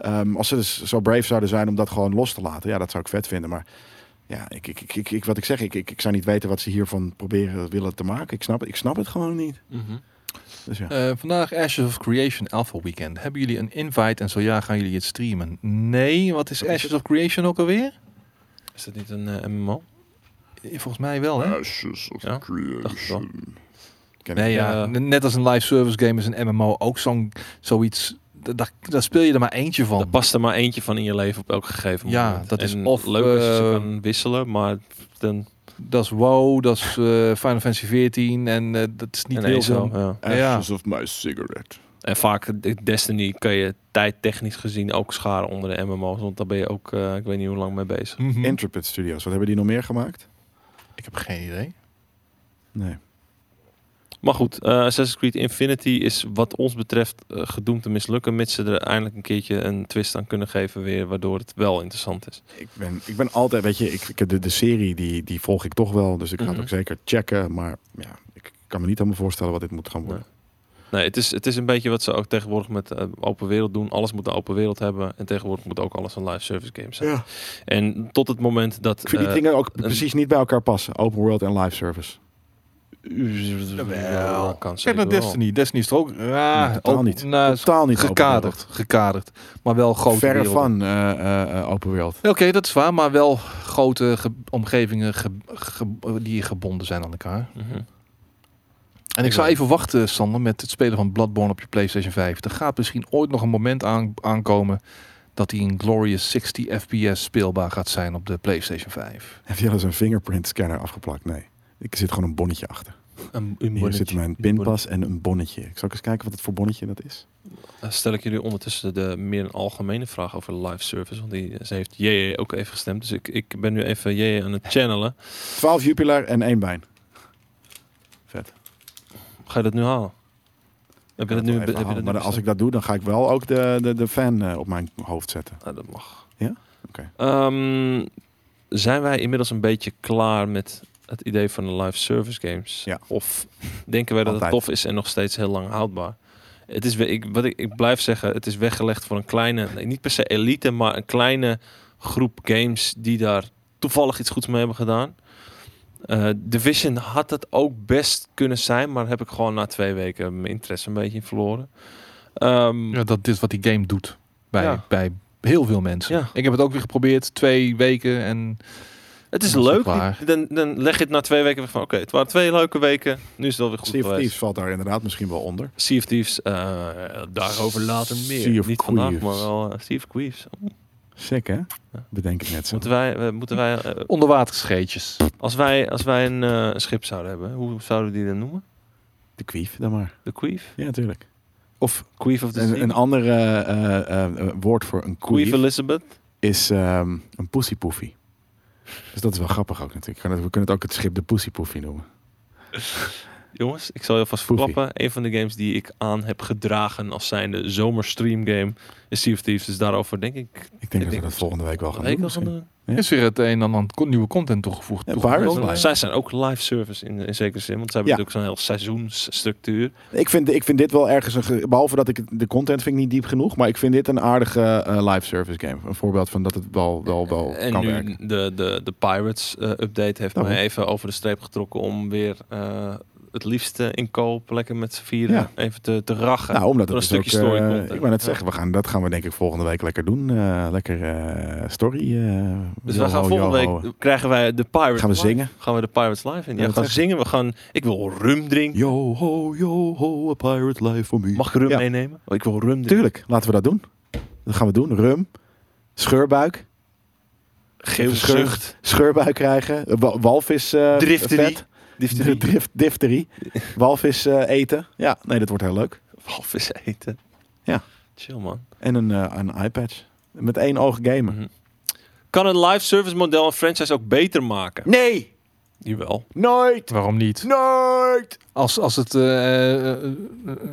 [SPEAKER 2] Ehm, als ze dus zo brave zouden zijn om dat gewoon los te laten, ja, dat zou ik vet vinden. Maar ja, ik, ik, ik, ik, ik- wat ik zeg, ik, ik, ik zou niet weten wat ze hiervan proberen willen te maken. Ik snap, het- ik snap het gewoon niet.
[SPEAKER 1] Mhm.
[SPEAKER 2] Dus ja.
[SPEAKER 3] Eh, vandaag Ashes of Creation Alpha Weekend. Hebben jullie een invite en zo ja, gaan jullie het streamen? Nee, wat is
[SPEAKER 1] Wat is
[SPEAKER 3] Ashes of Creation ook alweer?
[SPEAKER 1] Is dat niet een eh, MMO?
[SPEAKER 3] Eh, Volgens mij wel,
[SPEAKER 2] Nou,
[SPEAKER 3] hè?
[SPEAKER 4] Ashes of
[SPEAKER 1] Ja, dacht ik wel.
[SPEAKER 4] Creation.
[SPEAKER 2] Ken
[SPEAKER 3] Nee,
[SPEAKER 2] ik.
[SPEAKER 3] ja.
[SPEAKER 1] Eh,
[SPEAKER 3] Net als een live service game is een MMO ook zo'n zoiets. da- Daar, daar speel je er maar eentje van.
[SPEAKER 1] Er past er maar eentje van in je leven op elk gegeven
[SPEAKER 3] Ja,
[SPEAKER 1] moment.
[SPEAKER 3] dat is
[SPEAKER 1] En
[SPEAKER 3] of,
[SPEAKER 1] leuk als je ze
[SPEAKER 3] eh,
[SPEAKER 1] kan wisselen, maar dan
[SPEAKER 3] Dat is WoW, dat is eh, Final Fantasy 14 en eh, dat is niet heel
[SPEAKER 1] ineens
[SPEAKER 3] veel.
[SPEAKER 1] zo. Ja.
[SPEAKER 2] Eh,
[SPEAKER 3] ja.
[SPEAKER 4] Ashes of my cigarette.
[SPEAKER 1] En vaak de- Destiny kan je tijdtechnisch gezien ook scharen onder de MMO's, want daar ben je ook, eh, ik weet niet hoe lang mee bezig.
[SPEAKER 3] Mhm.
[SPEAKER 2] Intrepid Studios, wat hebben die nog meer gemaakt?
[SPEAKER 3] Ik heb geen idee.
[SPEAKER 2] Nee.
[SPEAKER 1] Maar goed, eh, Assassin's Creed Infinity is wat ons betreft eh, gedoemd te mislukken, mits ze er eindelijk een keertje een twist aan kunnen geven weer, waardoor het wel interessant is.
[SPEAKER 2] Ik ben, ik ben altijd, weet je, ik, ik heb de, de serie die, die volg ik toch wel. Dus ik ga
[SPEAKER 1] Mhm.
[SPEAKER 2] het ook zeker checken. Maar ja, ik kan me niet helemaal voorstellen wat dit moet gaan worden.
[SPEAKER 1] Nee, het is, het is een beetje wat ze ook tegenwoordig met eh, open wereld doen. Alles moet een open wereld hebben en tegenwoordig moet ook alles een live service game zijn.
[SPEAKER 2] Ja.
[SPEAKER 1] En tot het moment dat...
[SPEAKER 2] Ik vind die
[SPEAKER 1] eh,
[SPEAKER 2] dingen ook
[SPEAKER 1] een-
[SPEAKER 2] precies niet bij elkaar passen. Open world en live service.
[SPEAKER 1] Ja, eh, kan
[SPEAKER 3] Kijk naar
[SPEAKER 1] zeker wel.
[SPEAKER 3] Destiny. Destiny is er ook ja,
[SPEAKER 2] Nee, totaal
[SPEAKER 3] ook-
[SPEAKER 2] niet.
[SPEAKER 3] nou, is
[SPEAKER 2] Totaal niet open
[SPEAKER 3] gekaderd, gekaderd. Maar wel grote
[SPEAKER 2] world. Verre
[SPEAKER 3] werelden.
[SPEAKER 2] van eh, eh, eh, open world.
[SPEAKER 3] Oké, dat is waar, maar wel grote ge- omgevingen ge- ge- die gebonden zijn aan elkaar.
[SPEAKER 1] Mhm.
[SPEAKER 3] En ik
[SPEAKER 1] Ik
[SPEAKER 3] zou
[SPEAKER 1] wel.
[SPEAKER 3] even wachten, Sander, met het spelen van Bloodborne op je PlayStation 5. Er gaat misschien ooit nog een moment aan, aankomen dat die in Glorious 60 FPS speelbaar gaat zijn op de PlayStation 5.
[SPEAKER 2] Heb je al eens een fingerprint scanner afgeplakt? Nee. Ik zit gewoon een bonnetje achter.
[SPEAKER 1] Een,
[SPEAKER 2] Hier zit mijn pinpas en een bonnetje. Ik zal ook eens kijken wat het voor bonnetje dat is.
[SPEAKER 1] Eh, stel ik jullie ondertussen de meer een algemene vraag over live service. Want die, ze heeft JJ ook even gestemd. Dus ik, ik ben nu even JJ aan het channelen.
[SPEAKER 2] 12 Jupiler en één bijn.
[SPEAKER 1] Ga je dat nu halen? Heb je dat nu?
[SPEAKER 2] Even
[SPEAKER 1] Heb je dat
[SPEAKER 2] halen.
[SPEAKER 1] nu
[SPEAKER 2] maar als ik
[SPEAKER 1] besteld?
[SPEAKER 2] dat doe, dan ga ik wel ook de, de, de fan eh, op mijn hoofd zetten.
[SPEAKER 1] Ah, dat mag.
[SPEAKER 2] Ja? Oké.
[SPEAKER 1] Ehm, zijn wij inmiddels een beetje klaar met het idee van de live service games?
[SPEAKER 2] Ja.
[SPEAKER 1] Of denken wij dat het
[SPEAKER 2] Altijd.
[SPEAKER 1] tof is en nog steeds heel lang houdbaar? Het is, we- ik, wat ik, ik blijf zeggen, het is weggelegd voor een kleine, nee, niet per se elite, maar een kleine groep games die daar toevallig iets goeds mee hebben gedaan. Eh Division had het ook best kunnen zijn, maar heb ik gewoon na twee weken mijn interesse een beetje in verloren. Ehm,
[SPEAKER 3] Ja, dat is wat die game doet bij,
[SPEAKER 1] Ja.
[SPEAKER 3] bij heel veel mensen.
[SPEAKER 1] Ja.
[SPEAKER 3] Ik heb het ook weer geprobeerd, twee weken en...
[SPEAKER 1] Het is
[SPEAKER 3] Dan is het
[SPEAKER 1] leuk.
[SPEAKER 3] klaar.
[SPEAKER 1] Dan, dan leg je het na twee weken weg van... Oké, het waren twee leuke weken. Nu is het wel weer goed eh,
[SPEAKER 2] Steve
[SPEAKER 1] geweest.
[SPEAKER 2] Thieves valt daar inderdaad misschien wel onder.
[SPEAKER 1] Sea of Thieves. eh, daarover later meer.
[SPEAKER 2] Sea of
[SPEAKER 1] Niet vandaag,
[SPEAKER 2] Queefs.
[SPEAKER 1] maar wel eh, Sea of Queefs.
[SPEAKER 2] Sick, hè? Bedenk ik net zo.
[SPEAKER 1] Moeten wij... eh, moeten wij eh,
[SPEAKER 3] Onderwaterscheetjes.
[SPEAKER 1] als wij, als wij een eh, een schip zouden hebben, hoe zouden we die dan noemen?
[SPEAKER 2] De kwief dan maar.
[SPEAKER 1] De Queef?
[SPEAKER 2] Ja, natuurlijk.
[SPEAKER 1] Of Queef of the Sea?
[SPEAKER 2] Een, een ander eh, eh, eh, woord voor een
[SPEAKER 1] Queef
[SPEAKER 2] kwief
[SPEAKER 1] Elizabeth?
[SPEAKER 2] is ehm een pussypoefie. Dus dat is wel grappig ook natuurlijk. Kan het- We kunnen het ook het schip de pussypoefie noemen.
[SPEAKER 1] Jongens, ik zal je alvast
[SPEAKER 2] Poefie.
[SPEAKER 1] verklappen. Een van de games die ik aan heb gedragen als zijnde zomerstream game is Sea of Thieves. Dus daarover denk ik...
[SPEAKER 2] Ik denk
[SPEAKER 1] Ik
[SPEAKER 2] dat
[SPEAKER 1] denk
[SPEAKER 2] we dat volgende week wel gaan
[SPEAKER 1] dat ik
[SPEAKER 2] doen.
[SPEAKER 1] wel gaan
[SPEAKER 2] misschien.
[SPEAKER 1] doen.
[SPEAKER 2] Ja.
[SPEAKER 3] Is weer het een en ander aan con- nieuwe content toegevoegd.
[SPEAKER 2] Ja,
[SPEAKER 3] toegevoegd.
[SPEAKER 2] Pirates
[SPEAKER 1] Want
[SPEAKER 2] Live.
[SPEAKER 1] Zij zijn ook live service in, in zekere zin. Want zij hebben
[SPEAKER 2] Ja.
[SPEAKER 1] natuurlijk zo'n heel seizoensstructuur.
[SPEAKER 2] Ik vind, ik vind dit wel ergens een. ge- Behalve dat ik het- de content vind ik niet diep genoeg. Maar ik vind dit een aardige eh, live service game. Een voorbeeld van dat het wel, wel, wel
[SPEAKER 1] En
[SPEAKER 2] Oh, kan
[SPEAKER 1] nu
[SPEAKER 2] werken.
[SPEAKER 1] de, de, de Pirates eh, update heeft
[SPEAKER 2] Daarom.
[SPEAKER 1] mij even over de streep getrokken om weer eh, het liefste in koop lekker met z'n vieren
[SPEAKER 2] Ja.
[SPEAKER 1] even te, te rachen.
[SPEAKER 2] Nou, omdat
[SPEAKER 1] Door
[SPEAKER 2] het
[SPEAKER 1] een
[SPEAKER 2] dus
[SPEAKER 1] stukje
[SPEAKER 2] ook,
[SPEAKER 1] story
[SPEAKER 2] eh,
[SPEAKER 1] content.
[SPEAKER 2] Ik wou net
[SPEAKER 1] Ja.
[SPEAKER 2] zeggen, we gaan, dat gaan we denk ik volgende week lekker doen. Eh, lekker eh, story. eh,
[SPEAKER 1] dus
[SPEAKER 2] joho,
[SPEAKER 1] wij gaan volgende
[SPEAKER 2] joho.
[SPEAKER 1] week krijgen wij de Pirates
[SPEAKER 2] Gaan we
[SPEAKER 1] live.
[SPEAKER 2] zingen?
[SPEAKER 1] Gaan we de Pirates live in? Ja,
[SPEAKER 2] Ja,
[SPEAKER 1] we gaan
[SPEAKER 2] dat-
[SPEAKER 1] zingen. We gaan. Ik wil rum drinken.
[SPEAKER 2] Yo ho, yo ho, a pirate life for me.
[SPEAKER 1] Mag ik rum
[SPEAKER 2] Ja.
[SPEAKER 1] meenemen? Oh, ik wil rum drinken.
[SPEAKER 2] Tuurlijk, laten we dat doen. Dat gaan we doen. Rum, scheurbuik,
[SPEAKER 1] Geel
[SPEAKER 2] Verscheur-
[SPEAKER 1] zucht.
[SPEAKER 2] scheurbuik krijgen, eh, wa- walvis eh
[SPEAKER 1] Drifterie.
[SPEAKER 2] vet.
[SPEAKER 1] Difterie.
[SPEAKER 2] Drift- difterie. Walvis eh, eten. Ja, nee, dat wordt heel leuk.
[SPEAKER 1] Walvis eten.
[SPEAKER 2] Ja.
[SPEAKER 1] Chill man.
[SPEAKER 2] En een, eh, een iPad. Met één oog gamen.
[SPEAKER 1] Kan een live service model een franchise ook beter maken?
[SPEAKER 2] Nee!
[SPEAKER 1] Jawel.
[SPEAKER 2] Nooit!
[SPEAKER 3] Waarom niet?
[SPEAKER 2] Nooit!
[SPEAKER 3] Als, als het eh, eh, eh,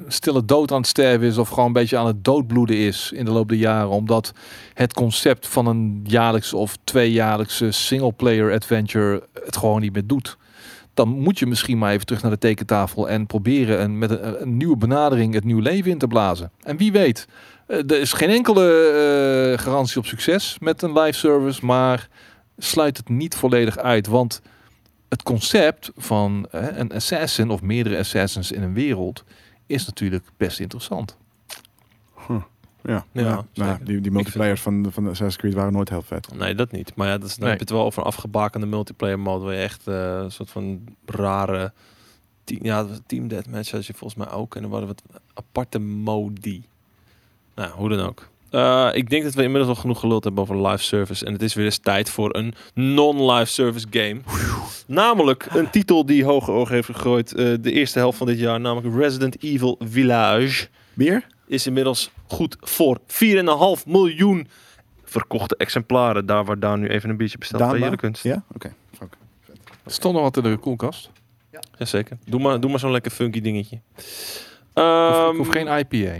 [SPEAKER 3] stille dood aan het sterven is of gewoon een beetje aan het doodbloeden is in de loop der jaren. Omdat het concept van een jaarlijkse of tweejaarlijkse single-player adventure het gewoon niet meer doet. Dan moet je misschien maar even terug naar de tekentafel en proberen een, met een, een nieuwe benadering het nieuw leven in te blazen. En wie weet, eh, er is geen enkele eh, garantie op succes met een live service, maar sluit het niet volledig uit. Want het concept van eh, een assassin of meerdere assassins in een wereld is natuurlijk best interessant.
[SPEAKER 2] Ja,
[SPEAKER 1] Ja,
[SPEAKER 2] ja, nou,
[SPEAKER 1] zeker.
[SPEAKER 2] die, die multiplayers van, van Assassin's Creed waren nooit heel vet.
[SPEAKER 1] Nee, dat niet. Maar ja, dat is, dan
[SPEAKER 3] Nee.
[SPEAKER 1] heb je het wel over een afgebakende multiplayer mode. Waar je echt eh, een soort van rare... Team, ja, dat was een team deathmatch had je volgens mij ook. En er waren wat aparte modi. Nou, hoe dan ook. Eh, ik denk dat we inmiddels al genoeg geluld hebben over live service. En het is weer eens tijd voor een non-live service game. Namelijk een titel die hoge ogen heeft gegooid eh, de eerste helft van dit jaar. Namelijk Resident Evil Village
[SPEAKER 2] Bier?
[SPEAKER 1] is inmiddels goed voor 4,5 miljoen verkochte exemplaren. Daar waar Daan nu even een biertje bestelt bij
[SPEAKER 2] Daanbaar?
[SPEAKER 1] jullie kunst.
[SPEAKER 2] Ja? Oké. Fuck.
[SPEAKER 3] Stond nog wat in de koelkast.
[SPEAKER 1] Jazeker. Doe maar, doe maar zo'n lekker funky dingetje.
[SPEAKER 3] Of
[SPEAKER 1] Ehm,
[SPEAKER 3] ik hoef geen IPA.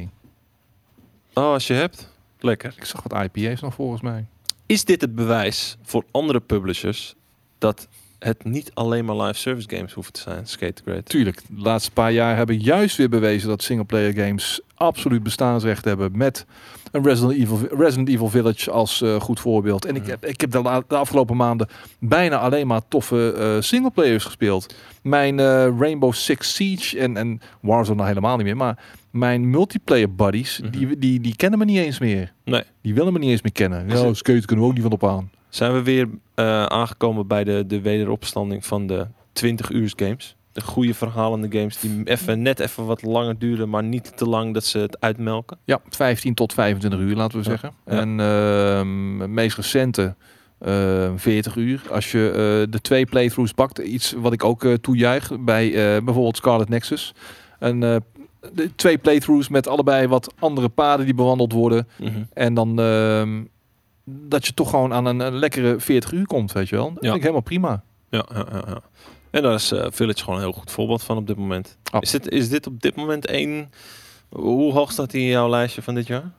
[SPEAKER 1] Oh, als je hebt. Lekker.
[SPEAKER 3] Ik zag wat IPA's nog volgens mij.
[SPEAKER 1] Is dit het bewijs voor andere publishers dat het niet alleen maar live service games hoeven te zijn? Skate Great.
[SPEAKER 3] Tuurlijk, de laatste paar jaar hebben juist weer bewezen dat singleplayer games absoluut bestaansrecht hebben met een Resident Evil, Resident Evil Village als eh, goed voorbeeld. En ik
[SPEAKER 1] Ja.
[SPEAKER 3] heb, ik heb de, la- de afgelopen maanden bijna alleen maar toffe eh, singleplayers gespeeld. Mijn eh, Rainbow Six Siege en, en Warzone nou helemaal niet meer, maar mijn multiplayer buddies,
[SPEAKER 1] Mhm.
[SPEAKER 3] die, die, die kennen me niet eens meer.
[SPEAKER 1] Nee.
[SPEAKER 3] Die willen me niet eens meer kennen.
[SPEAKER 1] Is
[SPEAKER 3] Ja,
[SPEAKER 1] het-
[SPEAKER 3] skate kunnen we ook niet van op aan.
[SPEAKER 1] Zijn we weer eh, aangekomen bij de, de wederopstanding van de 20 uur games? De goede verhalende games die even, net even wat langer duren, maar niet te lang dat ze het uitmelken.
[SPEAKER 3] Ja, 15 tot 25 uur laten we
[SPEAKER 1] Ja,
[SPEAKER 3] zeggen.
[SPEAKER 1] ja.
[SPEAKER 3] En ehm, het meest recente ehm, 40 uur. Als je eh, de twee playthroughs pakt, iets wat ik ook eh toejuich bij eh, bijvoorbeeld Scarlet Nexus. En, eh, de twee playthroughs met allebei wat andere paden die bewandeld worden.
[SPEAKER 1] Mhm.
[SPEAKER 3] En dan ehm, dat je toch gewoon aan een, een lekkere 40 uur komt, weet je wel. Dat
[SPEAKER 1] Ja.
[SPEAKER 3] vind ik helemaal prima.
[SPEAKER 1] Ja, ja, ja, ja. En daar is eh, Village gewoon een heel goed voorbeeld van op dit moment.
[SPEAKER 3] Ah.
[SPEAKER 1] Is, dit, is dit op dit moment één... Hoe hoog staat die in jouw lijstje van dit jaar?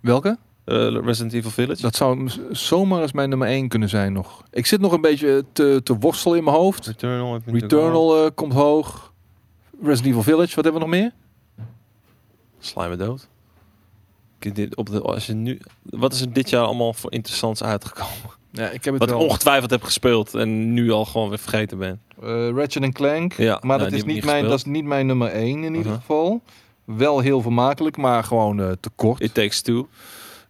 [SPEAKER 3] Welke?
[SPEAKER 1] Eh, Resident Evil Village?
[SPEAKER 3] Dat zou m- zomaar eens mijn nummer 1 kunnen zijn nog. Ik zit nog een beetje te, te worstelen in mijn hoofd.
[SPEAKER 1] Returnal. heb je natuurlijk wel.
[SPEAKER 3] Returnal eh, komt hoog. Resident Evil Village, wat hebben we nog meer?
[SPEAKER 1] Slijmen dood. Ik- dit op de, als je nu, wat is er dit jaar allemaal voor interessants uitgekomen?
[SPEAKER 3] Ja, ik heb
[SPEAKER 1] Wat
[SPEAKER 3] het
[SPEAKER 1] ik ongetwijfeld heb gespeeld en nu al gewoon weer vergeten ben.
[SPEAKER 3] Eh, Ratchet and Clank.
[SPEAKER 1] Ja,
[SPEAKER 3] Maar
[SPEAKER 1] nou,
[SPEAKER 3] dat,
[SPEAKER 1] die
[SPEAKER 3] is
[SPEAKER 1] heb ik
[SPEAKER 3] niet mijn,
[SPEAKER 1] gespeeld.
[SPEAKER 3] dat
[SPEAKER 1] Uh-huh.
[SPEAKER 3] is niet mijn nummer 1 in ieder
[SPEAKER 1] Aha.
[SPEAKER 3] geval. Wel heel vermakelijk, maar gewoon eh, te kort.
[SPEAKER 1] It Takes Two.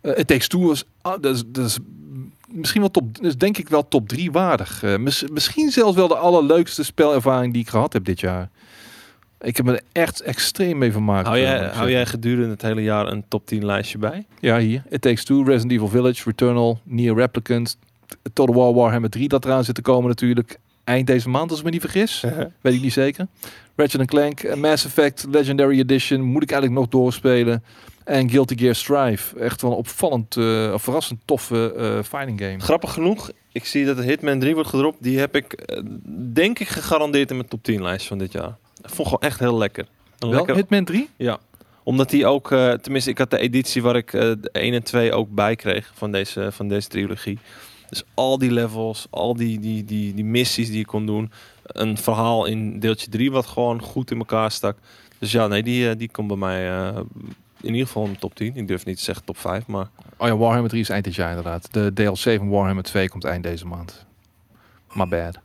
[SPEAKER 3] Eh, It Takes Two was, ah, dat is, dat is misschien wel top, is denk ik wel top 3 waardig. Eh, mis- misschien zelfs wel de allerleukste spelervaring die ik gehad heb dit jaar. Ik heb me er echt extreem mee vermaakt.
[SPEAKER 1] Hou
[SPEAKER 3] eh, moet
[SPEAKER 1] jij,
[SPEAKER 3] ik
[SPEAKER 1] hou
[SPEAKER 3] zeggen.
[SPEAKER 1] jij gedurende het hele jaar een top 10 lijstje bij?
[SPEAKER 3] Ja, hier. It Takes Two, Resident Evil Village, Returnal, Near Replicant, Total War Warhammer 3 dat eraan zit te komen natuurlijk. Eind deze maand, als ik me niet vergis. Weet ik niet zeker. Ratchet Clank, eh, Mass Effect, Legendary Edition moet ik eigenlijk nog doorspelen. En Guilty Gear Strive. Echt wel een opvallend, eh, een verrassend toffe eh, fighting game.
[SPEAKER 1] Grappig genoeg, ik zie dat de Hitman 3 wordt gedropt. Die heb ik, eh, denk ik, gegarandeerd in mijn top 10 lijst van dit jaar. Dat vond ik gewoon echt heel lekker. Een
[SPEAKER 3] Wel,
[SPEAKER 1] lekker
[SPEAKER 3] Hitman 3?
[SPEAKER 1] omdat die ook, eh, tenminste, ik had de editie waar ik eh, de 1 en 2 ook bij kreeg van deze, van deze trilogie. Dus al die levels, al die, die, die, die missies die je kon doen. Een verhaal in deeltje 3 wat gewoon goed in elkaar stak. Dus ja, nee, die, eh, die komt bij mij eh, in ieder geval in de top 10. Ik durf niet te zeggen top 5, maar
[SPEAKER 3] Oh ja, Warhammer 3 is eind dit jaar inderdaad. De DLC van Warhammer 2 komt eind deze maand. My bad.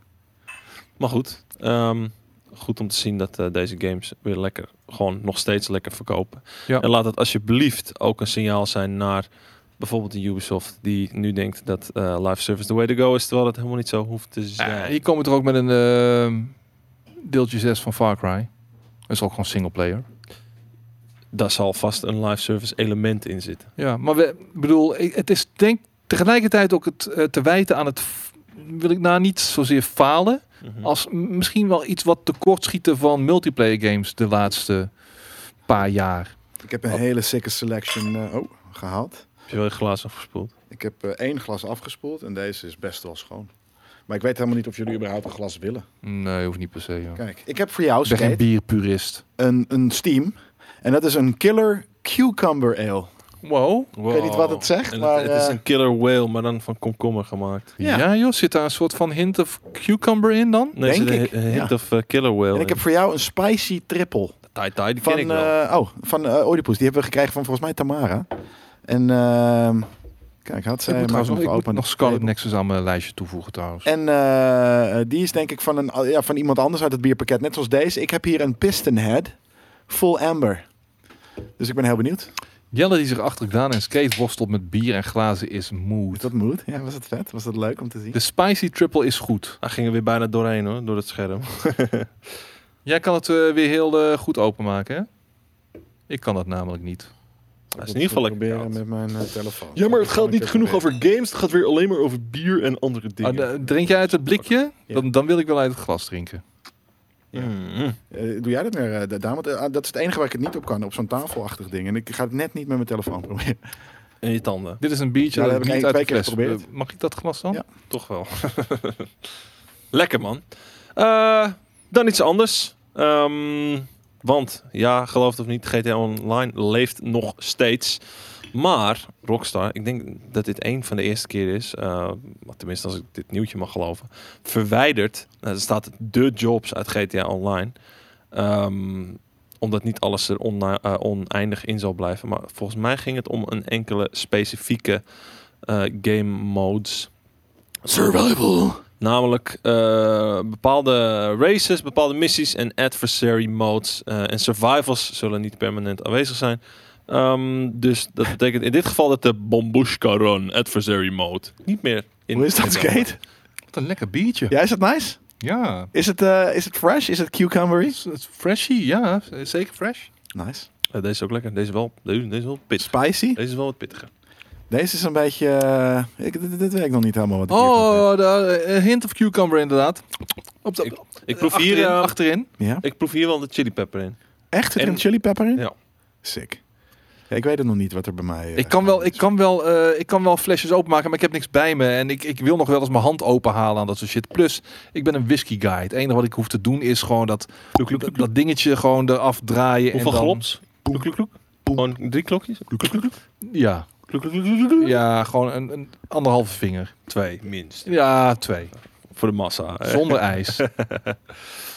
[SPEAKER 1] Maar goed, ehm, goed om te zien dat eh, deze games weer lekker, gewoon nog steeds lekker verkopen.
[SPEAKER 3] Ja.
[SPEAKER 1] En laat het alsjeblieft ook een signaal zijn naar bijvoorbeeld de Ubisoft, die nu denkt dat eh, live service the way to go is, terwijl het helemaal niet zo hoeft te zijn.
[SPEAKER 3] Ja, Dus, eh, hier komen we er ook met een ehm, deeltje 6 van Far Cry. Dat is ook gewoon singleplayer.
[SPEAKER 1] Daar zal vast een live service element in zitten.
[SPEAKER 3] Ja, maar we, ik bedoel, ik- het is denk tegelijkertijd ook het eh, te wijten aan het, f- wil ik nou niet zozeer falen, als m- misschien wel iets wat tekortschieten van multiplayer games de laatste paar jaar.
[SPEAKER 2] Ik heb een hele sikke selection eh, oh, gehaald.
[SPEAKER 1] je wel je glas afgespoeld?
[SPEAKER 2] Ik heb eh, één glas afgespoeld en deze is best wel schoon. Maar ik weet helemaal niet of jullie überhaupt een glas willen.
[SPEAKER 3] Nee, hoeft niet per se. joh.
[SPEAKER 2] Kijk, ik heb voor jou,
[SPEAKER 3] Ik ben geen
[SPEAKER 2] Skate,
[SPEAKER 3] bierpurist.
[SPEAKER 2] een, een steam. En dat is een killer cucumber ale.
[SPEAKER 3] Wow.
[SPEAKER 1] Wow.
[SPEAKER 2] weet niet wat het zegt,
[SPEAKER 1] En
[SPEAKER 2] maar,
[SPEAKER 1] het, het is
[SPEAKER 2] eh,
[SPEAKER 1] een killer whale, maar dan van komkommer gemaakt.
[SPEAKER 2] Ja.
[SPEAKER 3] Ja. joh, zit daar een soort van hint of cucumber in dan?
[SPEAKER 1] Nee, er
[SPEAKER 2] Denk
[SPEAKER 1] zit
[SPEAKER 2] ik,
[SPEAKER 1] een hi- hint
[SPEAKER 2] ja.
[SPEAKER 1] of eh, killer whale.
[SPEAKER 2] En ik heb voor jou een spicy triple.
[SPEAKER 1] Tai Tai, die
[SPEAKER 2] Van,
[SPEAKER 1] ken ik wel.
[SPEAKER 2] eh, oh, van eh Oedipus. Die hebben we gekregen van volgens mij Tamara. En ehm, kijk, had zij
[SPEAKER 3] ik moet,
[SPEAKER 2] maar
[SPEAKER 3] trouwens nog,
[SPEAKER 2] zo
[SPEAKER 3] ik moet
[SPEAKER 2] open.
[SPEAKER 3] nog Scarlet Nexus aan mijn lijstje toevoegen trouwens.
[SPEAKER 2] En eh, die is denk ik van, een, ja, van iemand anders uit het bierpakket. Net zoals deze. Ik heb hier een Piston Head. Full Amber. Dus ik ben heel benieuwd.
[SPEAKER 3] Jelle die zich achter Daan en Skate worstelt met bier en glazen is
[SPEAKER 2] Is
[SPEAKER 3] moed.
[SPEAKER 2] dat moed? Ja, was het vet? Was dat leuk om te zien?
[SPEAKER 3] De spicy triple is goed.
[SPEAKER 1] Hij ging er weer bijna doorheen hoor, door het scherm.
[SPEAKER 3] Jij kan het eh, weer heel eh, goed openmaken, hè? Ik kan dat namelijk niet.
[SPEAKER 1] Hij is in ieder geval lekker koud.
[SPEAKER 2] met mijn eh, telefoon.
[SPEAKER 1] games. Het gaat weer alleen maar over bier en andere
[SPEAKER 3] Ah, de- drink jij uit het blikje?
[SPEAKER 2] Ja.
[SPEAKER 3] Dan, dan wil ik wel uit het glas drinken.
[SPEAKER 1] Ja. Mm.
[SPEAKER 2] doe jij dat meer, eh Daan? Want, eh, dat is het enige waar ik het niet op kan. Op zo'n tafelachtig ding. En ik ga het net niet met mijn telefoon proberen.
[SPEAKER 1] En je tanden,
[SPEAKER 3] Dit is een biertje
[SPEAKER 2] Ja, dat
[SPEAKER 3] dat
[SPEAKER 2] heb ik
[SPEAKER 3] niet
[SPEAKER 2] één-
[SPEAKER 3] uit de
[SPEAKER 2] twee keer
[SPEAKER 3] fles.
[SPEAKER 2] geprobeerd.
[SPEAKER 3] Eh, Mag ik dat glas dan?
[SPEAKER 2] Ja.
[SPEAKER 1] toch wel. lekker man. Eh, dan iets anders. Ehm, want, ja, geloof het of niet, GTA Online leeft nog steeds. Maar Rockstar, ik denk dat dit een van de eerste keer is, eh, maar tenminste als ik dit nieuwtje mag geloven, verwijdert, nou, er staat de jobs uit GTA Online, Ehm, omdat niet alles er onna- eh, oneindig in zal blijven. Maar volgens mij ging het om een enkele specifieke eh, game modes. Survival! Namelijk eh, bepaalde races, bepaalde missies en adversary modes. eh, en survivals zullen niet permanent aanwezig zijn. Ehm, dus dat betekent in dit geval dat de Bombushka Run Adversary Mode niet meer in
[SPEAKER 2] Hoe is dat,
[SPEAKER 1] in-
[SPEAKER 2] Skate?
[SPEAKER 3] Wat een lekker biertje. Ja.
[SPEAKER 2] Ja, is dat nice? Is het, eh, is het fresh? Is het cucumbery?
[SPEAKER 3] Het is- het is Freshy, ja. Zeker fresh.
[SPEAKER 2] Nice.
[SPEAKER 1] Eh, deze is ook lekker. Deze wel, deze, deze is wel pittig.
[SPEAKER 2] Spicy.
[SPEAKER 1] Deze is wel wat pittiger.
[SPEAKER 2] Deze is een beetje... eh, ik, dit, dit werkt nog niet helemaal wat ik hiervan vind.
[SPEAKER 3] Oh, de, eh, hint of cucumber inderdaad. Op de,
[SPEAKER 1] Ik proef,
[SPEAKER 3] achterin,
[SPEAKER 1] hier, eh,
[SPEAKER 3] achterin.
[SPEAKER 2] Ja?
[SPEAKER 1] ik proef hier wel de chili pepper in.
[SPEAKER 2] Echt? Zit er
[SPEAKER 1] en-
[SPEAKER 2] een chili pepper in?
[SPEAKER 1] Ja.
[SPEAKER 2] Sick. Ja, ik weet het nog niet wat er bij mij... eh,
[SPEAKER 3] Ik kan, wel, ik,
[SPEAKER 2] is.
[SPEAKER 3] kan wel, eh, ik kan wel flesjes openmaken, maar ik heb niks bij me. En ik, ik wil nog wel eens mijn hand openhalen aan dat soort shit. Plus, ik ben een whisky guy. Het enige wat ik hoef te doen is gewoon dat, dat, dat dingetje gewoon eraf draaien.
[SPEAKER 1] Hoeveel
[SPEAKER 3] en dan,
[SPEAKER 1] klops? Kloek, kloek, kloek. Gewoon drie klokjes? Kloek, kloek, kloek.
[SPEAKER 3] Ja.
[SPEAKER 1] Kloek, kloek, kloek, kloek, kloek.
[SPEAKER 3] ja, gewoon een, een anderhalve vinger.
[SPEAKER 1] Twee, minst.
[SPEAKER 3] Ja, twee.
[SPEAKER 1] Voor de massa. Eh, hè.
[SPEAKER 3] Zonder ijs.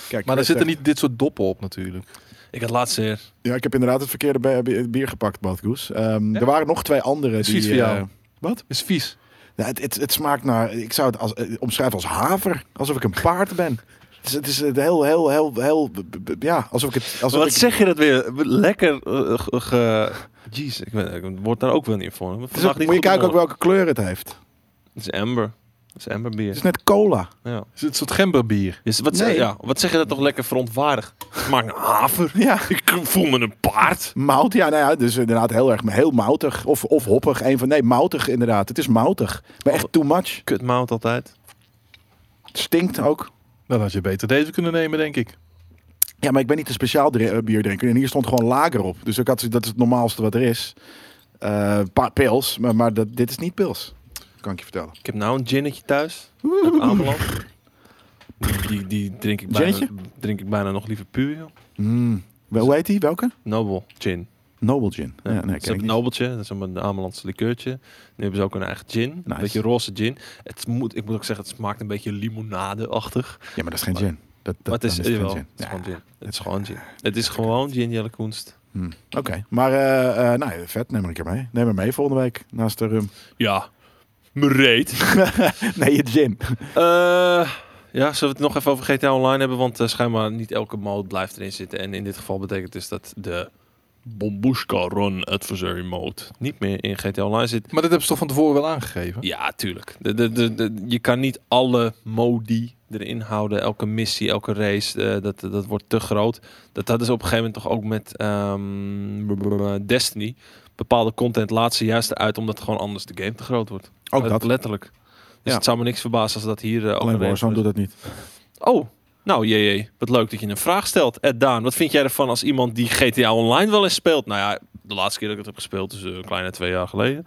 [SPEAKER 2] Kijk,
[SPEAKER 3] Maar er zitten
[SPEAKER 2] Chris zegt-
[SPEAKER 3] niet dit soort doppen op natuurlijk.
[SPEAKER 1] Ik had laatst weer...
[SPEAKER 2] Ja, ik heb inderdaad het verkeerde bi- bi- bier gepakt, Badgoes. Ehm
[SPEAKER 3] Ja?
[SPEAKER 2] Er waren nog twee andere
[SPEAKER 3] Is
[SPEAKER 2] die...
[SPEAKER 3] vies voor
[SPEAKER 2] eh,
[SPEAKER 3] jou. Is vies.
[SPEAKER 2] nou, het, het, het smaakt naar... Ik zou het als, eh, omschrijven als haver. Alsof ik een paard ben. Het is, het is het heel, heel, heel, heel... b- b- Ja, alsof ik het... Alsof
[SPEAKER 1] Wat
[SPEAKER 2] ik,
[SPEAKER 1] zeg je dat weer? Lekker eh, ge- ge... Jeez, ik, ben, ik word daar ook wel niet voor.
[SPEAKER 2] het is ook-
[SPEAKER 1] Vandaag niet
[SPEAKER 2] moet
[SPEAKER 1] goed
[SPEAKER 2] je kijken ook
[SPEAKER 1] humor.
[SPEAKER 2] welke kleur het heeft.
[SPEAKER 1] Het is amber. Het is amber
[SPEAKER 2] Het is
[SPEAKER 1] bier.
[SPEAKER 2] net cola.
[SPEAKER 1] Ja.
[SPEAKER 3] Is het een soort gemberbier?
[SPEAKER 1] Dus wat,
[SPEAKER 2] Nee.
[SPEAKER 1] zeg, ja, wat zeg je dat toch lekker verontwaardig? Smaakt naar haver.
[SPEAKER 2] Ja.
[SPEAKER 1] Ik voel me een paard.
[SPEAKER 2] Mout, ja, nou ja, dus inderdaad heel erg, heel moutig. Of, of hoppig, een van, nee, moutig inderdaad. Het is moutig, maar echt too much.
[SPEAKER 1] Kutmout altijd.
[SPEAKER 2] Het stinkt ook.
[SPEAKER 3] Dan had je beter deze kunnen nemen, denk ik.
[SPEAKER 2] Ja, maar ik ben niet een speciaal dre- eh, bierdrinker. En hier stond gewoon lager op. Dus ik had, zoiets, dat is het normaalste wat er is. Eh, Een paar pils, maar, maar dat, dit is niet pils. Kan ik je vertellen.
[SPEAKER 1] Ik heb nou een ginnetje thuis. Uit Ameland. Die, die drink, ik bijna, drink ik bijna nog liever puur. joh.
[SPEAKER 2] Mm. Wel, Hoe heet die? Welke?
[SPEAKER 1] Nobel gin.
[SPEAKER 2] Noble Gin.
[SPEAKER 1] Ja,
[SPEAKER 2] Ja, nee, ken
[SPEAKER 1] ze
[SPEAKER 2] ik
[SPEAKER 1] hebben
[SPEAKER 2] niet.
[SPEAKER 1] een nobeltje, dat is een Amelandse likeurtje. Nu hebben ze ook hun eigen gin,
[SPEAKER 2] Nice.
[SPEAKER 1] een beetje roze gin. Het moet, ik moet ook zeggen, het smaakt een beetje limonade-achtig.
[SPEAKER 2] ja, maar dat is geen gin. Dat, dat
[SPEAKER 1] Maar het is,
[SPEAKER 2] dan
[SPEAKER 1] jawel,
[SPEAKER 2] geen
[SPEAKER 1] het is
[SPEAKER 2] Ja.
[SPEAKER 1] gewoon gin. Het is gewoon gin. Het is gewoon gin, Jelle Koenst.
[SPEAKER 2] Mm. Oké, maar eh, eh, nou, ja, vet, neem maar een keer mee. Neem hem mee volgende week naast de rum.
[SPEAKER 1] Ja, me reet.
[SPEAKER 2] Nee, je gin.
[SPEAKER 1] Eh, ja, zullen we het nog even over GTA Online hebben? Want eh, schijnbaar niet elke mode blijft erin zitten. En in dit geval betekent dus dat de Bombushka Run Adversary Mode niet meer in GTA Online zit.
[SPEAKER 3] Maar dat hebben ze toch van tevoren wel aangegeven?
[SPEAKER 1] Ja, tuurlijk. De, de, de, de- je kan niet alle modi erin houden. Elke missie, elke race, eh, dat, dat wordt te groot. Dat hadden ze op een gegeven moment toch ook met ehm, blablabla, Destiny. Bepaalde content laat ze juist eruit omdat gewoon anders de game te groot wordt.
[SPEAKER 2] Ook
[SPEAKER 1] Let-
[SPEAKER 2] dat.
[SPEAKER 1] Letterlijk. Dus
[SPEAKER 2] Ja.
[SPEAKER 1] het zou me niks verbazen als dat hier eh, ook
[SPEAKER 2] Alleen
[SPEAKER 1] een reden
[SPEAKER 2] Warzone
[SPEAKER 1] is.
[SPEAKER 2] doet dat niet.
[SPEAKER 1] Oh, nou Eh, jee, wat leuk dat je een vraag stelt. Ed Daan, wat vind jij ervan als iemand die GTA Online wel eens speelt? Nou ja, de laatste keer dat ik het heb gespeeld is eh, een kleine twee jaar geleden.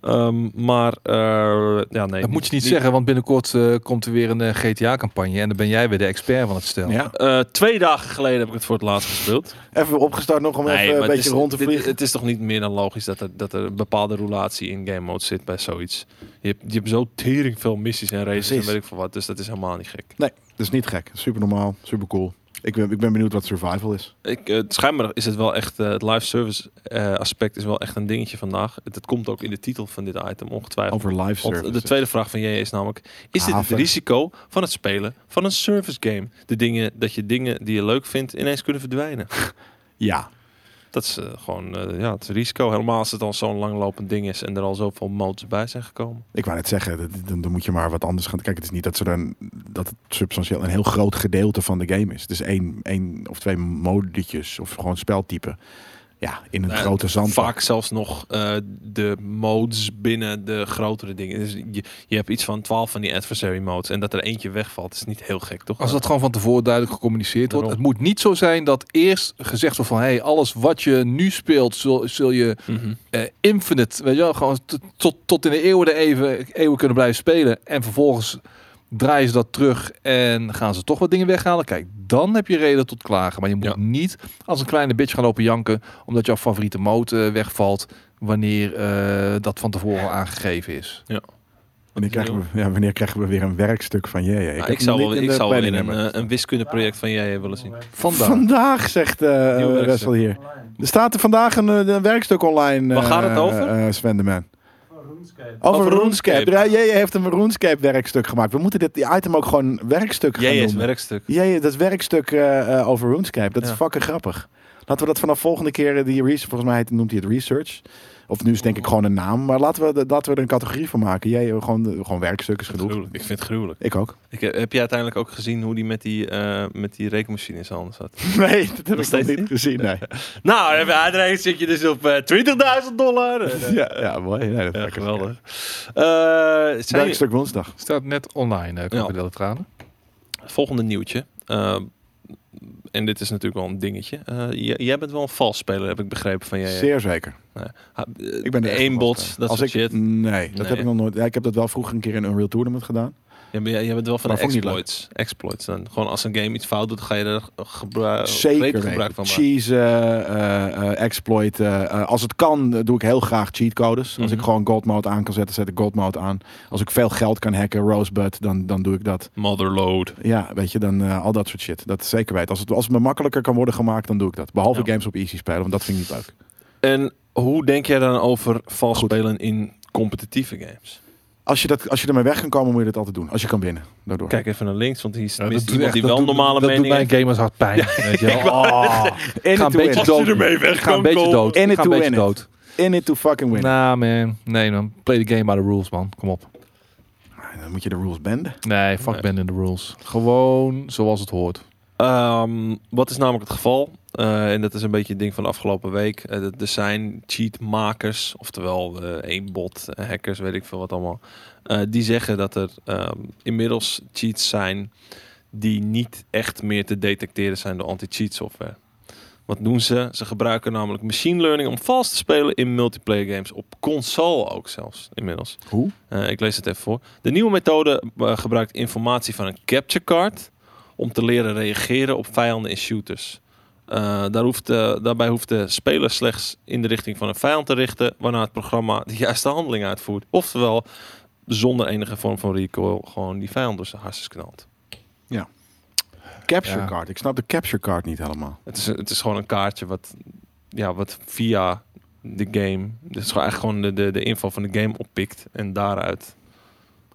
[SPEAKER 1] Ehm, maar eh, ja, nee.
[SPEAKER 3] dat moet je niet zeggen, want binnenkort eh, komt er weer een GTA-campagne. En dan ben jij weer de expert van het stel.
[SPEAKER 2] Ja.
[SPEAKER 1] Eh, twee dagen geleden heb ik het voor het laatst gespeeld.
[SPEAKER 2] Even opgestart nog om even
[SPEAKER 1] maar
[SPEAKER 2] een
[SPEAKER 1] het
[SPEAKER 2] beetje
[SPEAKER 1] is-
[SPEAKER 2] rond te
[SPEAKER 1] dit-
[SPEAKER 2] vliegen.
[SPEAKER 1] het is toch niet meer dan logisch dat er, dat er een bepaalde roulatie in game mode zit bij zoiets. Je hebt, je hebt zo tering veel missies en races
[SPEAKER 2] Precies.
[SPEAKER 1] en weet ik veel wat. Dus dat is helemaal niet gek.
[SPEAKER 2] Nee, dat is niet gek. Super normaal, super cool. Ik ben, ik ben benieuwd wat survival is.
[SPEAKER 1] Ik, eh, schijnbaar is het wel echt, eh, het live service eh, aspect is wel echt een dingetje vandaag. Het, het komt ook in de titel van dit item ongetwijfeld.
[SPEAKER 2] Over live
[SPEAKER 1] Want
[SPEAKER 2] service.
[SPEAKER 1] de tweede vraag van jij is namelijk: is dit het
[SPEAKER 2] Haven.
[SPEAKER 1] risico van het spelen van een service game? De dingen dat je dingen die je leuk vindt ineens kunnen verdwijnen.
[SPEAKER 2] Ja.
[SPEAKER 1] Dat is eh, gewoon eh, ja, het risico. Helemaal als het al zo'n langlopend ding is en er al zoveel modes bij zijn gekomen.
[SPEAKER 2] Ik wou net zeggen, dat- dan, dan moet je maar wat anders gaan. Kijk, het is niet dat, ze dan, dat het substantieel een heel groot gedeelte van de game is. Het is één, één of twee modetjes of gewoon speltypen. Ja, in een
[SPEAKER 1] Nou,
[SPEAKER 2] grote zand.
[SPEAKER 1] Vaak zelfs nog eh, de modes binnen de grotere dingen. Dus je, je hebt iets van 12 van die adversary modes en dat er eentje wegvalt is niet heel gek, toch?
[SPEAKER 3] Als dat gewoon van tevoren duidelijk gecommuniceerd wordt.
[SPEAKER 1] Daarom.
[SPEAKER 3] Het moet niet zo zijn dat eerst gezegd wordt van... Hey, alles wat je nu speelt, zul, zul je
[SPEAKER 1] Mhm.
[SPEAKER 3] eh, infinite, weet je wel, gewoon t- tot, tot in de eeuwen de eeuwen, eeuwen kunnen blijven spelen. En vervolgens draaien ze dat terug en gaan ze toch wat dingen weghalen. Kijk, dan heb je reden tot klagen. Maar je moet
[SPEAKER 1] Ja.
[SPEAKER 3] niet als een kleine bitch gaan lopen janken omdat jouw favoriete mode eh, wegvalt wanneer eh, dat van tevoren al aangegeven is.
[SPEAKER 2] Wanneer krijgen, we, ja, wanneer krijgen we weer een werkstuk van jij? Ik,
[SPEAKER 1] Nou,
[SPEAKER 2] heb
[SPEAKER 1] ik
[SPEAKER 2] hem
[SPEAKER 1] zou
[SPEAKER 2] niet
[SPEAKER 1] wel,
[SPEAKER 2] in
[SPEAKER 1] ik
[SPEAKER 2] de
[SPEAKER 1] zou wel in
[SPEAKER 2] planning
[SPEAKER 1] een,
[SPEAKER 2] hebben.
[SPEAKER 1] eh, een wiskundeproject van jij willen zien.
[SPEAKER 3] Vandaag.
[SPEAKER 2] Vandaag, zegt eh
[SPEAKER 1] Nieuw
[SPEAKER 2] eh, Wessel
[SPEAKER 1] werkstuk.
[SPEAKER 2] hier. Er staat er vandaag een, eh, een werkstuk online.
[SPEAKER 1] Waar
[SPEAKER 2] eh,
[SPEAKER 1] gaat het over?
[SPEAKER 2] eh, eh, Sven de Man. Over
[SPEAKER 1] Over
[SPEAKER 2] RuneScape.
[SPEAKER 1] RuneScape.
[SPEAKER 2] Ja, Jij heeft een RuneScape werkstuk gemaakt. We moeten dit die item ook gewoon werkstuk gaan
[SPEAKER 1] Jij is
[SPEAKER 2] noemen.
[SPEAKER 1] werkstuk.
[SPEAKER 2] Ja, ja, dat werkstuk eh, eh, over RuneScape, dat is
[SPEAKER 1] Ja.
[SPEAKER 2] fucking grappig. Laten we dat vanaf volgende keer, eh, die research, volgens mij heet- noemt hij het research. Of nu is het denk ik gewoon een naam, maar laten we, de- laten we er een categorie van maken. Jij, eh, gewoon, eh, gewoon werkstuk is genoeg.
[SPEAKER 1] Gruwelijk. Ik vind het gruwelijk.
[SPEAKER 2] Ik ook.
[SPEAKER 1] Ik, heb heb je uiteindelijk ook gezien hoe die met die, eh, met die rekenmachine in zijn handen zat?
[SPEAKER 2] Nee, dat heb ik nog
[SPEAKER 1] steeds
[SPEAKER 2] niet
[SPEAKER 1] niet?
[SPEAKER 2] gezien. Nee.
[SPEAKER 1] Nou, even uitrekenen zit je dus op eh 20.000 dollar. Eh,
[SPEAKER 2] ja, ja, mooi. Nee, dat
[SPEAKER 1] ja,
[SPEAKER 2] lekker.
[SPEAKER 1] geweldig. Eh, zijn
[SPEAKER 2] Werkstuk woensdag.
[SPEAKER 3] Staat net online, eh Krokodil Tranen.
[SPEAKER 1] Volgende nieuwtje. Eh, en dit is natuurlijk wel een dingetje. Eh, j- jij bent wel een vals speler, heb ik begrepen van jij.
[SPEAKER 2] Zeer zeker.
[SPEAKER 1] Ha- eh,
[SPEAKER 2] Ik ben de
[SPEAKER 1] één
[SPEAKER 2] echte
[SPEAKER 1] bot,
[SPEAKER 2] master.
[SPEAKER 1] dat
[SPEAKER 2] Als
[SPEAKER 1] soort
[SPEAKER 2] ik,
[SPEAKER 1] shit.
[SPEAKER 2] Nee, dat
[SPEAKER 1] Nee.
[SPEAKER 2] heb ik nog nooit. Ja, ik heb dat wel vroeger een keer in Unreal Tournament gedaan.
[SPEAKER 1] Jij, bent- jij bent wel van de
[SPEAKER 2] Maar vond ik niet leuk.
[SPEAKER 1] exploits. Exploits dan. Gewoon als een game iets fout doet, ga je er gebruik,
[SPEAKER 2] Zeker.
[SPEAKER 1] gretig Oh, gebruik van maken.
[SPEAKER 2] Cheese, exploit. eh, eh, als het kan, eh, doe ik heel graag cheatcodes. Als
[SPEAKER 1] Mhm.
[SPEAKER 2] ik gewoon gold mode aan kan zetten, zet ik gold mode aan. Als ik veel geld kan hacken, rosebud, dan, dan doe ik dat.
[SPEAKER 1] Motherload.
[SPEAKER 2] Ja, weet je, dan eh, al dat soort shit. Dat is zeker weten. Als het, als het me makkelijker kan worden gemaakt, dan doe ik dat. Behalve
[SPEAKER 1] Ja.
[SPEAKER 2] games op easy spelen, want dat vind ik niet leuk.
[SPEAKER 1] En hoe denk jij dan over vals
[SPEAKER 2] Goed.
[SPEAKER 1] spelen in competitieve games?
[SPEAKER 2] Als je, dat, als je ermee weg kan komen, moet je dat altijd doen. Als je kan winnen, daardoor.
[SPEAKER 1] Kijk even naar links, want hier is
[SPEAKER 3] dat
[SPEAKER 1] tenminste
[SPEAKER 3] doet
[SPEAKER 1] iemand
[SPEAKER 3] echt-
[SPEAKER 1] die
[SPEAKER 3] dat
[SPEAKER 1] wel
[SPEAKER 3] doet-
[SPEAKER 1] normale
[SPEAKER 3] dat doet
[SPEAKER 1] mening
[SPEAKER 3] mijn
[SPEAKER 1] heeft.
[SPEAKER 3] gamers hard pijn. weet je wel.
[SPEAKER 2] Oh,
[SPEAKER 3] Ga
[SPEAKER 2] in it
[SPEAKER 3] een
[SPEAKER 2] to
[SPEAKER 3] beetje
[SPEAKER 2] win.
[SPEAKER 3] dood. Als je ermee
[SPEAKER 1] weg
[SPEAKER 3] Ga een beetje dood.
[SPEAKER 2] In it
[SPEAKER 3] Ga
[SPEAKER 2] to
[SPEAKER 3] een beetje
[SPEAKER 2] win it.
[SPEAKER 3] dood.
[SPEAKER 2] In it to fucking win.
[SPEAKER 3] Nou man, nee man. Play the game by the rules man, kom op.
[SPEAKER 2] Ah, Dan moet je de rules benden.
[SPEAKER 3] Nee, fuck
[SPEAKER 1] Nee.
[SPEAKER 3] Ben in the rules. Gewoon zoals het hoort.
[SPEAKER 1] Ehm, wat is namelijk het geval? Eh, en dat is een beetje het ding van de afgelopen week. Eh, dat er zijn cheatmakers, oftewel eh één bot, eh, hackers, weet ik veel wat allemaal. eh, die zeggen dat er ehm, inmiddels cheats zijn die niet echt meer te detecteren zijn door anti-cheat software. Wat doen ze? Ze gebruiken namelijk machine learning om vals te spelen in multiplayer games. Op console ook zelfs inmiddels.
[SPEAKER 2] Hoe?
[SPEAKER 1] Eh, ik lees het even voor. De nieuwe methode eh, gebruikt informatie van een capture card om te leren reageren op vijanden in shooters. Eh, daar hoeft, eh, daarbij hoeft de speler slechts in de richting van een vijand te richten, waarna het programma de juiste handeling uitvoert. Oftewel, zonder enige vorm van recoil, gewoon die vijand door zijn hartjes knalt.
[SPEAKER 2] Capture
[SPEAKER 3] Ja.
[SPEAKER 2] card. Ik snap de capture card niet helemaal.
[SPEAKER 1] Het is, het is gewoon een kaartje wat, ja, wat via de game, dus gewoon eigenlijk gewoon de, de, de info van de game oppikt en daaruit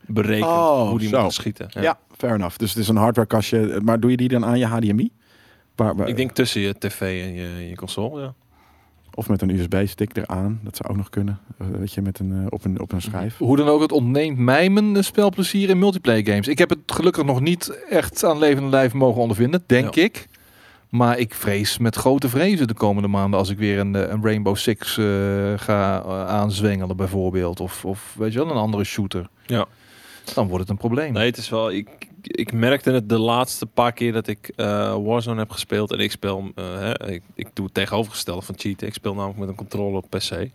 [SPEAKER 1] berekent
[SPEAKER 2] Oh,
[SPEAKER 1] hoe die
[SPEAKER 2] zo.
[SPEAKER 1] moet schieten.
[SPEAKER 2] Ja. fair enough. Dus het is een hardwarekastje. Maar doe je die dan aan je HDMI? Waar, waar-
[SPEAKER 1] Ik denk tussen je tv en je, je console, ja.
[SPEAKER 2] Of met een USB-stick eraan. Dat zou ook nog kunnen. Eh, weet je, met een, eh, op, een, op een schijf.
[SPEAKER 3] Hoe dan ook, het ontneemt mij mijn eh, spelplezier in multiplayer games. Ik heb het gelukkig nog niet echt aan levende lijf mogen ondervinden, denk
[SPEAKER 1] Ja.
[SPEAKER 3] ik. Maar ik vrees met grote vrezen de komende maanden als ik weer een, eh, een Rainbow Six eh, ga eh, aanzwengelen bijvoorbeeld. Of, of weet je wel, een andere shooter.
[SPEAKER 1] Ja.
[SPEAKER 3] Dan wordt het een probleem.
[SPEAKER 1] Nee, het is wel... Ik, ik, ik merkte het de laatste paar keer dat ik eh, Warzone heb gespeeld. En ik speel, hem, eh, hè, ik, ik doe het tegenovergestelde van cheaten. Ik speel namelijk met een controller op PC.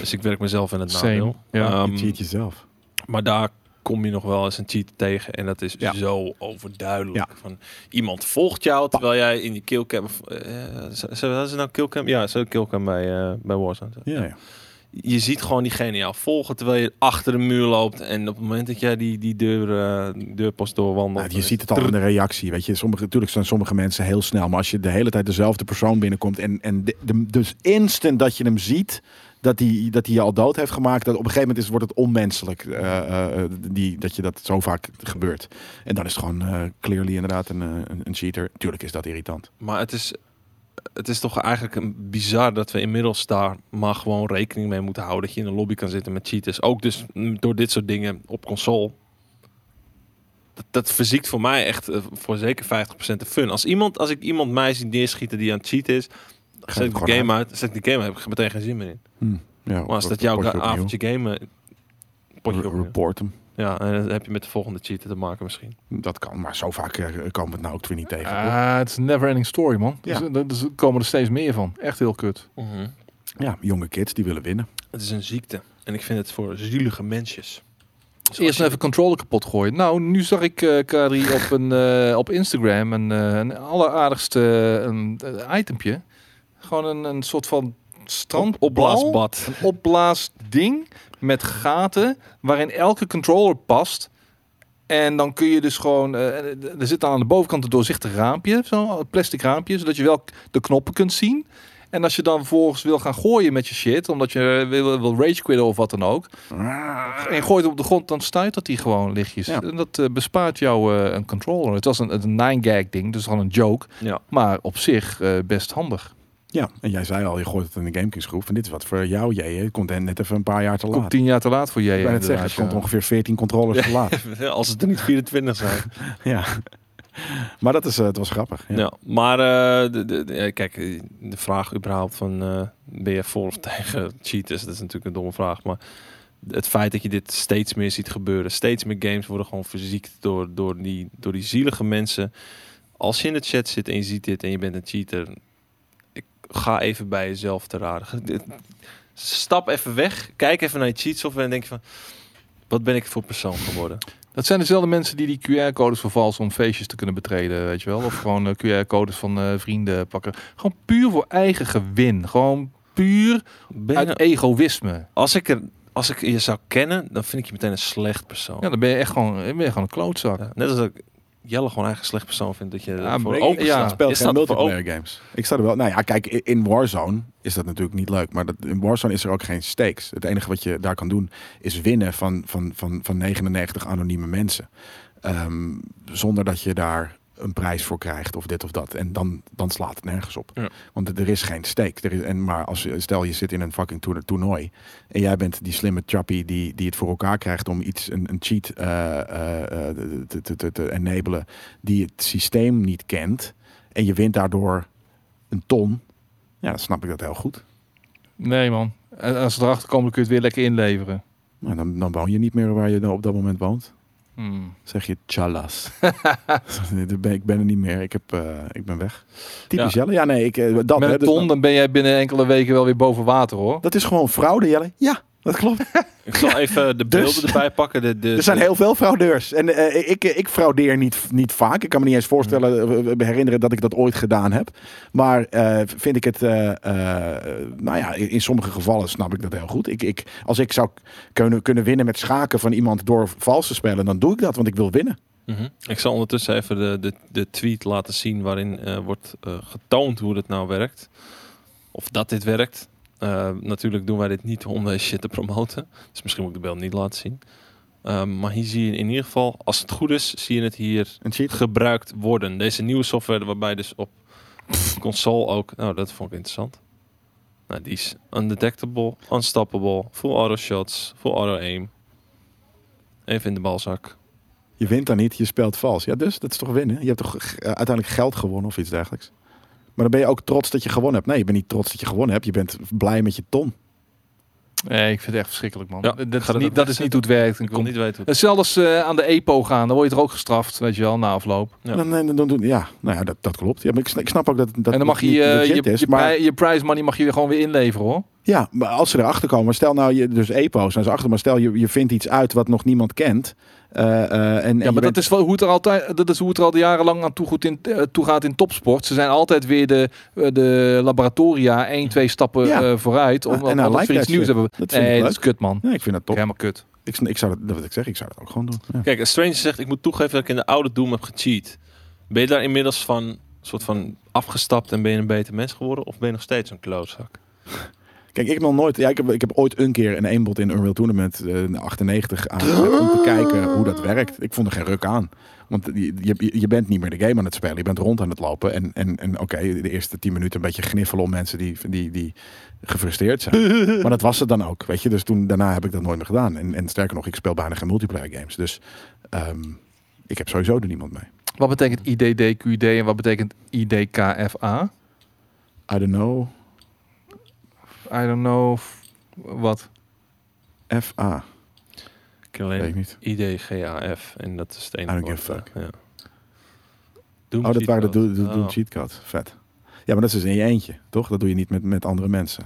[SPEAKER 1] Dus ik werk mezelf in het
[SPEAKER 3] Same,
[SPEAKER 1] nadeel.
[SPEAKER 3] ja.
[SPEAKER 1] Ehm,
[SPEAKER 2] je cheat jezelf.
[SPEAKER 1] maar daar kom je nog wel eens een cheat tegen. En dat is
[SPEAKER 2] Ja.
[SPEAKER 1] zo overduidelijk.
[SPEAKER 2] Ja.
[SPEAKER 1] Van, iemand volgt jou terwijl jij in die killcam... eh z- z- wat is het nou killcam? Ja, zo killcam bij, eh, bij Warzone.
[SPEAKER 2] Ja, ja.
[SPEAKER 1] Je ziet gewoon diegene jou volgen terwijl je achter een muur loopt. En op het moment dat jij die, die deur, eh deurpost doorwandelt...
[SPEAKER 2] Nou, je ziet het al in de reactie. Weet je. Sommige, natuurlijk zijn sommige mensen heel snel. Maar als je de hele tijd dezelfde persoon binnenkomt. En, en de- de- dus instant dat je hem ziet. Dat hij dat die je al dood heeft gemaakt. Dat op een gegeven moment is, wordt het onmenselijk. eh, eh, die, dat je dat zo vaak gebeurt. En dan is het gewoon eh, clearly inderdaad een, eh, een, een cheater. Tuurlijk is dat irritant.
[SPEAKER 1] Maar het is, het is toch eigenlijk een bizar dat we inmiddels daar maar gewoon rekening mee moeten houden. Dat je in een lobby kan zitten met cheaters. Ook dus mm, door dit soort dingen op console. Dat, dat verziekt voor mij echt eh, voor zeker 50% de fun. Als, iemand, als ik iemand mij zie neerschieten die aan het cheaten is, zet
[SPEAKER 2] het
[SPEAKER 1] ik de
[SPEAKER 2] gewoon
[SPEAKER 1] game uit. Zet ik de game uit, heb ik meteen geen zin meer in.
[SPEAKER 2] Hmm. Ja,
[SPEAKER 1] Maar als
[SPEAKER 2] op-
[SPEAKER 1] dat
[SPEAKER 2] op-
[SPEAKER 1] jouw
[SPEAKER 2] potje opnieuw.
[SPEAKER 1] avondje gamen... Potje
[SPEAKER 2] Re-
[SPEAKER 1] opnieuw.
[SPEAKER 2] Report hem.
[SPEAKER 1] Ja, en dat heb je met de volgende cheater te maken misschien.
[SPEAKER 2] Dat kan, maar zo vaak eh, komen we het nou ook weer niet tegen.
[SPEAKER 3] Ah, het is een never ending story, man.
[SPEAKER 2] Ja.
[SPEAKER 3] Dus, eh, dat- dus er komen er steeds meer van. Echt heel kut.
[SPEAKER 2] ja, jonge kids die willen winnen.
[SPEAKER 1] Het is een ziekte. En ik vind het voor zielige mensjes. Dus als
[SPEAKER 3] Eerst
[SPEAKER 1] je-
[SPEAKER 3] even controller kapot gooien. Nou, nu zag ik eh Kari op, een, eh, op Instagram een, eh een alleraardigste eh, een, eh, itempje. Gewoon een, een soort van strand
[SPEAKER 1] Op- opblaasbad.
[SPEAKER 3] een opblaasding met gaten waarin elke controller past. En dan kun je dus gewoon, eh, er zit dan aan de bovenkant een doorzichtig raampje, zo'n plastic raampje, zodat je wel k- de knoppen kunt zien. En als je dan vervolgens wil gaan gooien met je shit, omdat je eh, wil, wil rage quitten of wat dan ook, en je gooit op de grond, dan stuit dat die gewoon lichtjes.
[SPEAKER 2] Ja.
[SPEAKER 3] En dat eh, bespaart jou eh, een controller. Het was een, een nine gag ding, dus gewoon een joke,
[SPEAKER 1] Ja.
[SPEAKER 3] maar op zich eh, best handig.
[SPEAKER 2] Ja, en jij zei al, je gooit het in de Gamekings groep. En dit is wat voor jou, jij. Het komt net even een paar jaar te laat.
[SPEAKER 3] Komt tien jaar te laat voor jij.
[SPEAKER 2] ik ben het zeggen, het komt ongeveer 14 controllers te laat.
[SPEAKER 1] Als het er niet 24 zijn.
[SPEAKER 2] Ja. Maar dat is, eh, het was grappig. Ja.
[SPEAKER 1] ja. Maar eh, de, de, de- eh, kijk, eh, de vraag überhaupt van eh, ben je voor of tegen cheaters, dat is natuurlijk een domme vraag. Maar het feit dat je dit steeds meer ziet gebeuren, steeds meer games worden gewoon verziekt door, door, die, door die zielige mensen. Als je in de chat zit en je ziet dit en je bent een cheater, ik ga even bij jezelf te raden. Ge- dit- Stap even weg, kijk even naar je cheat software en denk je van, wat ben ik voor persoon geworden?
[SPEAKER 3] Dat zijn dezelfde mensen die die QR-codes vervalsen om feestjes te kunnen betreden, weet je wel. Of gewoon eh, QR-codes van eh, vrienden pakken. Gewoon puur voor eigen gewin. Gewoon puur
[SPEAKER 1] Ben je nou-
[SPEAKER 3] uit egoïsme.
[SPEAKER 1] Als ik, er, als ik je zou kennen, dan vind ik je meteen een slecht persoon.
[SPEAKER 3] Ja, dan ben je echt gewoon, dan ben je gewoon een klootzak.
[SPEAKER 1] Ja, Net als dat ik Jelle gewoon eigenlijk een slecht persoon vind. Dat je
[SPEAKER 3] Ja,
[SPEAKER 1] ja, voor
[SPEAKER 3] maar ik-
[SPEAKER 1] open
[SPEAKER 3] ja.
[SPEAKER 1] staat.
[SPEAKER 3] Ik
[SPEAKER 2] Speel
[SPEAKER 1] Je
[SPEAKER 2] geen
[SPEAKER 1] staat voor open.
[SPEAKER 2] multiplayer games. Ik sta er wel. Nou ja, kijk, i- in Warzone is dat natuurlijk niet leuk. Maar dat, in Warzone is er ook geen stakes. Het enige wat je daar kan doen is winnen van, van, van, van 99 anonieme mensen. Ehm, zonder dat je daar een prijs voor krijgt of dit of dat. En dan, dan slaat het nergens op.
[SPEAKER 1] Ja.
[SPEAKER 2] Want er- er is geen steek. Er is, en maar als, je- stel je zit in een fucking toer- toernooi. En jij bent die slimme chappie die, die het voor elkaar krijgt om iets, een, een cheat eh, eh, eh, te, te, te, te enabelen. Die het systeem niet kent. En je wint daardoor een ton. Ja, dan snap ik dat heel goed.
[SPEAKER 3] Nee, man. En als ze erachter komen, dan kun je het weer lekker inleveren.
[SPEAKER 2] Maar dan, dan woon je niet meer waar je dan op dat moment woont.
[SPEAKER 3] Hmm.
[SPEAKER 2] Zeg je tjallas. ik ben- ik ben er niet meer. Ik, heb, eh, ik ben weg. Typisch Jelle. Ja, nee. Ik, eh, dat,
[SPEAKER 3] Met
[SPEAKER 2] hè,
[SPEAKER 3] een
[SPEAKER 2] dus
[SPEAKER 3] ton, dan ben jij binnen enkele weken wel weer boven water, hoor.
[SPEAKER 2] Dat is gewoon fraude, Jelle. Ja, dat klopt.
[SPEAKER 1] Ik zal even de
[SPEAKER 2] Dus-
[SPEAKER 1] beelden erbij pakken. De, de,
[SPEAKER 2] Er zijn heel veel fraudeurs. En eh, ik, ik fraudeer niet, niet vaak. Ik kan me niet eens voorstellen, eh, eh, herinneren dat ik dat ooit gedaan heb. Maar eh, vind ik het, eh, eh, nou ja, in in sommige gevallen snap ik dat heel goed. Ik, ik, als ik zou kunnen, kunnen winnen met schaken van iemand door vals te spelen, dan doe ik dat, want ik wil winnen.
[SPEAKER 1] Mhm. Ik zal ondertussen even de, de, de tweet laten zien waarin eh, wordt eh, getoond hoe dat nou werkt. Of dat dit werkt. Eh, natuurlijk doen wij dit niet om deze shit te promoten. Dus misschien moet ik de beeld niet laten zien. Ehm, maar hier zie je in ieder geval, als het goed is, zie je het hier
[SPEAKER 2] Een cheat.
[SPEAKER 1] gebruikt worden. Deze nieuwe software waarbij dus op console ook... Nou, dat vond ik interessant. Nou, die is undetectable, unstoppable, full auto shots, full auto aim. Even in de balzak.
[SPEAKER 2] Je wint dan niet, je speelt vals. Ja, dus dat is toch winnen? Je hebt toch eh, uiteindelijk geld gewonnen of iets dergelijks? Maar dan ben je ook trots dat je gewonnen hebt. Nee, je bent niet trots dat je gewonnen hebt. Je bent blij met je ton.
[SPEAKER 3] Nee, ik vind het echt verschrikkelijk, man.
[SPEAKER 1] Ja,
[SPEAKER 3] dat,
[SPEAKER 1] ga
[SPEAKER 3] is
[SPEAKER 1] dat
[SPEAKER 3] niet,
[SPEAKER 1] ook
[SPEAKER 3] dat is niet hoe het werkt.
[SPEAKER 1] Ik kon niet weten hoe
[SPEAKER 3] Hetzelfde als eh, aan de EPO gaan, dan word je er ook gestraft, weet je wel, na afloop.
[SPEAKER 1] Ja.
[SPEAKER 2] Dan, dan, dan, doen- ja, nou ja, dat, dat klopt. Ja, maar ik, sna- ik snap ook dat dat
[SPEAKER 3] en dan mag je
[SPEAKER 2] niet
[SPEAKER 3] eh,
[SPEAKER 2] legit
[SPEAKER 3] je,
[SPEAKER 2] is,
[SPEAKER 3] je,
[SPEAKER 2] maar-
[SPEAKER 3] pri- je prize money mag je weer gewoon weer inleveren, hoor.
[SPEAKER 2] Ja, maar als ze erachter komen, stel nou, je, dus EPO zijn ze achter, maar stel je, je vindt iets uit wat nog niemand kent. eh, eh, en, en
[SPEAKER 3] Ja,
[SPEAKER 2] je
[SPEAKER 3] maar
[SPEAKER 2] bent-
[SPEAKER 3] dat is, wel hoe het er altijd, dat is hoe het er al de jarenlang aan toe, goed in, eh, toe gaat in topsport. Ze zijn altijd weer de, eh, de laboratoria 1, 2 stappen
[SPEAKER 2] Ja.
[SPEAKER 3] eh, vooruit. Om,
[SPEAKER 2] Ah, en I
[SPEAKER 3] omdat
[SPEAKER 2] like
[SPEAKER 3] ze weer iets
[SPEAKER 2] that
[SPEAKER 3] nieuws
[SPEAKER 2] shit.
[SPEAKER 3] hebben.
[SPEAKER 2] Dat vind ik
[SPEAKER 3] Nee, dat
[SPEAKER 2] leuk.
[SPEAKER 3] is kut, man.
[SPEAKER 2] Ja, ik vind dat top.
[SPEAKER 3] Helemaal kut.
[SPEAKER 2] Ik, sn- ik zou dat, wat ik zeg, ik zou dat ook gewoon doen. Ja.
[SPEAKER 1] Kijk, Strange zegt, ik moet toegeven dat ik in de oude Doom heb gecheat. Ben je daar inmiddels van soort van afgestapt en ben je een beter mens geworden? Of ben je nog steeds een klootzak?
[SPEAKER 2] Kijk, ik heb nog nooit. Ja, ik, heb, ik heb ooit een keer een eenbod in Unreal Tournament eh, in 98 aangemaakt om te kijken hoe dat werkt. Ik vond er geen ruk aan. Want je, je, je bent niet meer de game aan het spelen, je bent rond aan het lopen. En, en, en oké, de eerste 10 minuten een beetje gniffelen om mensen die, die, die gefrustreerd zijn. maar dat was het dan ook, weet je. Dus toen, daarna heb ik dat nooit meer gedaan. En, en sterker nog, ik speel bijna geen multiplayer games. Dus ehm, ik heb sowieso er niemand mee.
[SPEAKER 3] Wat betekent IDDQD en wat betekent IDKFA?
[SPEAKER 2] I don't know.
[SPEAKER 3] I don't know. f- Wat?
[SPEAKER 2] FA,
[SPEAKER 1] Ik ken
[SPEAKER 2] weet ik
[SPEAKER 1] alleen
[SPEAKER 2] niet.
[SPEAKER 1] IDGAF en dat is het enige
[SPEAKER 2] I don't give
[SPEAKER 1] woord,
[SPEAKER 2] a
[SPEAKER 1] eh, Ja. Doom
[SPEAKER 2] Oh, dat
[SPEAKER 1] cheat
[SPEAKER 2] waren de
[SPEAKER 1] code.
[SPEAKER 2] do, do, do,
[SPEAKER 1] Oh.
[SPEAKER 2] cheatcode. Vet. Ja, maar dat is dus in je eentje, toch? Dat doe je niet met, met andere mensen.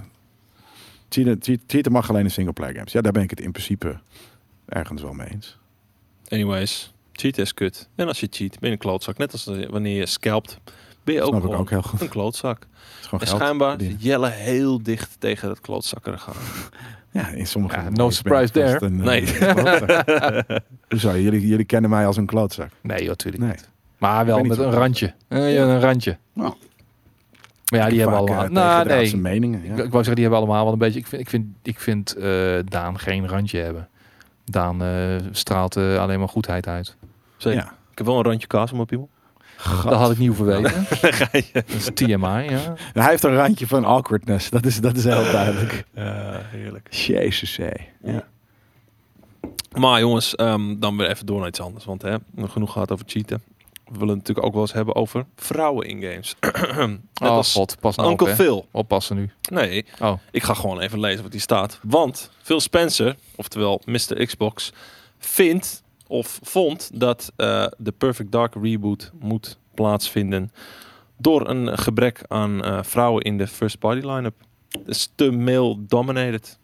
[SPEAKER 2] Cheaten, cheat- cheaten mag alleen in singleplayer games. Ja, daar ben ik het in principe ergens wel mee eens.
[SPEAKER 1] Anyways, cheat is kut. En als je cheat, ben je een klootzak. Net als wanneer je scalpt, ben je
[SPEAKER 2] Dat
[SPEAKER 1] ook,
[SPEAKER 2] snap ik
[SPEAKER 1] gewoon
[SPEAKER 2] ook heel goed.
[SPEAKER 1] een klootzak.
[SPEAKER 2] Het is gewoon
[SPEAKER 1] En
[SPEAKER 2] geld.
[SPEAKER 1] schijnbaar
[SPEAKER 2] verdienen.
[SPEAKER 1] zit Jelle heel dicht tegen dat klootzakkerige aan.
[SPEAKER 2] Ja, in sommige
[SPEAKER 3] Ja, no
[SPEAKER 2] games ben ik
[SPEAKER 3] surprise
[SPEAKER 2] vast een, eh,
[SPEAKER 1] Nee.
[SPEAKER 2] klootzak. Hoezo? Jullie, jullie kennen mij als een klootzak.
[SPEAKER 3] Nee, natuurlijk
[SPEAKER 2] Nee.
[SPEAKER 3] niet. Maar wel
[SPEAKER 2] Ik weet
[SPEAKER 3] met
[SPEAKER 2] niet
[SPEAKER 3] een
[SPEAKER 2] wat-
[SPEAKER 3] randje. Eh, ja, een randje.
[SPEAKER 2] Nou.
[SPEAKER 3] Maar ja, die hebben
[SPEAKER 2] Vaak, eh,
[SPEAKER 3] allemaal. Nou, nee.
[SPEAKER 2] tegendraadse meningen.
[SPEAKER 3] Ik,
[SPEAKER 2] Ja.
[SPEAKER 3] ik wou zeggen, die hebben allemaal wel een beetje. Ik vind, ik vind, ik vind eh, Daan geen randje hebben. Daan eh, straalt eh, alleen maar goedheid uit.
[SPEAKER 1] Zeker.
[SPEAKER 2] Ja.
[SPEAKER 1] Ik heb wel een randje kaas op mijn piemel.
[SPEAKER 3] Dat had ik niet hoeven weten. Dat is TMI, ja.
[SPEAKER 2] Hij heeft een randje van awkwardness. Dat is, dat is heel duidelijk.
[SPEAKER 1] heerlijk.
[SPEAKER 2] Jezus, hé. Ja.
[SPEAKER 1] Maar jongens, ehm, dan weer even door naar iets anders. Want hè, genoeg gehad over cheaten. We willen het natuurlijk ook wel eens hebben over vrouwen in games. Net
[SPEAKER 3] Oh
[SPEAKER 1] als
[SPEAKER 3] god, pas nou op,
[SPEAKER 1] Uncle
[SPEAKER 3] hè.
[SPEAKER 1] Phil.
[SPEAKER 3] Oppassen nu.
[SPEAKER 1] Nee,
[SPEAKER 3] Oh.
[SPEAKER 1] ik ga gewoon even lezen wat hier staat. Want Phil Spencer, oftewel Mr. Xbox, vindt of vond dat eh, de Perfect Dark reboot moet plaatsvinden door een gebrek aan eh, vrouwen in de first party line-up. Het is te male dominated.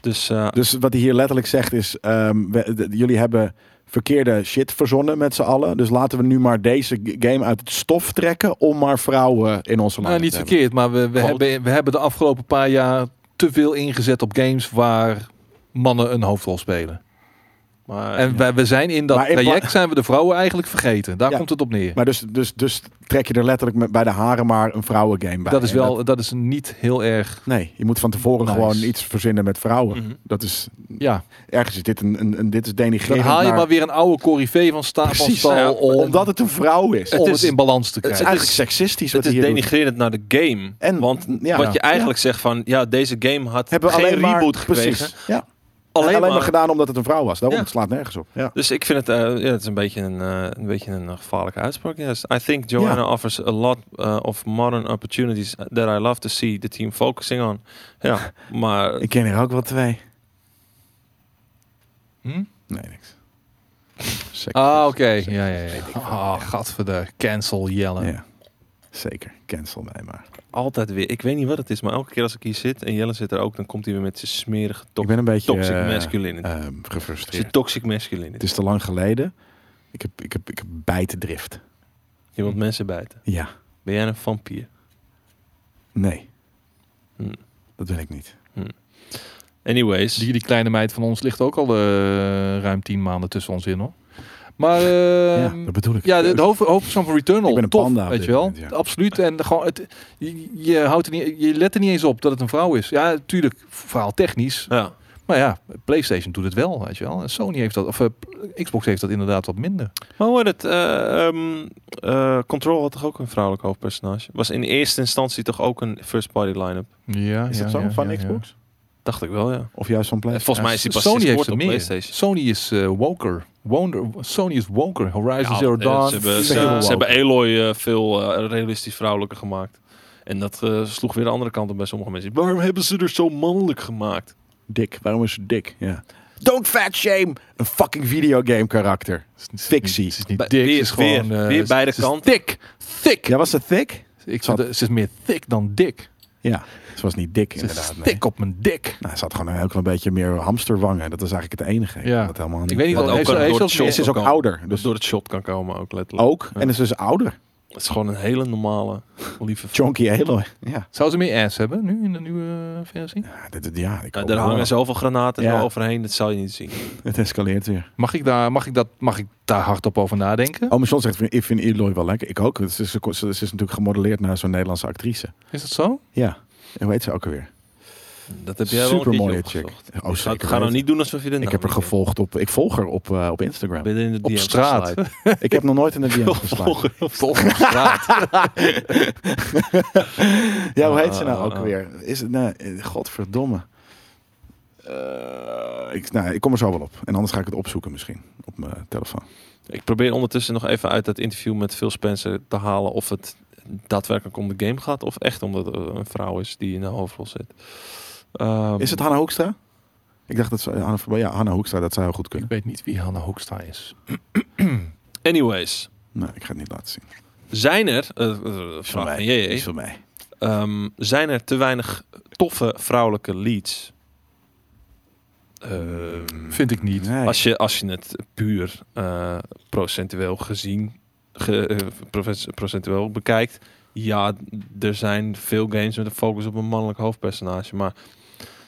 [SPEAKER 1] Dus eh,
[SPEAKER 2] Dus wat hij hier letterlijk zegt is: ehm, we- d- jullie hebben verkeerde shit verzonnen met z'n allen. Dus laten we nu maar deze g- game uit het stof trekken om maar vrouwen in onze land
[SPEAKER 3] Nou,
[SPEAKER 2] te
[SPEAKER 3] niet
[SPEAKER 2] hebben.
[SPEAKER 3] verkeerd, maar we, we,
[SPEAKER 1] Groot.
[SPEAKER 3] hebben, we hebben de afgelopen paar jaar te veel ingezet op games waar mannen een hoofdrol spelen.
[SPEAKER 1] maar,
[SPEAKER 3] En wij, we zijn in dat
[SPEAKER 2] Maar in pla-
[SPEAKER 3] traject zijn we de vrouwen eigenlijk vergeten. Daar
[SPEAKER 2] Ja.
[SPEAKER 3] komt het op neer.
[SPEAKER 2] Maar dus, dus, dus trek je er letterlijk met, bij de haren maar een vrouwengame bij.
[SPEAKER 3] Dat is
[SPEAKER 2] En
[SPEAKER 3] wel, dat is niet heel erg.
[SPEAKER 2] nee, je moet van tevoren
[SPEAKER 3] Nice.
[SPEAKER 2] gewoon iets verzinnen met vrouwen.
[SPEAKER 1] Mhm.
[SPEAKER 2] Dat is
[SPEAKER 3] Ja,
[SPEAKER 2] ergens is dit een, een, een dit is
[SPEAKER 3] dan
[SPEAKER 2] denigrerend.
[SPEAKER 3] haal je
[SPEAKER 2] naar-
[SPEAKER 3] maar weer een oude corvée van sta van
[SPEAKER 2] precies
[SPEAKER 3] stal
[SPEAKER 1] ja,
[SPEAKER 3] om,
[SPEAKER 2] omdat het een vrouw is.
[SPEAKER 3] om
[SPEAKER 1] het
[SPEAKER 3] het,
[SPEAKER 1] is-
[SPEAKER 3] in balans te
[SPEAKER 2] Het is
[SPEAKER 3] krijgen.
[SPEAKER 2] eigenlijk seksistisch wat
[SPEAKER 1] het is
[SPEAKER 2] hij hier doet.
[SPEAKER 1] denigrerend naar de game.
[SPEAKER 2] En-
[SPEAKER 1] Want
[SPEAKER 2] ja.
[SPEAKER 1] wat je eigenlijk zegt van, ja, deze game had
[SPEAKER 2] Hebben we
[SPEAKER 1] geen
[SPEAKER 2] alleen maar,
[SPEAKER 1] reboot gekregen.
[SPEAKER 2] Precies, ja.
[SPEAKER 1] Alleen, maar,
[SPEAKER 2] gedaan omdat het een vrouw was. Daarom
[SPEAKER 1] Ja.
[SPEAKER 2] het slaat nergens op. Ja.
[SPEAKER 1] Dus ik vind het, eh, ja, het is een beetje een, eh, een beetje een gevaarlijke uitspraak. Yes. I think Joanna
[SPEAKER 2] Ja.
[SPEAKER 1] offers a lot eh, of modern opportunities eh, that I love to see the team focusing on. Ja, maar
[SPEAKER 2] Ik ken er ook wel twee.
[SPEAKER 3] Hm?
[SPEAKER 2] Nee, niks.
[SPEAKER 3] Ah, oké. Ja, ja, ja. Ah, gadverder. Cancel Jelle.
[SPEAKER 2] Ja. Zeker, cancel mij maar.
[SPEAKER 1] altijd weer, ik weet niet wat het is, maar elke keer als ik hier zit en Jelle zit er ook, dan komt hij weer met zijn smerige
[SPEAKER 2] ik
[SPEAKER 1] to
[SPEAKER 2] ben een beetje
[SPEAKER 1] toxic
[SPEAKER 2] eh,
[SPEAKER 1] masculinity.
[SPEAKER 2] ehm,
[SPEAKER 1] Zijn
[SPEAKER 2] gefrustreerd.
[SPEAKER 1] toxic masculinity.
[SPEAKER 2] Het is te lang geleden. Ik heb, ik heb, ik heb bijtendrift.
[SPEAKER 1] Je wilt mensen bijten.
[SPEAKER 2] Ja,
[SPEAKER 1] Ben jij een vampier?
[SPEAKER 2] nee.
[SPEAKER 1] Hm.
[SPEAKER 2] Dat wil ik niet.
[SPEAKER 1] Anyways.
[SPEAKER 3] Die, die kleine meid van ons ligt ook al eh, ruim tien maanden tussen ons in, hoor. Maar ehm,
[SPEAKER 2] ja,
[SPEAKER 3] ja,
[SPEAKER 2] dat bedoel ik.
[SPEAKER 3] de, de hoofd, hoofdpersoon van Returnal,
[SPEAKER 2] Ik ben een
[SPEAKER 3] tof,
[SPEAKER 2] panda op
[SPEAKER 3] weet
[SPEAKER 2] dit
[SPEAKER 3] je wel.
[SPEAKER 2] moment, ja.
[SPEAKER 3] Absoluut. En gewoon, het, je, je houdt er niet, je let er niet eens op dat het een vrouw is. Ja, tuurlijk, verhaal technisch.
[SPEAKER 1] ja.
[SPEAKER 3] Maar ja, PlayStation doet het wel, weet je wel. En Sony heeft dat, of eh, Xbox heeft dat inderdaad wat minder.
[SPEAKER 1] Maar hoor, het, eh, ehm, eh, Control had toch ook een vrouwelijk hoofdpersonage? Was in eerste instantie toch ook een first-party line-up?
[SPEAKER 3] Ja,
[SPEAKER 2] Is
[SPEAKER 3] ja,
[SPEAKER 2] dat zo
[SPEAKER 3] ja,
[SPEAKER 2] van
[SPEAKER 3] ja, Eh, ja.
[SPEAKER 2] Xbox?
[SPEAKER 1] Dacht ik wel, ja.
[SPEAKER 2] Of juist van PlayStation?
[SPEAKER 1] Volgens mij is die pas
[SPEAKER 3] Sony
[SPEAKER 1] sinds
[SPEAKER 3] heeft
[SPEAKER 1] kort
[SPEAKER 3] er
[SPEAKER 1] op
[SPEAKER 3] meer.
[SPEAKER 1] PlayStation.
[SPEAKER 3] Sony is eh, Woker. Wonder, Sony is Woker. Horizon
[SPEAKER 1] Ja,
[SPEAKER 3] Zero
[SPEAKER 1] eh,
[SPEAKER 3] Dawn.
[SPEAKER 1] Ze hebben, ze,
[SPEAKER 2] Zero
[SPEAKER 1] ze
[SPEAKER 2] Dawn.
[SPEAKER 1] hebben Aloy eh, veel eh, realistisch vrouwelijker gemaakt. En dat eh, sloeg weer de andere kant op bij sommige mensen. Waarom hebben ze er zo mannelijk gemaakt?
[SPEAKER 2] Dik. Waarom is het dik? Ja. Don't fat shame. Een fucking videogame karakter. Fictie.
[SPEAKER 3] Het is niet
[SPEAKER 1] Bij-
[SPEAKER 3] dik, het
[SPEAKER 1] weer-
[SPEAKER 3] is gewoon...
[SPEAKER 1] weer-
[SPEAKER 3] eh,
[SPEAKER 1] weer
[SPEAKER 3] het-
[SPEAKER 1] beide
[SPEAKER 3] het is
[SPEAKER 1] kanten.
[SPEAKER 3] Thick, thick.
[SPEAKER 2] Ja, was ze thick?
[SPEAKER 3] Ik
[SPEAKER 2] Zat-
[SPEAKER 3] vind, het- ze is meer thick dan dik.
[SPEAKER 2] Ja. Ze was niet dik
[SPEAKER 3] Ze is
[SPEAKER 2] inderdaad. nee.
[SPEAKER 3] dik op mijn dik.
[SPEAKER 2] Nou, ze had gewoon een heel klein beetje meer hamsterwangen. Dat is eigenlijk het enige. Ik
[SPEAKER 3] Ja.
[SPEAKER 2] vond het helemaal niet. eh,
[SPEAKER 3] Ik weet niet
[SPEAKER 1] Wat
[SPEAKER 3] wat
[SPEAKER 1] ook
[SPEAKER 3] heeft
[SPEAKER 1] een
[SPEAKER 3] ze heeft
[SPEAKER 1] door-
[SPEAKER 3] ze ook
[SPEAKER 1] is-
[SPEAKER 2] Ze
[SPEAKER 3] meer-
[SPEAKER 2] is ook
[SPEAKER 1] kan.
[SPEAKER 2] ouder.
[SPEAKER 1] Dus
[SPEAKER 2] Dus
[SPEAKER 1] door het shot kan komen ook letterlijk.
[SPEAKER 2] ook. En is dus ouder.
[SPEAKER 1] Het is gewoon een hele normale, lieve vrouw.
[SPEAKER 2] Chonky Aloy. Ja.
[SPEAKER 3] Zou ze meer ass hebben nu in de nieuwe eh, versie?
[SPEAKER 2] Ja, dit, ja ik
[SPEAKER 1] Nou,
[SPEAKER 2] hoop
[SPEAKER 1] daar
[SPEAKER 2] wel.
[SPEAKER 1] hangen zoveel granaten
[SPEAKER 2] Ja.
[SPEAKER 1] zo overheen, dat zal je niet zien.
[SPEAKER 2] Het escaleert weer.
[SPEAKER 3] Mag ik daar, mag ik dat, mag ik daar hardop over nadenken?
[SPEAKER 2] Oh, maar John zegt, ik vind Eloy wel lekker. Ik ook. Ze is, ze is natuurlijk gemodelleerd naar zo'n Nederlandse actrice.
[SPEAKER 3] Is dat zo?
[SPEAKER 2] Ja. En hoe heet ze ook alweer?
[SPEAKER 1] Dat heb jij wel een
[SPEAKER 2] Supermooie
[SPEAKER 1] keertje
[SPEAKER 2] chick.
[SPEAKER 1] opgezocht.
[SPEAKER 2] Oh,
[SPEAKER 1] Ga,
[SPEAKER 2] zeker
[SPEAKER 1] ga nou
[SPEAKER 2] weten.
[SPEAKER 1] niet doen alsof je er
[SPEAKER 2] Ik heb haar gevolgd op... Ik volg haar op, eh, op Instagram.
[SPEAKER 1] Ben je in de
[SPEAKER 3] Op
[SPEAKER 1] DM's
[SPEAKER 3] straat.
[SPEAKER 1] geslaaid?
[SPEAKER 2] ik heb nog nooit in de DM's geslagen.
[SPEAKER 3] Volgens straat.
[SPEAKER 2] Ja, hoe heet ze nou
[SPEAKER 1] Ah,
[SPEAKER 2] ook
[SPEAKER 1] ah, ah.
[SPEAKER 2] weer? Is het... Nou, eh, godverdomme. Eh, ik, nou, ik kom er zo wel op. En anders ga ik het opzoeken misschien. Op mijn telefoon.
[SPEAKER 1] Ik probeer ondertussen nog even uit dat interview met Phil Spencer te halen of het daadwerkelijk om de game gaat of echt omdat het een vrouw is die in de hoofdrol zit. Ehm,
[SPEAKER 2] Is het Hanna Hoekstra? Ik dacht dat ze... Hanna, ja, Hanna Hoekstra. Dat zou heel goed
[SPEAKER 3] ik
[SPEAKER 2] kunnen.
[SPEAKER 3] weet niet wie Hanna Hoekstra is.
[SPEAKER 1] Anyways,
[SPEAKER 2] Nou, ik ga het niet laten zien.
[SPEAKER 1] zijn er, eh, eh, vraag van JJ,
[SPEAKER 2] Is voor mij.
[SPEAKER 1] ehm, zijn er te weinig toffe vrouwelijke leads? Ehm,
[SPEAKER 3] Vind ik niet.
[SPEAKER 2] Nee.
[SPEAKER 1] Als je, als je het puur eh, procentueel gezien, ge- eh, proces- procentueel bekijkt, ja, er zijn veel games met een focus op een mannelijk hoofdpersonage, maar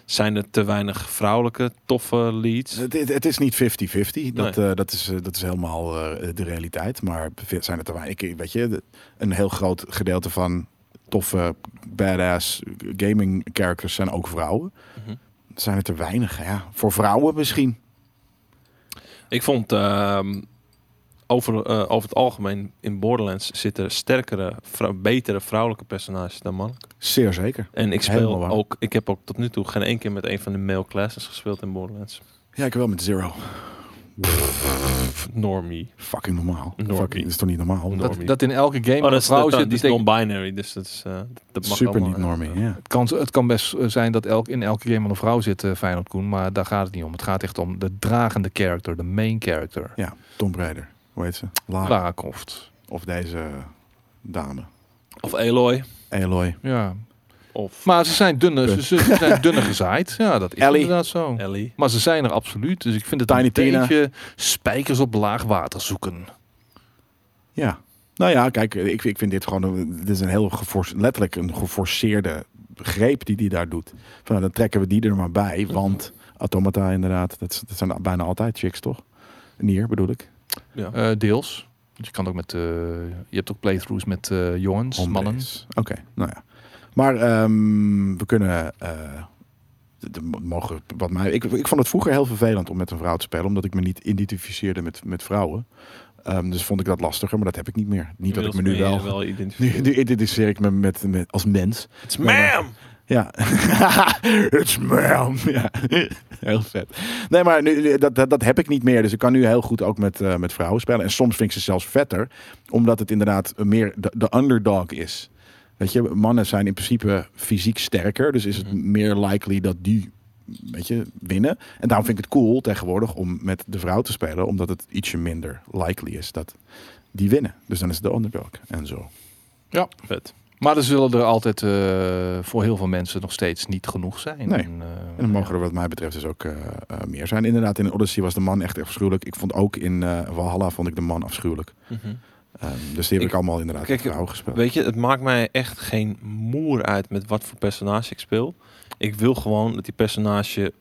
[SPEAKER 1] zijn er te weinig vrouwelijke toffe leads?
[SPEAKER 2] Het, het- het is niet 50-50. Dat, eh, dat, is, eh, dat is helemaal eh, de realiteit. Maar zijn het er weinig? Ik- Weet je, de- een heel groot gedeelte van toffe, badass gaming characters zijn ook vrouwen.
[SPEAKER 1] Mhm.
[SPEAKER 2] Zijn het er weinig? Ja, voor vrouwen misschien.
[SPEAKER 1] Ik vond ehm, over, eh, over het algemeen in Borderlands zitten sterkere, vrou- betere vrouwelijke personages dan mannelijke.
[SPEAKER 2] Zeer zeker.
[SPEAKER 1] En ik
[SPEAKER 2] Helemaal
[SPEAKER 1] speel
[SPEAKER 2] waar.
[SPEAKER 1] ook, ik heb ook tot nu toe geen één keer met een van de male classes gespeeld in Borderlands.
[SPEAKER 2] Ja, ik wel met Zero.
[SPEAKER 1] Pff, Normie.
[SPEAKER 2] Fucking normaal.
[SPEAKER 1] Normie.
[SPEAKER 2] Fucking, dat is toch niet normaal?
[SPEAKER 1] Normie.
[SPEAKER 3] Dat, dat in elke game
[SPEAKER 1] Oh,
[SPEAKER 3] een
[SPEAKER 1] dat is, dat,
[SPEAKER 3] vrouw
[SPEAKER 1] dat-
[SPEAKER 3] zit,
[SPEAKER 1] die is
[SPEAKER 3] betekent-
[SPEAKER 1] non-binary, dus dat is eh, dat mag
[SPEAKER 2] Super
[SPEAKER 1] allemaal,
[SPEAKER 2] niet
[SPEAKER 1] eh,
[SPEAKER 2] normie.
[SPEAKER 1] eh.
[SPEAKER 2] Ja.
[SPEAKER 3] het, kan, het kan best eh, zijn dat elk, in elke game wel een vrouw zit, eh, Feyenoord Koen. Maar daar gaat het niet om. Het gaat echt om de dragende character, de main character.
[SPEAKER 2] ja, Tom Braider. Hoe heet ze? Lara.
[SPEAKER 3] Lara Croft.
[SPEAKER 2] Of deze dame.
[SPEAKER 1] Of Eloy.
[SPEAKER 2] Eloy.
[SPEAKER 3] Ja.
[SPEAKER 1] Of
[SPEAKER 3] Maar ze zijn dunner, ze, ze- ze zijn dunner gezaaid. Ja, dat is
[SPEAKER 2] Ellie.
[SPEAKER 3] inderdaad zo.
[SPEAKER 1] Ellie.
[SPEAKER 3] Maar ze zijn er absoluut. Dus ik vind het
[SPEAKER 2] Tiny
[SPEAKER 3] een
[SPEAKER 2] Tina.
[SPEAKER 3] beetje spijkers op laag water zoeken.
[SPEAKER 2] Ja. Nou ja, kijk, ik, ik vind dit gewoon een, dit is een heel geforce, letterlijk een geforceerde greep die die daar doet. Van, nou, dan trekken we die er maar bij, want automata inderdaad, dat, is- dat zijn bijna altijd chicks, toch? Nier bedoel ik.
[SPEAKER 1] Ja.
[SPEAKER 3] Eh, deels. Want je kan ook met, eh, je hebt ook playthroughs met eh, jongens,
[SPEAKER 2] Hombres.
[SPEAKER 3] mannen.
[SPEAKER 2] Oké, nou ja. Maar ehm, we kunnen. eh, de- de mogen wat mij, ik, ik vond het vroeger heel vervelend om met een vrouw te spelen, omdat ik me niet identificeerde met, met vrouwen. Ehm, dus vond ik dat lastiger, maar dat heb ik niet meer. Niet dat ik me nu wel. Nu,
[SPEAKER 1] identificeer.
[SPEAKER 2] nu identificeer ik me met, met, als mens.
[SPEAKER 1] It's ma'am!
[SPEAKER 2] Ja. It's ma'am. Ja. Heel vet. Nee, maar nu, nu- dat, dat, dat heb ik niet meer. Dus ik kan nu heel goed ook met, eh, met vrouwen spelen. En soms vind ik ze zelfs vetter. Omdat het inderdaad meer de, de underdog is. Weet je, mannen zijn in principe fysiek sterker. Dus is het
[SPEAKER 1] Mhm.
[SPEAKER 2] meer likely dat die weet je, winnen. En daarom vind ik het cool tegenwoordig om met de vrouw te spelen. Omdat het ietsje minder likely is dat die winnen. Dus dan is het de underdog. En zo.
[SPEAKER 1] Vet.
[SPEAKER 3] Maar er zullen er altijd eh, voor heel veel mensen nog steeds niet genoeg zijn.
[SPEAKER 2] Nee.
[SPEAKER 3] eh,
[SPEAKER 2] En dan mogen er wat mij betreft dus ook eh, eh, meer zijn. Inderdaad, in Odyssey was de man echt afschuwelijk. Ik vond ook in eh Valhalla vond ik de man afschuwelijk. Ehm, dus die heb
[SPEAKER 1] Ik-
[SPEAKER 2] ik, allemaal inderdaad
[SPEAKER 1] kijk,
[SPEAKER 2] met vrouwen gespeeld.
[SPEAKER 1] Mhm. Weet je, het maakt mij echt geen moer uit met wat voor personage ik speel. Ik wil gewoon dat die personage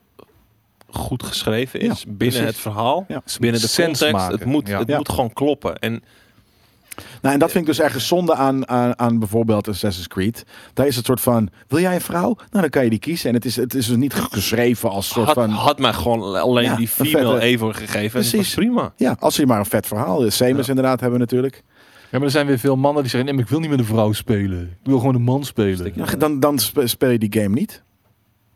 [SPEAKER 1] goed geschreven is binnen
[SPEAKER 2] precies.
[SPEAKER 1] het verhaal.
[SPEAKER 2] Ja.
[SPEAKER 1] Binnen de
[SPEAKER 3] Sens
[SPEAKER 1] context.
[SPEAKER 3] maken.
[SPEAKER 1] Het, moet,
[SPEAKER 3] Ja.
[SPEAKER 1] het
[SPEAKER 2] Ja.
[SPEAKER 1] moet gewoon kloppen. En
[SPEAKER 2] Nou, en dat vind ik dus echt zonde aan, aan, aan bijvoorbeeld Assassin's Creed. Daar is het soort van, wil jij een vrouw? Nou, dan kan je die kiezen. En het is, het is dus niet geschreven als soort
[SPEAKER 1] had,
[SPEAKER 2] van...
[SPEAKER 1] had mij gewoon alleen
[SPEAKER 2] Ja,
[SPEAKER 1] die
[SPEAKER 2] een vette-
[SPEAKER 1] female Evo gegeven. Precies. En dat was
[SPEAKER 2] Precies.
[SPEAKER 1] prima.
[SPEAKER 2] Ja, als ze maar een vet verhaal is. Seamus
[SPEAKER 1] Ja.
[SPEAKER 2] inderdaad hebben we natuurlijk.
[SPEAKER 3] Ja, maar er zijn weer veel mannen die zeggen: nee, maar ik wil niet met een vrouw spelen. Ik wil gewoon een man spelen.
[SPEAKER 1] Stik-
[SPEAKER 2] Ja, Dan, dan spe- speel je die game niet.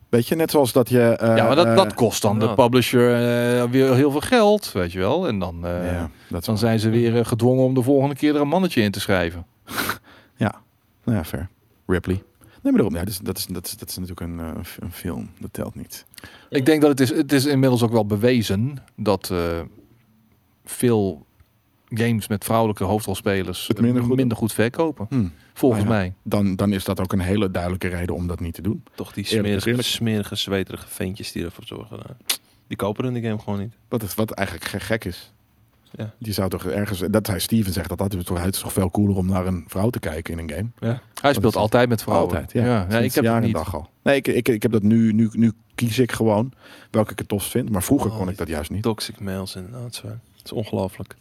[SPEAKER 2] Weet je, net zoals dat je... eh,
[SPEAKER 3] ja, maar dat,
[SPEAKER 2] eh,
[SPEAKER 3] dat kost dan de
[SPEAKER 1] ja.
[SPEAKER 3] publisher eh, weer heel veel geld, weet je wel. En dan, eh,
[SPEAKER 2] ja, dat is
[SPEAKER 3] dan zijn ze weer eh, gedwongen om de volgende keer er een mannetje in te schrijven.
[SPEAKER 2] Nou ja, fair. Ripley. Nee, maar daarom, ja, dus dat, is, dat, is, dat is natuurlijk een, eh, f- een film. Dat telt niet.
[SPEAKER 3] Ik denk dat het is, het is inmiddels ook wel bewezen dat eh, veel games met vrouwelijke hoofdrolspelers eh,
[SPEAKER 2] Het minder goed-
[SPEAKER 3] verkopen.
[SPEAKER 2] Hm.
[SPEAKER 3] Volgens
[SPEAKER 2] Ah, ja.
[SPEAKER 3] mij.
[SPEAKER 2] Dan, dan is dat ook een hele duidelijke reden om dat niet te doen.
[SPEAKER 1] Toch die
[SPEAKER 2] Eerlijk is
[SPEAKER 1] smerige,
[SPEAKER 2] eerlijk.
[SPEAKER 1] smerige, zweterige ventjes die ervoor zorgen. eh, Die kopen hun de game gewoon niet.
[SPEAKER 2] Wat, is, wat eigenlijk ge- gek is.
[SPEAKER 1] Ja.
[SPEAKER 2] Je zou toch ergens... Dat hij Steven zegt dat dat is toch, het is toch veel cooler om naar een vrouw te kijken in een game.
[SPEAKER 3] Hij speelt
[SPEAKER 2] is-
[SPEAKER 3] altijd met vrouwen.
[SPEAKER 2] Altijd, ja.
[SPEAKER 3] ja,
[SPEAKER 2] Sinds
[SPEAKER 3] ik heb
[SPEAKER 2] jaar
[SPEAKER 3] het
[SPEAKER 2] en
[SPEAKER 3] niet.
[SPEAKER 2] dag al. Nee, ik, ik, ik heb dat nu, nu... Nu kies ik gewoon welke ik het tofst vind. Maar vroeger
[SPEAKER 1] Oh,
[SPEAKER 2] kon ik dat juist niet.
[SPEAKER 1] Toxic mails inderdaad. zo. Het is ongelooflijk.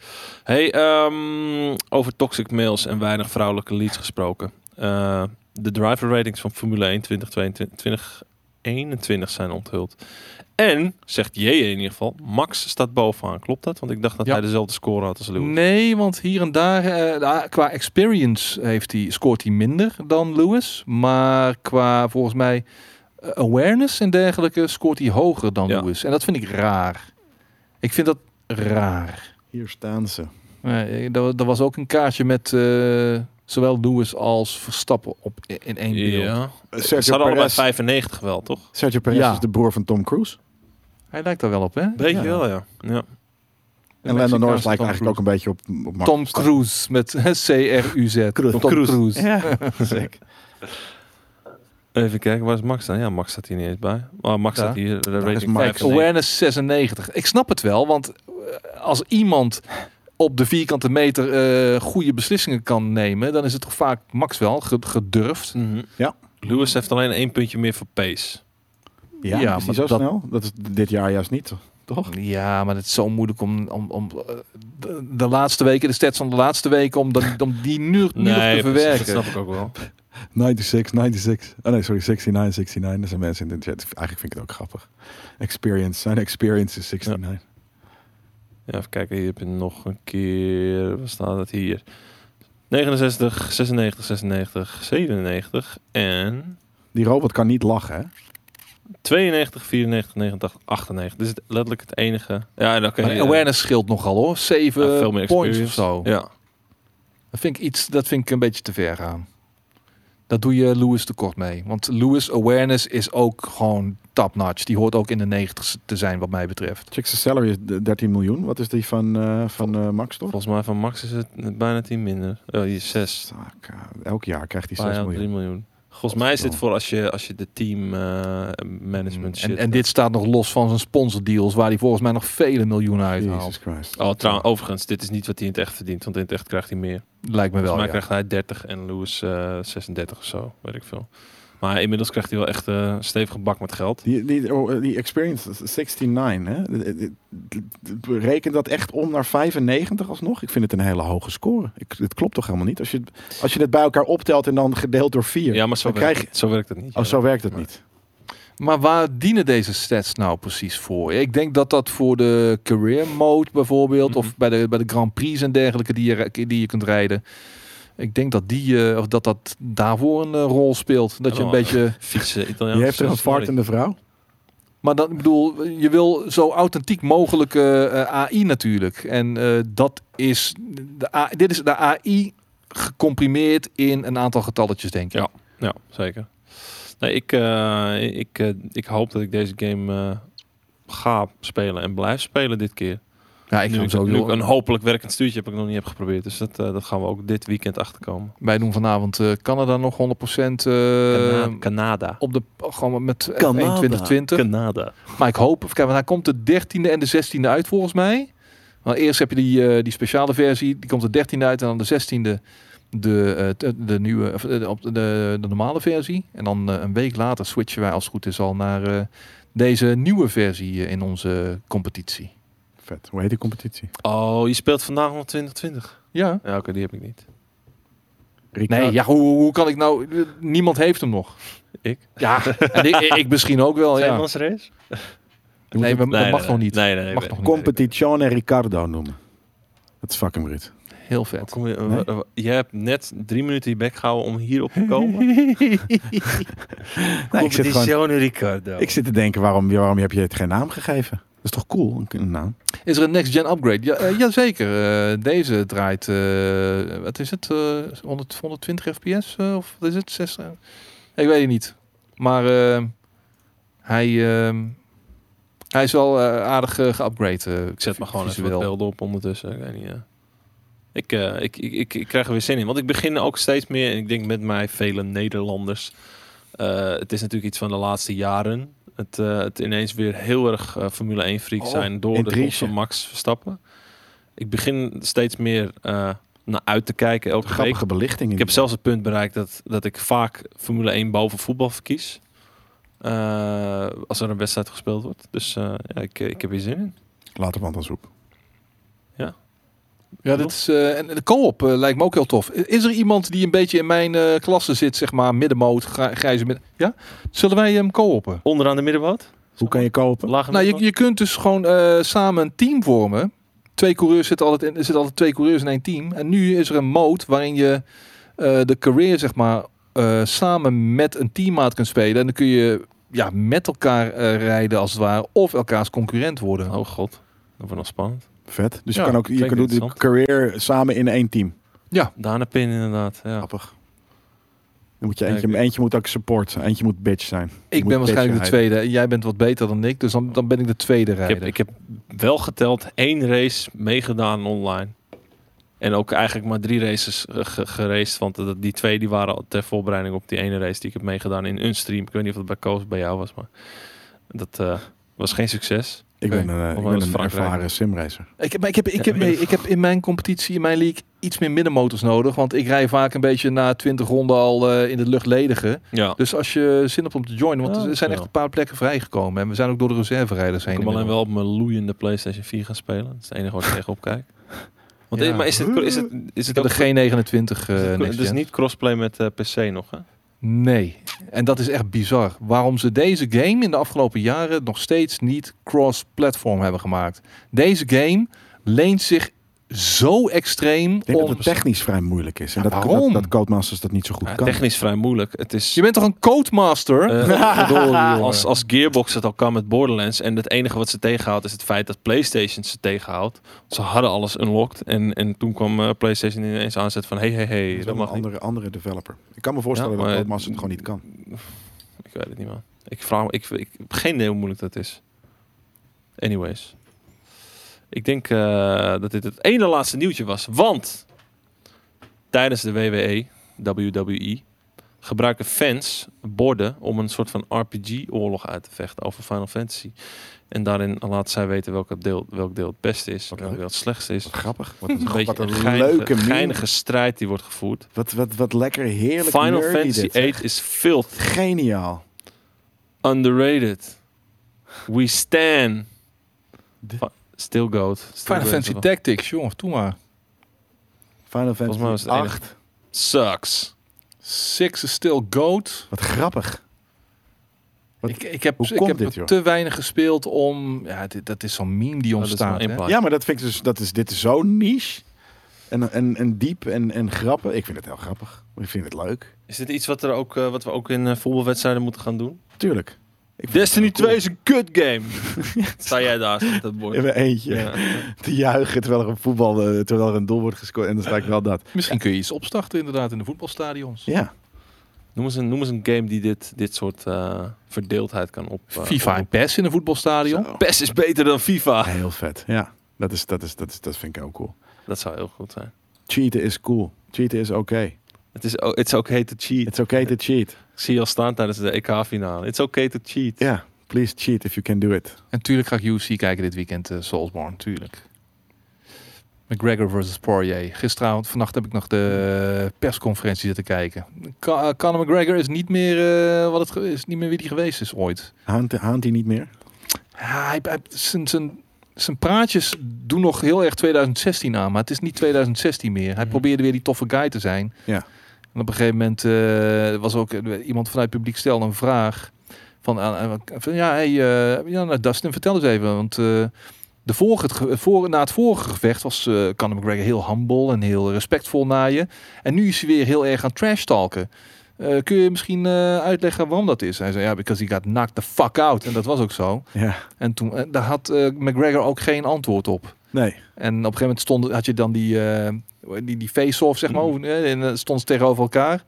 [SPEAKER 1] Hey, ehm, over toxic mails en weinig vrouwelijke leads gesproken. Eh, de driver ratings van Formule 1 2022 2021 zijn onthuld. En, zegt J in ieder geval, Max staat bovenaan. Klopt dat? Want ik dacht dat
[SPEAKER 3] Ja.
[SPEAKER 1] hij dezelfde score had als Lewis.
[SPEAKER 3] Nee, want hier en daar, eh, da- qua experience heeft hij, scoort hij minder dan Lewis. Maar qua, volgens mij, eh, awareness en dergelijke, scoort hij hoger dan
[SPEAKER 1] Ja.
[SPEAKER 3] Lewis. En dat vind ik raar. Ik vind dat raar.
[SPEAKER 2] Hier staan ze.
[SPEAKER 3] Eh, eh, Er er was ook een kaartje met eh, zowel Lewis als Verstappen op, i- in één beeld.
[SPEAKER 1] Ja. Ze
[SPEAKER 2] Sergio
[SPEAKER 1] hadden allebei
[SPEAKER 2] Perez,
[SPEAKER 1] 95 wel, toch?
[SPEAKER 2] Sergio Perez
[SPEAKER 3] Ja.
[SPEAKER 2] is de broer van Tom Cruise.
[SPEAKER 3] Hij lijkt daar wel op, hè?
[SPEAKER 1] Beetje
[SPEAKER 2] Ja.
[SPEAKER 1] wel, ja. ja.
[SPEAKER 2] En Lando Norris
[SPEAKER 3] Tom
[SPEAKER 2] lijkt eigenlijk ook een beetje op, op Max
[SPEAKER 3] Tom
[SPEAKER 2] Verstappen.
[SPEAKER 3] Cruise met C-R-U-Z.
[SPEAKER 2] Cruise.
[SPEAKER 3] Tom Cruise.
[SPEAKER 2] Ja, zeker.
[SPEAKER 1] Even kijken, waar is Max dan? Ja, Max staat hier niet eens bij. Maar Max
[SPEAKER 3] Ja.
[SPEAKER 1] staat hier, de
[SPEAKER 2] is
[SPEAKER 1] rating
[SPEAKER 2] Max.
[SPEAKER 3] Kijk,
[SPEAKER 1] 95.
[SPEAKER 3] awareness 96. Ik snap het wel, want eh, als iemand op de vierkante meter eh, goede beslissingen kan nemen, dan is het toch vaak max wel ge- gedurfd.
[SPEAKER 1] Mhm.
[SPEAKER 2] Ja.
[SPEAKER 1] Lewis heeft alleen één puntje meer voor pace.
[SPEAKER 2] Ja,
[SPEAKER 3] Ja,
[SPEAKER 2] is die
[SPEAKER 3] maar
[SPEAKER 2] zo
[SPEAKER 3] dat-
[SPEAKER 2] snel? Dat is dit jaar juist niet, toch?
[SPEAKER 3] Ja, maar het is zo moeilijk om, om, om eh, de, de laatste weken, de stats van de laatste weken, om, dat, om die nu, nu nog te
[SPEAKER 1] precies, dat
[SPEAKER 3] verwerken.
[SPEAKER 1] snap ik ook wel.
[SPEAKER 2] 96, 96. Oh nee, sorry, 69, 69. Er zijn mensen in de chat. Eigenlijk vind ik het ook grappig. Experience. Zijn experience is 69.
[SPEAKER 1] Ja, even kijken, hier heb je nog een keer. Waar staat het hier? 69, 96, 96, 97 en
[SPEAKER 2] Die robot kan niet lachen, hè?
[SPEAKER 1] 92, 94, 89, 98. Dit is het- letterlijk het enige. Ja, en dan kan
[SPEAKER 3] Maar
[SPEAKER 1] je-
[SPEAKER 3] awareness scheelt nogal hoor.
[SPEAKER 1] ja,
[SPEAKER 3] 7
[SPEAKER 1] veel meer
[SPEAKER 3] points
[SPEAKER 1] experience.
[SPEAKER 3] of zo.
[SPEAKER 1] Ja,
[SPEAKER 3] Dat vind ik iets, dat vind ik een beetje te ver gaan. Dat doe je Lewis tekort mee. Want Lewis awareness is ook gewoon top-notch. Die hoort ook in de 90 te zijn, wat mij betreft.
[SPEAKER 2] Check zijn salary is d- 13 miljoen. Wat is die van, eh, van eh, Max, toch?
[SPEAKER 1] volgens mij van Max is het bijna 10 minder. Oh, hier 6.
[SPEAKER 2] Zak, eh, Elk jaar krijgt hij 6
[SPEAKER 1] Bijna 3
[SPEAKER 2] miljoen.
[SPEAKER 1] Ah, miljoen. Volgens mij is dit voor als je, als je de team eh, management shit.
[SPEAKER 3] Mm, en, en dit staat nog los van zijn sponsordeals, waar hij volgens mij nog vele miljoenen
[SPEAKER 2] Jesus
[SPEAKER 3] uithaalt.
[SPEAKER 2] Christ.
[SPEAKER 1] Oh, trouwens, overigens, dit is niet wat hij in het echt verdient, want in het echt krijgt hij meer.
[SPEAKER 3] Lijkt me wel.
[SPEAKER 1] Volgens mij
[SPEAKER 3] ja.
[SPEAKER 1] krijgt hij 30 en Lewis eh, 36 of zo, weet ik veel. Maar inmiddels krijgt hij wel echt eh, een stevige bak met geld.
[SPEAKER 2] Die, die, oh, eh, die experience is 69, hè? D- d- d- d- Reken dat echt om naar 95 alsnog? Ik vind het een hele hoge score. Ik, het klopt toch helemaal niet? Als je, als je het bij elkaar optelt en dan gedeeld door 4.
[SPEAKER 1] Ja, maar zo,
[SPEAKER 2] Dan
[SPEAKER 1] werkt,
[SPEAKER 2] krijg
[SPEAKER 1] zo werkt het niet.
[SPEAKER 2] Oh,
[SPEAKER 1] ja.
[SPEAKER 2] zo werkt het
[SPEAKER 1] Nee.
[SPEAKER 2] niet.
[SPEAKER 3] Maar waar dienen deze stats nou precies voor? Ik denk dat dat voor de career mode bijvoorbeeld,
[SPEAKER 1] Mhm.
[SPEAKER 3] of bij de, bij de Grand Prix en dergelijke die je, die je kunt rijden. Ik denk dat, die, eh, of dat dat daarvoor een eh, rol speelt. Dat je een
[SPEAKER 1] Oh.
[SPEAKER 3] beetje
[SPEAKER 1] Fietsen, Italiaans.
[SPEAKER 2] Je hebt er een
[SPEAKER 1] sorry.
[SPEAKER 2] vartende vrouw.
[SPEAKER 3] Maar dan, ik bedoel, je wil zo authentiek mogelijk eh, eh, AI natuurlijk. En eh, dat is de A- dit is de AI gecomprimeerd in een aantal getalletjes, denk ik.
[SPEAKER 1] Ja. Ja, zeker. Nee, ik, eh, ik, eh, ik hoop dat ik deze game eh, ga spelen en blijf spelen dit keer.
[SPEAKER 3] Ja, ik
[SPEAKER 1] nu,
[SPEAKER 3] ga hem zo
[SPEAKER 1] nu ik
[SPEAKER 3] doen.
[SPEAKER 1] een hopelijk werkend stuurtje heb ik nog niet heb geprobeerd. Dus dat, eh, dat gaan we ook dit weekend achterkomen.
[SPEAKER 3] Wij doen vanavond eh, Canada nog 100% eh,
[SPEAKER 1] Cana- Canada.
[SPEAKER 3] op de gewoon met F1
[SPEAKER 2] Canada.
[SPEAKER 3] 2020.
[SPEAKER 1] Canada.
[SPEAKER 3] Maar ik hoop, even kijken, want hij komt de 13e en de 16e uit volgens mij. Maar eerst heb je die, eh, die speciale versie, die komt de 13e uit en dan de 16e de, eh, te- de nieuwe, of, eh, de, op de, de, normale versie. En dan eh, een week later switchen wij als het goed is al naar eh, deze nieuwe versie eh, in onze competitie.
[SPEAKER 2] Vet. Hoe heet die competitie?
[SPEAKER 1] Oh, je speelt vandaag nog 2020.
[SPEAKER 3] Ja.
[SPEAKER 1] Ja, oké, die heb ik niet. eh,
[SPEAKER 3] Nee, ja, hoe, hoe kan ik nou? Niemand heeft hem nog.
[SPEAKER 1] Ik?
[SPEAKER 3] Ja, en ik, ik misschien ook wel. Ja.
[SPEAKER 1] Tweemans race?
[SPEAKER 3] Nee, we- dat mag nog niet.
[SPEAKER 1] Nee, nee.
[SPEAKER 3] Mag
[SPEAKER 1] nee.
[SPEAKER 3] nog niet.
[SPEAKER 2] Competizione Ricardo noemen. Dat is fucking Brit.
[SPEAKER 3] Heel vet.
[SPEAKER 1] Kom je,
[SPEAKER 2] Nee?
[SPEAKER 1] eh, jij hebt net drie minuten je bek gehouden om hierop te komen.
[SPEAKER 2] Nee, ik, zit gewoon,
[SPEAKER 1] Ricardo.
[SPEAKER 2] ik zit te denken, waarom, waarom heb je het geen naam gegeven? is toch cool, een- een naam?
[SPEAKER 3] Is er een next gen upgrade? Ja, eh, jazeker. Eh, deze draait, eh, wat is het, eh 100, 120 fps eh, of wat is het, 60? Ik weet het niet. Maar eh, hij, eh, hij is wel eh, aardig eh, geupgrade. eh,
[SPEAKER 1] Ik zet maar gewoon even wat
[SPEAKER 3] visueel.
[SPEAKER 1] beelden op ondertussen. Ik weet niet, ja. Ik, eh, ik, ik, ik, ik krijg er weer zin in. Want ik begin ook steeds meer, en ik denk met mij vele Nederlanders. eh, het is natuurlijk iets van de laatste jaren. Het, eh, het ineens weer heel erg eh, Formule 1 freak
[SPEAKER 2] Oh,
[SPEAKER 1] zijn door de
[SPEAKER 2] intrige.
[SPEAKER 1] komst van Max Verstappen. Ik begin steeds meer eh, naar uit te kijken elke week.
[SPEAKER 2] Grappige belichtingen.
[SPEAKER 1] Ik heb zelfs het punt bereikt dat, dat ik vaak Formule 1 boven voetbal verkies. Eh, als er een wedstrijd gespeeld wordt. Dus eh, ja, ik, ik heb hier zin in.
[SPEAKER 2] Later van zoek.
[SPEAKER 3] Ja, dit is, eh, en de co-op eh, lijkt me ook heel tof. Is er iemand die een beetje in mijn eh, klasse zit, zeg maar, middenmoot, gra- grijze midden... Ja? Zullen wij hem co-oppen?
[SPEAKER 1] Onderaan de middenboot?
[SPEAKER 2] Hoe kan je kopen?
[SPEAKER 1] Lage
[SPEAKER 3] Nou, je,
[SPEAKER 1] middenboot?
[SPEAKER 3] je kunt dus gewoon eh, samen een team vormen. Twee coureurs zitten altijd, in, er zitten altijd twee coureurs in één team. En nu is er een mode waarin je eh, de career, zeg maar, eh, samen met een teammaat kunt spelen. En dan kun je ja, met elkaar eh, rijden, als het ware, of elkaars concurrent worden.
[SPEAKER 1] Oh god, dat wordt nog spannend.
[SPEAKER 2] Vet. Dus
[SPEAKER 3] Ja,
[SPEAKER 2] je kan ook je
[SPEAKER 1] klinkt
[SPEAKER 2] kan doen de
[SPEAKER 1] interessant.
[SPEAKER 2] career samen in één team.
[SPEAKER 1] Danepin inderdaad, ja.
[SPEAKER 2] Grappig. Dan moet je
[SPEAKER 1] Ja,
[SPEAKER 2] eentje,
[SPEAKER 1] ik-
[SPEAKER 2] eentje moet ook support, eentje moet bitch zijn. Je
[SPEAKER 3] Ik
[SPEAKER 2] moet
[SPEAKER 3] ben waarschijnlijk de
[SPEAKER 2] bitchen
[SPEAKER 3] tweede. En jij bent wat beter dan ik, dus dan, dan ben ik de tweede
[SPEAKER 1] Ik
[SPEAKER 3] rijder.
[SPEAKER 1] heb, ik heb wel geteld één race meegedaan online. En ook eigenlijk maar drie races eh, ge- geraced. Want dat- die twee die waren al ter voorbereiding op die ene race die ik heb meegedaan in een stream. Ik weet niet of dat bij Koos bij jou was, maar dat eh, was geen succes.
[SPEAKER 2] Ik ben een, eh,
[SPEAKER 1] Volgens
[SPEAKER 2] ik
[SPEAKER 1] mij
[SPEAKER 2] ben
[SPEAKER 1] was
[SPEAKER 2] een
[SPEAKER 1] Frankrijk.
[SPEAKER 2] ervaren simracer.
[SPEAKER 3] Ik heb, maar ik, heb, ik,
[SPEAKER 1] Ja,
[SPEAKER 3] heb, nee, ik heb in mijn competitie, in mijn league, iets meer middenmotors nodig. Want ik rij vaak een beetje na 20 ronden al eh, in de lucht ledigen.
[SPEAKER 1] Ja.
[SPEAKER 3] Dus als je zin hebt om te joinen, want
[SPEAKER 1] Ja,
[SPEAKER 3] er zijn echt
[SPEAKER 1] wel.
[SPEAKER 3] een paar plekken vrijgekomen. En we zijn ook door de reserverijders heen.
[SPEAKER 1] Ik kan alleen
[SPEAKER 3] inmiddels.
[SPEAKER 1] wel op mijn loeiende PlayStation 4 gaan spelen. Dat is het enige wat ik tegenop kijk. Want,
[SPEAKER 3] Ja.
[SPEAKER 1] eh, Maar is het, is het, is het
[SPEAKER 3] Ik heb
[SPEAKER 1] ook...
[SPEAKER 3] de G29
[SPEAKER 1] is
[SPEAKER 3] eh,
[SPEAKER 1] het-
[SPEAKER 3] next
[SPEAKER 1] dus
[SPEAKER 3] gen.
[SPEAKER 1] niet crossplay met eh, PC nog, hè?
[SPEAKER 3] Nee. En dat is echt bizar. Waarom ze deze game in de afgelopen jaren nog steeds niet cross-platform hebben gemaakt. Deze game leent zich zo extreem
[SPEAKER 2] Ik denk dat
[SPEAKER 3] om...
[SPEAKER 2] het technisch vrij moeilijk is. En
[SPEAKER 3] Ja,
[SPEAKER 2] dat,
[SPEAKER 3] waarom?
[SPEAKER 2] dat, dat Codemasters dat niet zo goed
[SPEAKER 1] Ja,
[SPEAKER 2] kan.
[SPEAKER 1] technisch vrij moeilijk. Het is...
[SPEAKER 3] Je bent toch een codemaster?
[SPEAKER 1] Eh,
[SPEAKER 3] jongen.
[SPEAKER 1] als, als Gearbox het al kan met Borderlands. En het enige wat ze tegenhoudt is het feit dat PlayStation ze tegenhoudt. Ze hadden alles unlocked. En, en toen kwam eh, PlayStation ineens aanzet van: hey, hey, hey,
[SPEAKER 2] Dat is
[SPEAKER 1] dat
[SPEAKER 2] wel een
[SPEAKER 1] mag niet.
[SPEAKER 2] andere, andere developer. Ik kan me voorstellen
[SPEAKER 1] Ja,
[SPEAKER 2] dat
[SPEAKER 1] maar-
[SPEAKER 2] Codemasters het gewoon niet kan.
[SPEAKER 1] Ik weet het niet, man. Ik vraag me, ik, ik heb geen idee hoe moeilijk dat is. Anyways. Ik denk eh, dat dit het ene laatste nieuwtje was. Want tijdens de E, WWE, WWE, E, gebruiken fans borden om een soort van RPG-oorlog uit te vechten over Final Fantasy. En daarin laten zij weten welk deel, welk deel het beste is
[SPEAKER 2] Wat
[SPEAKER 1] en welk
[SPEAKER 2] leuk.
[SPEAKER 1] deel het slechtste is.
[SPEAKER 2] Wat grappig. Wat
[SPEAKER 1] Een
[SPEAKER 2] een,
[SPEAKER 1] beetje
[SPEAKER 2] wat
[SPEAKER 1] een
[SPEAKER 2] een
[SPEAKER 1] geinige,
[SPEAKER 2] leuke meme.
[SPEAKER 1] geinige strijd die wordt gevoerd.
[SPEAKER 2] Wat, wat, wat lekker heerlijk
[SPEAKER 1] Final
[SPEAKER 2] nerdy
[SPEAKER 1] Fantasy
[SPEAKER 2] dit.
[SPEAKER 1] 8 is filth
[SPEAKER 2] Geniaal.
[SPEAKER 1] Underrated. We stand. Fa- Still goat. Still
[SPEAKER 3] Final
[SPEAKER 1] goat.
[SPEAKER 3] Fantasy Tactics, jongen, doe maar.
[SPEAKER 2] Final
[SPEAKER 1] Volgens mij was
[SPEAKER 2] Fantasy
[SPEAKER 1] het
[SPEAKER 2] 8.
[SPEAKER 1] enige. Sucks.
[SPEAKER 3] Six is still goat.
[SPEAKER 2] Wat grappig. Wat-
[SPEAKER 3] Ik, ik heb,
[SPEAKER 2] hoe
[SPEAKER 3] ik
[SPEAKER 2] komt
[SPEAKER 3] heb
[SPEAKER 2] dit, joh?
[SPEAKER 3] te weinig gespeeld om... Ja, dit, dat is zo'n meme die
[SPEAKER 1] Oh, dat is maar
[SPEAKER 3] ontstaat.
[SPEAKER 1] één
[SPEAKER 3] hè.
[SPEAKER 1] plaat.
[SPEAKER 2] Ja, maar dat vind ik dus, dat is, dit is zo niche. En, en, en diep en, en grappig. Ik vind het heel grappig. Ik vind het leuk.
[SPEAKER 1] Is dit iets wat, er ook, eh, wat we ook in eh, voetbalwedstrijden moeten gaan doen?
[SPEAKER 2] Tuurlijk. Ik vind
[SPEAKER 1] Destiny
[SPEAKER 2] het heel
[SPEAKER 1] 2 is
[SPEAKER 2] cool.
[SPEAKER 1] een kut game. Sta jij daar met dat bord?
[SPEAKER 2] In mijn eentje.
[SPEAKER 1] Ja.
[SPEAKER 2] Te juichen terwijl er een voetbal, eh, terwijl er een doel wordt gescoord. En dan sta ik wel dat.
[SPEAKER 3] Misschien kun je iets opstarten inderdaad in de voetbalstadions.
[SPEAKER 2] Ja.
[SPEAKER 1] Noem, eens een, noem eens een game die dit, dit soort eh, verdeeldheid kan op. eh,
[SPEAKER 3] FIFA en
[SPEAKER 1] op-
[SPEAKER 3] PES in een voetbalstadion.
[SPEAKER 2] Zo.
[SPEAKER 1] PES is beter dan FIFA.
[SPEAKER 2] Heel vet. Ja. Dat, is, dat, is, dat, is, dat vind ik ook cool.
[SPEAKER 1] Dat zou heel goed zijn.
[SPEAKER 2] Cheaten is cool. Cheaten is oké.
[SPEAKER 1] Het is o- it's okay to cheat.
[SPEAKER 2] It's okay to cheat.
[SPEAKER 1] Ik zie je al staan tijdens de EK-finale. It's okay to cheat.
[SPEAKER 2] Ja. Please cheat if you can do it.
[SPEAKER 3] En tuurlijk ga ik UFC kijken dit weekend, eh Soulsborne, tuurlijk. McGregor versus Poirier. Gisteravond, vannacht heb ik nog de eh, persconferentie zitten kijken. Ka- eh, Conor McGregor is niet meer, eh, wat het ge- is niet meer wie die geweest is ooit.
[SPEAKER 2] Haant, haant hij niet meer?
[SPEAKER 3] Ja, hij, hij- zijn, zijn, zijn praatjes doen nog heel erg 2016 aan, maar het is niet 2016 meer. Hij
[SPEAKER 1] Mhm.
[SPEAKER 3] probeerde weer die toffe guy te zijn.
[SPEAKER 2] Ja.
[SPEAKER 3] En op een gegeven moment eh, was ook eh, iemand vanuit het publiek stelde een vraag. Van, aan- van ja, hey, eh, ja nou, Dustin, vertel eens even. Want eh, de vorige, het ge- voor, na het vorige gevecht was eh Conor McGregor heel humble en heel respectvol naar je. En nu is hij weer heel erg aan trash talken. eh, kun je misschien eh, uitleggen waarom dat is? Hij zei, ja, because he got knocked the fuck out. En dat was ook zo.
[SPEAKER 2] Ja.
[SPEAKER 3] En toen, eh, daar had eh, McGregor ook geen antwoord op.
[SPEAKER 2] Nee.
[SPEAKER 3] En op een gegeven moment stond, had je dan die, eh, die, die face-off, zeg maar.
[SPEAKER 1] Mhm.
[SPEAKER 3] over- eh, En eh, stonden ze tegenover elkaar.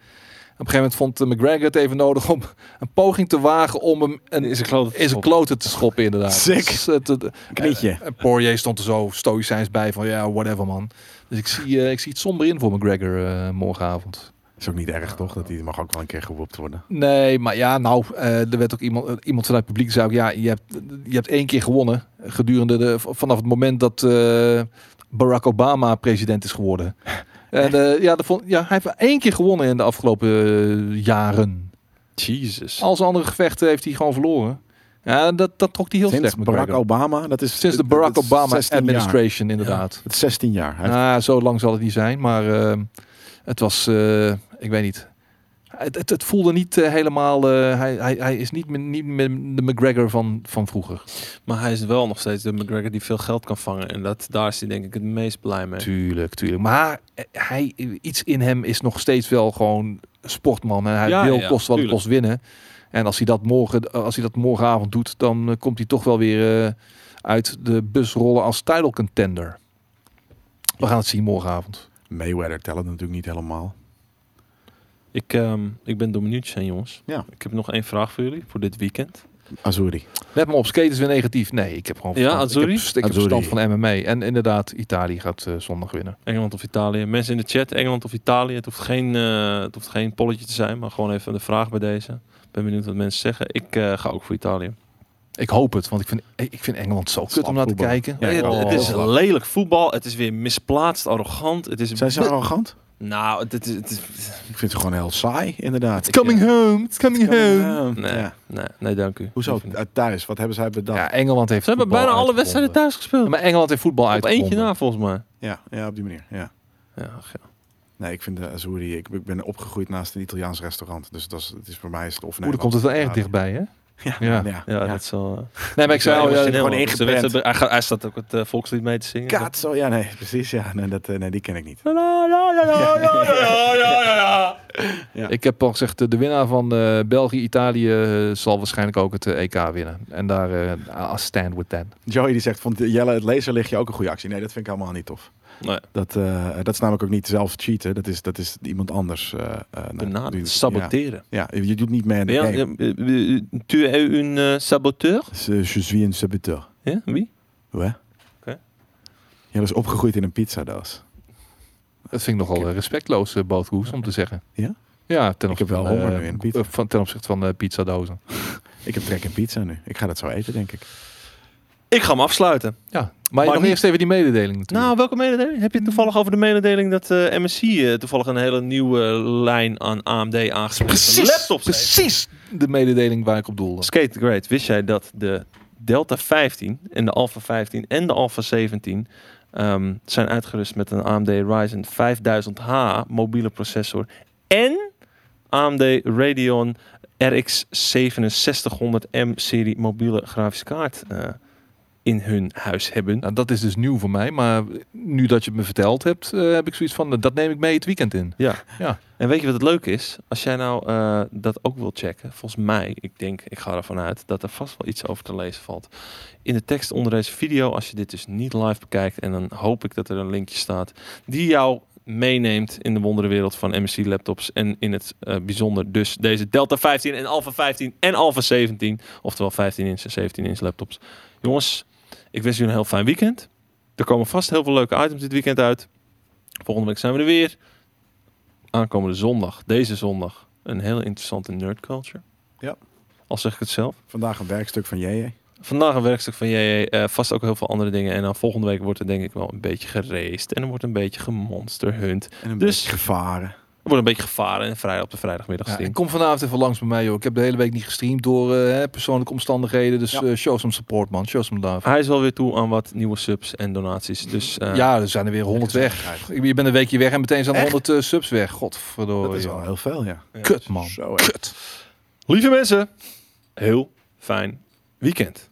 [SPEAKER 3] Op een gegeven moment vond eh, McGregor het even nodig om een poging te wagen om hem een,
[SPEAKER 1] Is een klote te
[SPEAKER 3] in zijn
[SPEAKER 1] schoppen.
[SPEAKER 3] kloten te schoppen, inderdaad.
[SPEAKER 2] Sick.
[SPEAKER 3] Dus het- het-
[SPEAKER 2] Knietje.
[SPEAKER 3] en Poirier stond er zo stoïcijns bij van, ja, whatever, man. Dus ik zie, eh, ik zie het somber in voor McGregor eh, morgenavond.
[SPEAKER 2] Is ook niet erg, toch? Dat die mag ook wel een keer gewoept worden.
[SPEAKER 3] Nee, maar ja, nou, eh, er werd ook iemand, eh, iemand vanuit het publiek zei ook, ja, je hebt, je hebt één keer gewonnen gedurende de, v- vanaf het moment dat eh, Barack Obama president is geworden. En eh, ja, dat vond, ja, hij heeft één keer gewonnen in de afgelopen eh, jaren.
[SPEAKER 1] Jesus.
[SPEAKER 3] Al zijn andere gevechten heeft hij gewoon verloren. Ja, dat, dat trok hij heel
[SPEAKER 2] Sinds
[SPEAKER 3] slecht,
[SPEAKER 2] Barack
[SPEAKER 3] McGregor.
[SPEAKER 2] Obama. Dat is
[SPEAKER 3] Sinds de
[SPEAKER 2] dat-
[SPEAKER 3] Barack
[SPEAKER 2] dat is
[SPEAKER 3] Obama
[SPEAKER 2] 16 jaar.
[SPEAKER 3] administration, inderdaad.
[SPEAKER 2] Dat is 16 jaar. Hij heeft-
[SPEAKER 3] Nou, zo lang zal het niet zijn, maar ehm, het was, eh, ik weet niet. Het, het, het voelde niet eh, helemaal. eh, hij, hij, hij is niet, meer- niet meer de McGregor van, van vroeger.
[SPEAKER 1] Maar hij is wel nog steeds de McGregor die veel geld kan vangen. En dat, daar is hij denk ik het meest blij mee.
[SPEAKER 3] Tuurlijk, tuurlijk. Maar eh, hij, iets in hem is nog steeds wel gewoon sportman. En hij
[SPEAKER 1] Ja,
[SPEAKER 3] wil
[SPEAKER 1] ja,
[SPEAKER 3] kost wat het
[SPEAKER 1] tuurlijk.
[SPEAKER 3] kost winnen. En als hij dat, morgen, als hij dat morgenavond doet, dan eh, komt hij toch wel weer eh, uit de bus rollen als title contender. We gaan het zien morgenavond.
[SPEAKER 2] Mayweather telt het natuurlijk niet helemaal.
[SPEAKER 1] Ik, ehm, ik ben door minuutjes heen, jongens.
[SPEAKER 2] Ja.
[SPEAKER 1] Ik heb nog één vraag voor jullie, voor dit weekend.
[SPEAKER 2] Azuri.
[SPEAKER 3] Let me op, skate is weer negatief. Nee, ik heb gewoon
[SPEAKER 1] Ja,
[SPEAKER 3] verstand.
[SPEAKER 1] Azzurri?
[SPEAKER 3] Ik heb, ik heb
[SPEAKER 2] Azzurri.
[SPEAKER 3] verstand van MMA. En inderdaad, Italië gaat eh, zondag winnen.
[SPEAKER 1] Engeland of Italië. Mensen in de chat, Engeland of Italië. Het hoeft geen, eh, het hoeft geen polletje te zijn, maar gewoon even de vraag bij deze. Ik ben benieuwd wat mensen zeggen. Ik eh, ga ook voor Italië.
[SPEAKER 3] Ik hoop het, want ik vind, ik vind Engeland zo kut om naar te
[SPEAKER 2] voetbal.
[SPEAKER 3] kijken.
[SPEAKER 2] Ja,
[SPEAKER 1] het,
[SPEAKER 2] oh.
[SPEAKER 1] het is lelijk voetbal. Het is weer misplaatst, arrogant. Het is...
[SPEAKER 2] Zijn ze arrogant?
[SPEAKER 1] Nou, het, is- het is...
[SPEAKER 2] Ik vind ze gewoon heel saai, inderdaad.
[SPEAKER 3] coming home, it's coming home.
[SPEAKER 1] Nee,
[SPEAKER 2] Ja.
[SPEAKER 1] nee, nee, dank u.
[SPEAKER 2] Hoezo?
[SPEAKER 1] Liever niet.
[SPEAKER 2] Uh, Thuis, wat hebben zij bedacht?
[SPEAKER 3] Ja, Engeland heeft
[SPEAKER 1] Ze hebben
[SPEAKER 3] voetbal
[SPEAKER 1] bijna alle wedstrijden
[SPEAKER 3] uitgevonden.
[SPEAKER 1] thuis gespeeld.
[SPEAKER 3] Maar Engeland heeft voetbal
[SPEAKER 1] Op eentje
[SPEAKER 3] uitgevonden.
[SPEAKER 1] na, volgens mij.
[SPEAKER 2] Ja, ja, op die manier. Ja.
[SPEAKER 1] Ja, ach ja.
[SPEAKER 2] Nee, ik vind de Azuri. Ik, ik ben opgegroeid naast een Italiaans restaurant. Dus dat is, het is voor mij is het of
[SPEAKER 3] Oeh, dan komt het wel erg dichtbij, hè?
[SPEAKER 2] Ja.
[SPEAKER 3] Ja.
[SPEAKER 2] Ja.
[SPEAKER 1] Ja,
[SPEAKER 2] Ja.
[SPEAKER 1] dat is wel... eh,
[SPEAKER 3] Nee, maar ik zei al,
[SPEAKER 2] Ja,
[SPEAKER 3] ja,
[SPEAKER 2] emotioneel. gewoon
[SPEAKER 1] want ze
[SPEAKER 2] ingeprent.
[SPEAKER 1] werd er- hij, gaat- hij staat ook het eh, volkslied mee te zingen.
[SPEAKER 2] Kaat, zo. Ja, nee, precies. Ja, nee, dat, eh, nee, die ken ik niet.
[SPEAKER 1] La, la, la, la, la, la, la, la, la.
[SPEAKER 3] ik heb al gezegd, eh, de winnaar van eh, België, Italië eh, zal waarschijnlijk ook het eh, EK winnen. En daar, eh I stand with that.
[SPEAKER 2] Joey die zegt, vond Jelle het laserlichtje ook een goede actie? Nee, dat vind ik helemaal niet tof.
[SPEAKER 1] Nee.
[SPEAKER 2] Dat, eh, dat is namelijk ook niet zelf cheaten. Dat is, dat is iemand anders. eh, eh, nou, die-
[SPEAKER 1] Benaderen, saboteren.
[SPEAKER 2] Ja, ja, je doet niet mee aan de
[SPEAKER 1] Ja,
[SPEAKER 2] game.
[SPEAKER 1] ja, eh, eh, Tu es un eh, saboteur?
[SPEAKER 2] Je suis un saboteur.
[SPEAKER 1] Ja, wie?
[SPEAKER 2] Ouais.
[SPEAKER 1] Oké.
[SPEAKER 2] Jelle is opgegroeid in een pizzadaas.
[SPEAKER 3] Dat vind ik nogal eh, respectloos, uh, om te zeggen.
[SPEAKER 2] Ja?
[SPEAKER 3] Ja, ten
[SPEAKER 2] Ik heb
[SPEAKER 3] opzichte
[SPEAKER 2] wel
[SPEAKER 3] van,
[SPEAKER 2] honger
[SPEAKER 3] eh,
[SPEAKER 2] nu in pizza.
[SPEAKER 3] eh, van, ten opzichte van eh, pizzadozen.
[SPEAKER 2] Ik heb trek in pizza nu. Ik ga dat zo eten, denk ik.
[SPEAKER 1] Ik ga hem afsluiten.
[SPEAKER 3] Ja, maar,
[SPEAKER 1] Maar
[SPEAKER 3] nog
[SPEAKER 1] niet-
[SPEAKER 3] eerst even die mededeling natuurlijk.
[SPEAKER 1] Nou, welke mededeling? Heb je het toevallig over de mededeling dat eh, MSC eh, toevallig een hele nieuwe eh, lijn aan AMD aangesloten laptops heeft?
[SPEAKER 3] precies de mededeling waar ik op doelde.
[SPEAKER 1] Skate Great, wist jij dat de Delta 15 en de Alpha 15 en de Alpha 17 ehm, zijn uitgerust met een AMD Ryzen 5000H mobiele processor en AMD Radeon RX 6700M serie mobiele grafische kaart eh, in hun huis hebben?
[SPEAKER 3] Nou, dat is dus nieuw voor mij, maar nu dat je het me verteld hebt, eh, heb ik zoiets van, eh, dat neem ik mee het weekend in.
[SPEAKER 1] Ja.
[SPEAKER 3] Ja.
[SPEAKER 1] En weet je wat het leuke is? Als jij nou eh, dat ook wilt checken, volgens mij, ik denk, ik ga ervan uit dat er vast wel iets over te lezen valt. In de tekst onder deze video, als je dit dus niet live bekijkt, en dan hoop ik dat er een linkje staat die jou meeneemt in de wonderenwereld van MSC laptops en in het eh, bijzonder dus deze Delta 15 en Alpha 15 en Alpha 17, oftewel 15 inch en 17 inch laptops. Jongens, ik wens jullie een heel fijn weekend. Er komen vast heel veel leuke items dit weekend uit. Volgende week zijn we er weer aankomende zondag, deze zondag, een hele interessante nerd culture.
[SPEAKER 2] Ja.
[SPEAKER 1] Al zeg ik het zelf.
[SPEAKER 2] Vandaag een werkstuk van JJ.
[SPEAKER 1] Vandaag een werkstuk van JJ, eh, vast ook heel veel andere dingen. En dan volgende week wordt er denk ik wel een beetje geraced. En er wordt een beetje gemonsterhunt. Er
[SPEAKER 2] En een
[SPEAKER 1] Dus-
[SPEAKER 2] beetje gevaren.
[SPEAKER 1] wordt een beetje gevaren en vrij op de vrijdagmiddag
[SPEAKER 3] Ja, en
[SPEAKER 1] stream.
[SPEAKER 3] kom vanavond even langs bij mij, joh. Ik heb de hele week niet gestreamd door eh, hè, persoonlijke omstandigheden, dus
[SPEAKER 2] Ja.
[SPEAKER 3] eh, show some support, man. Show some love.
[SPEAKER 1] Hij is wel weer toe aan wat nieuwe subs en donaties. Dus eh,
[SPEAKER 3] ja, er zijn er weer honderd weg. Ik- Je bent een weekje weg en meteen zijn er
[SPEAKER 2] Echt?
[SPEAKER 3] honderd eh, subs weg. Godverdorie.
[SPEAKER 2] Dat is wel heel veel, ja.
[SPEAKER 1] ja.
[SPEAKER 3] Kut, man.
[SPEAKER 2] Zo, hè.
[SPEAKER 3] Kut.
[SPEAKER 1] Lieve mensen, heel fijn weekend.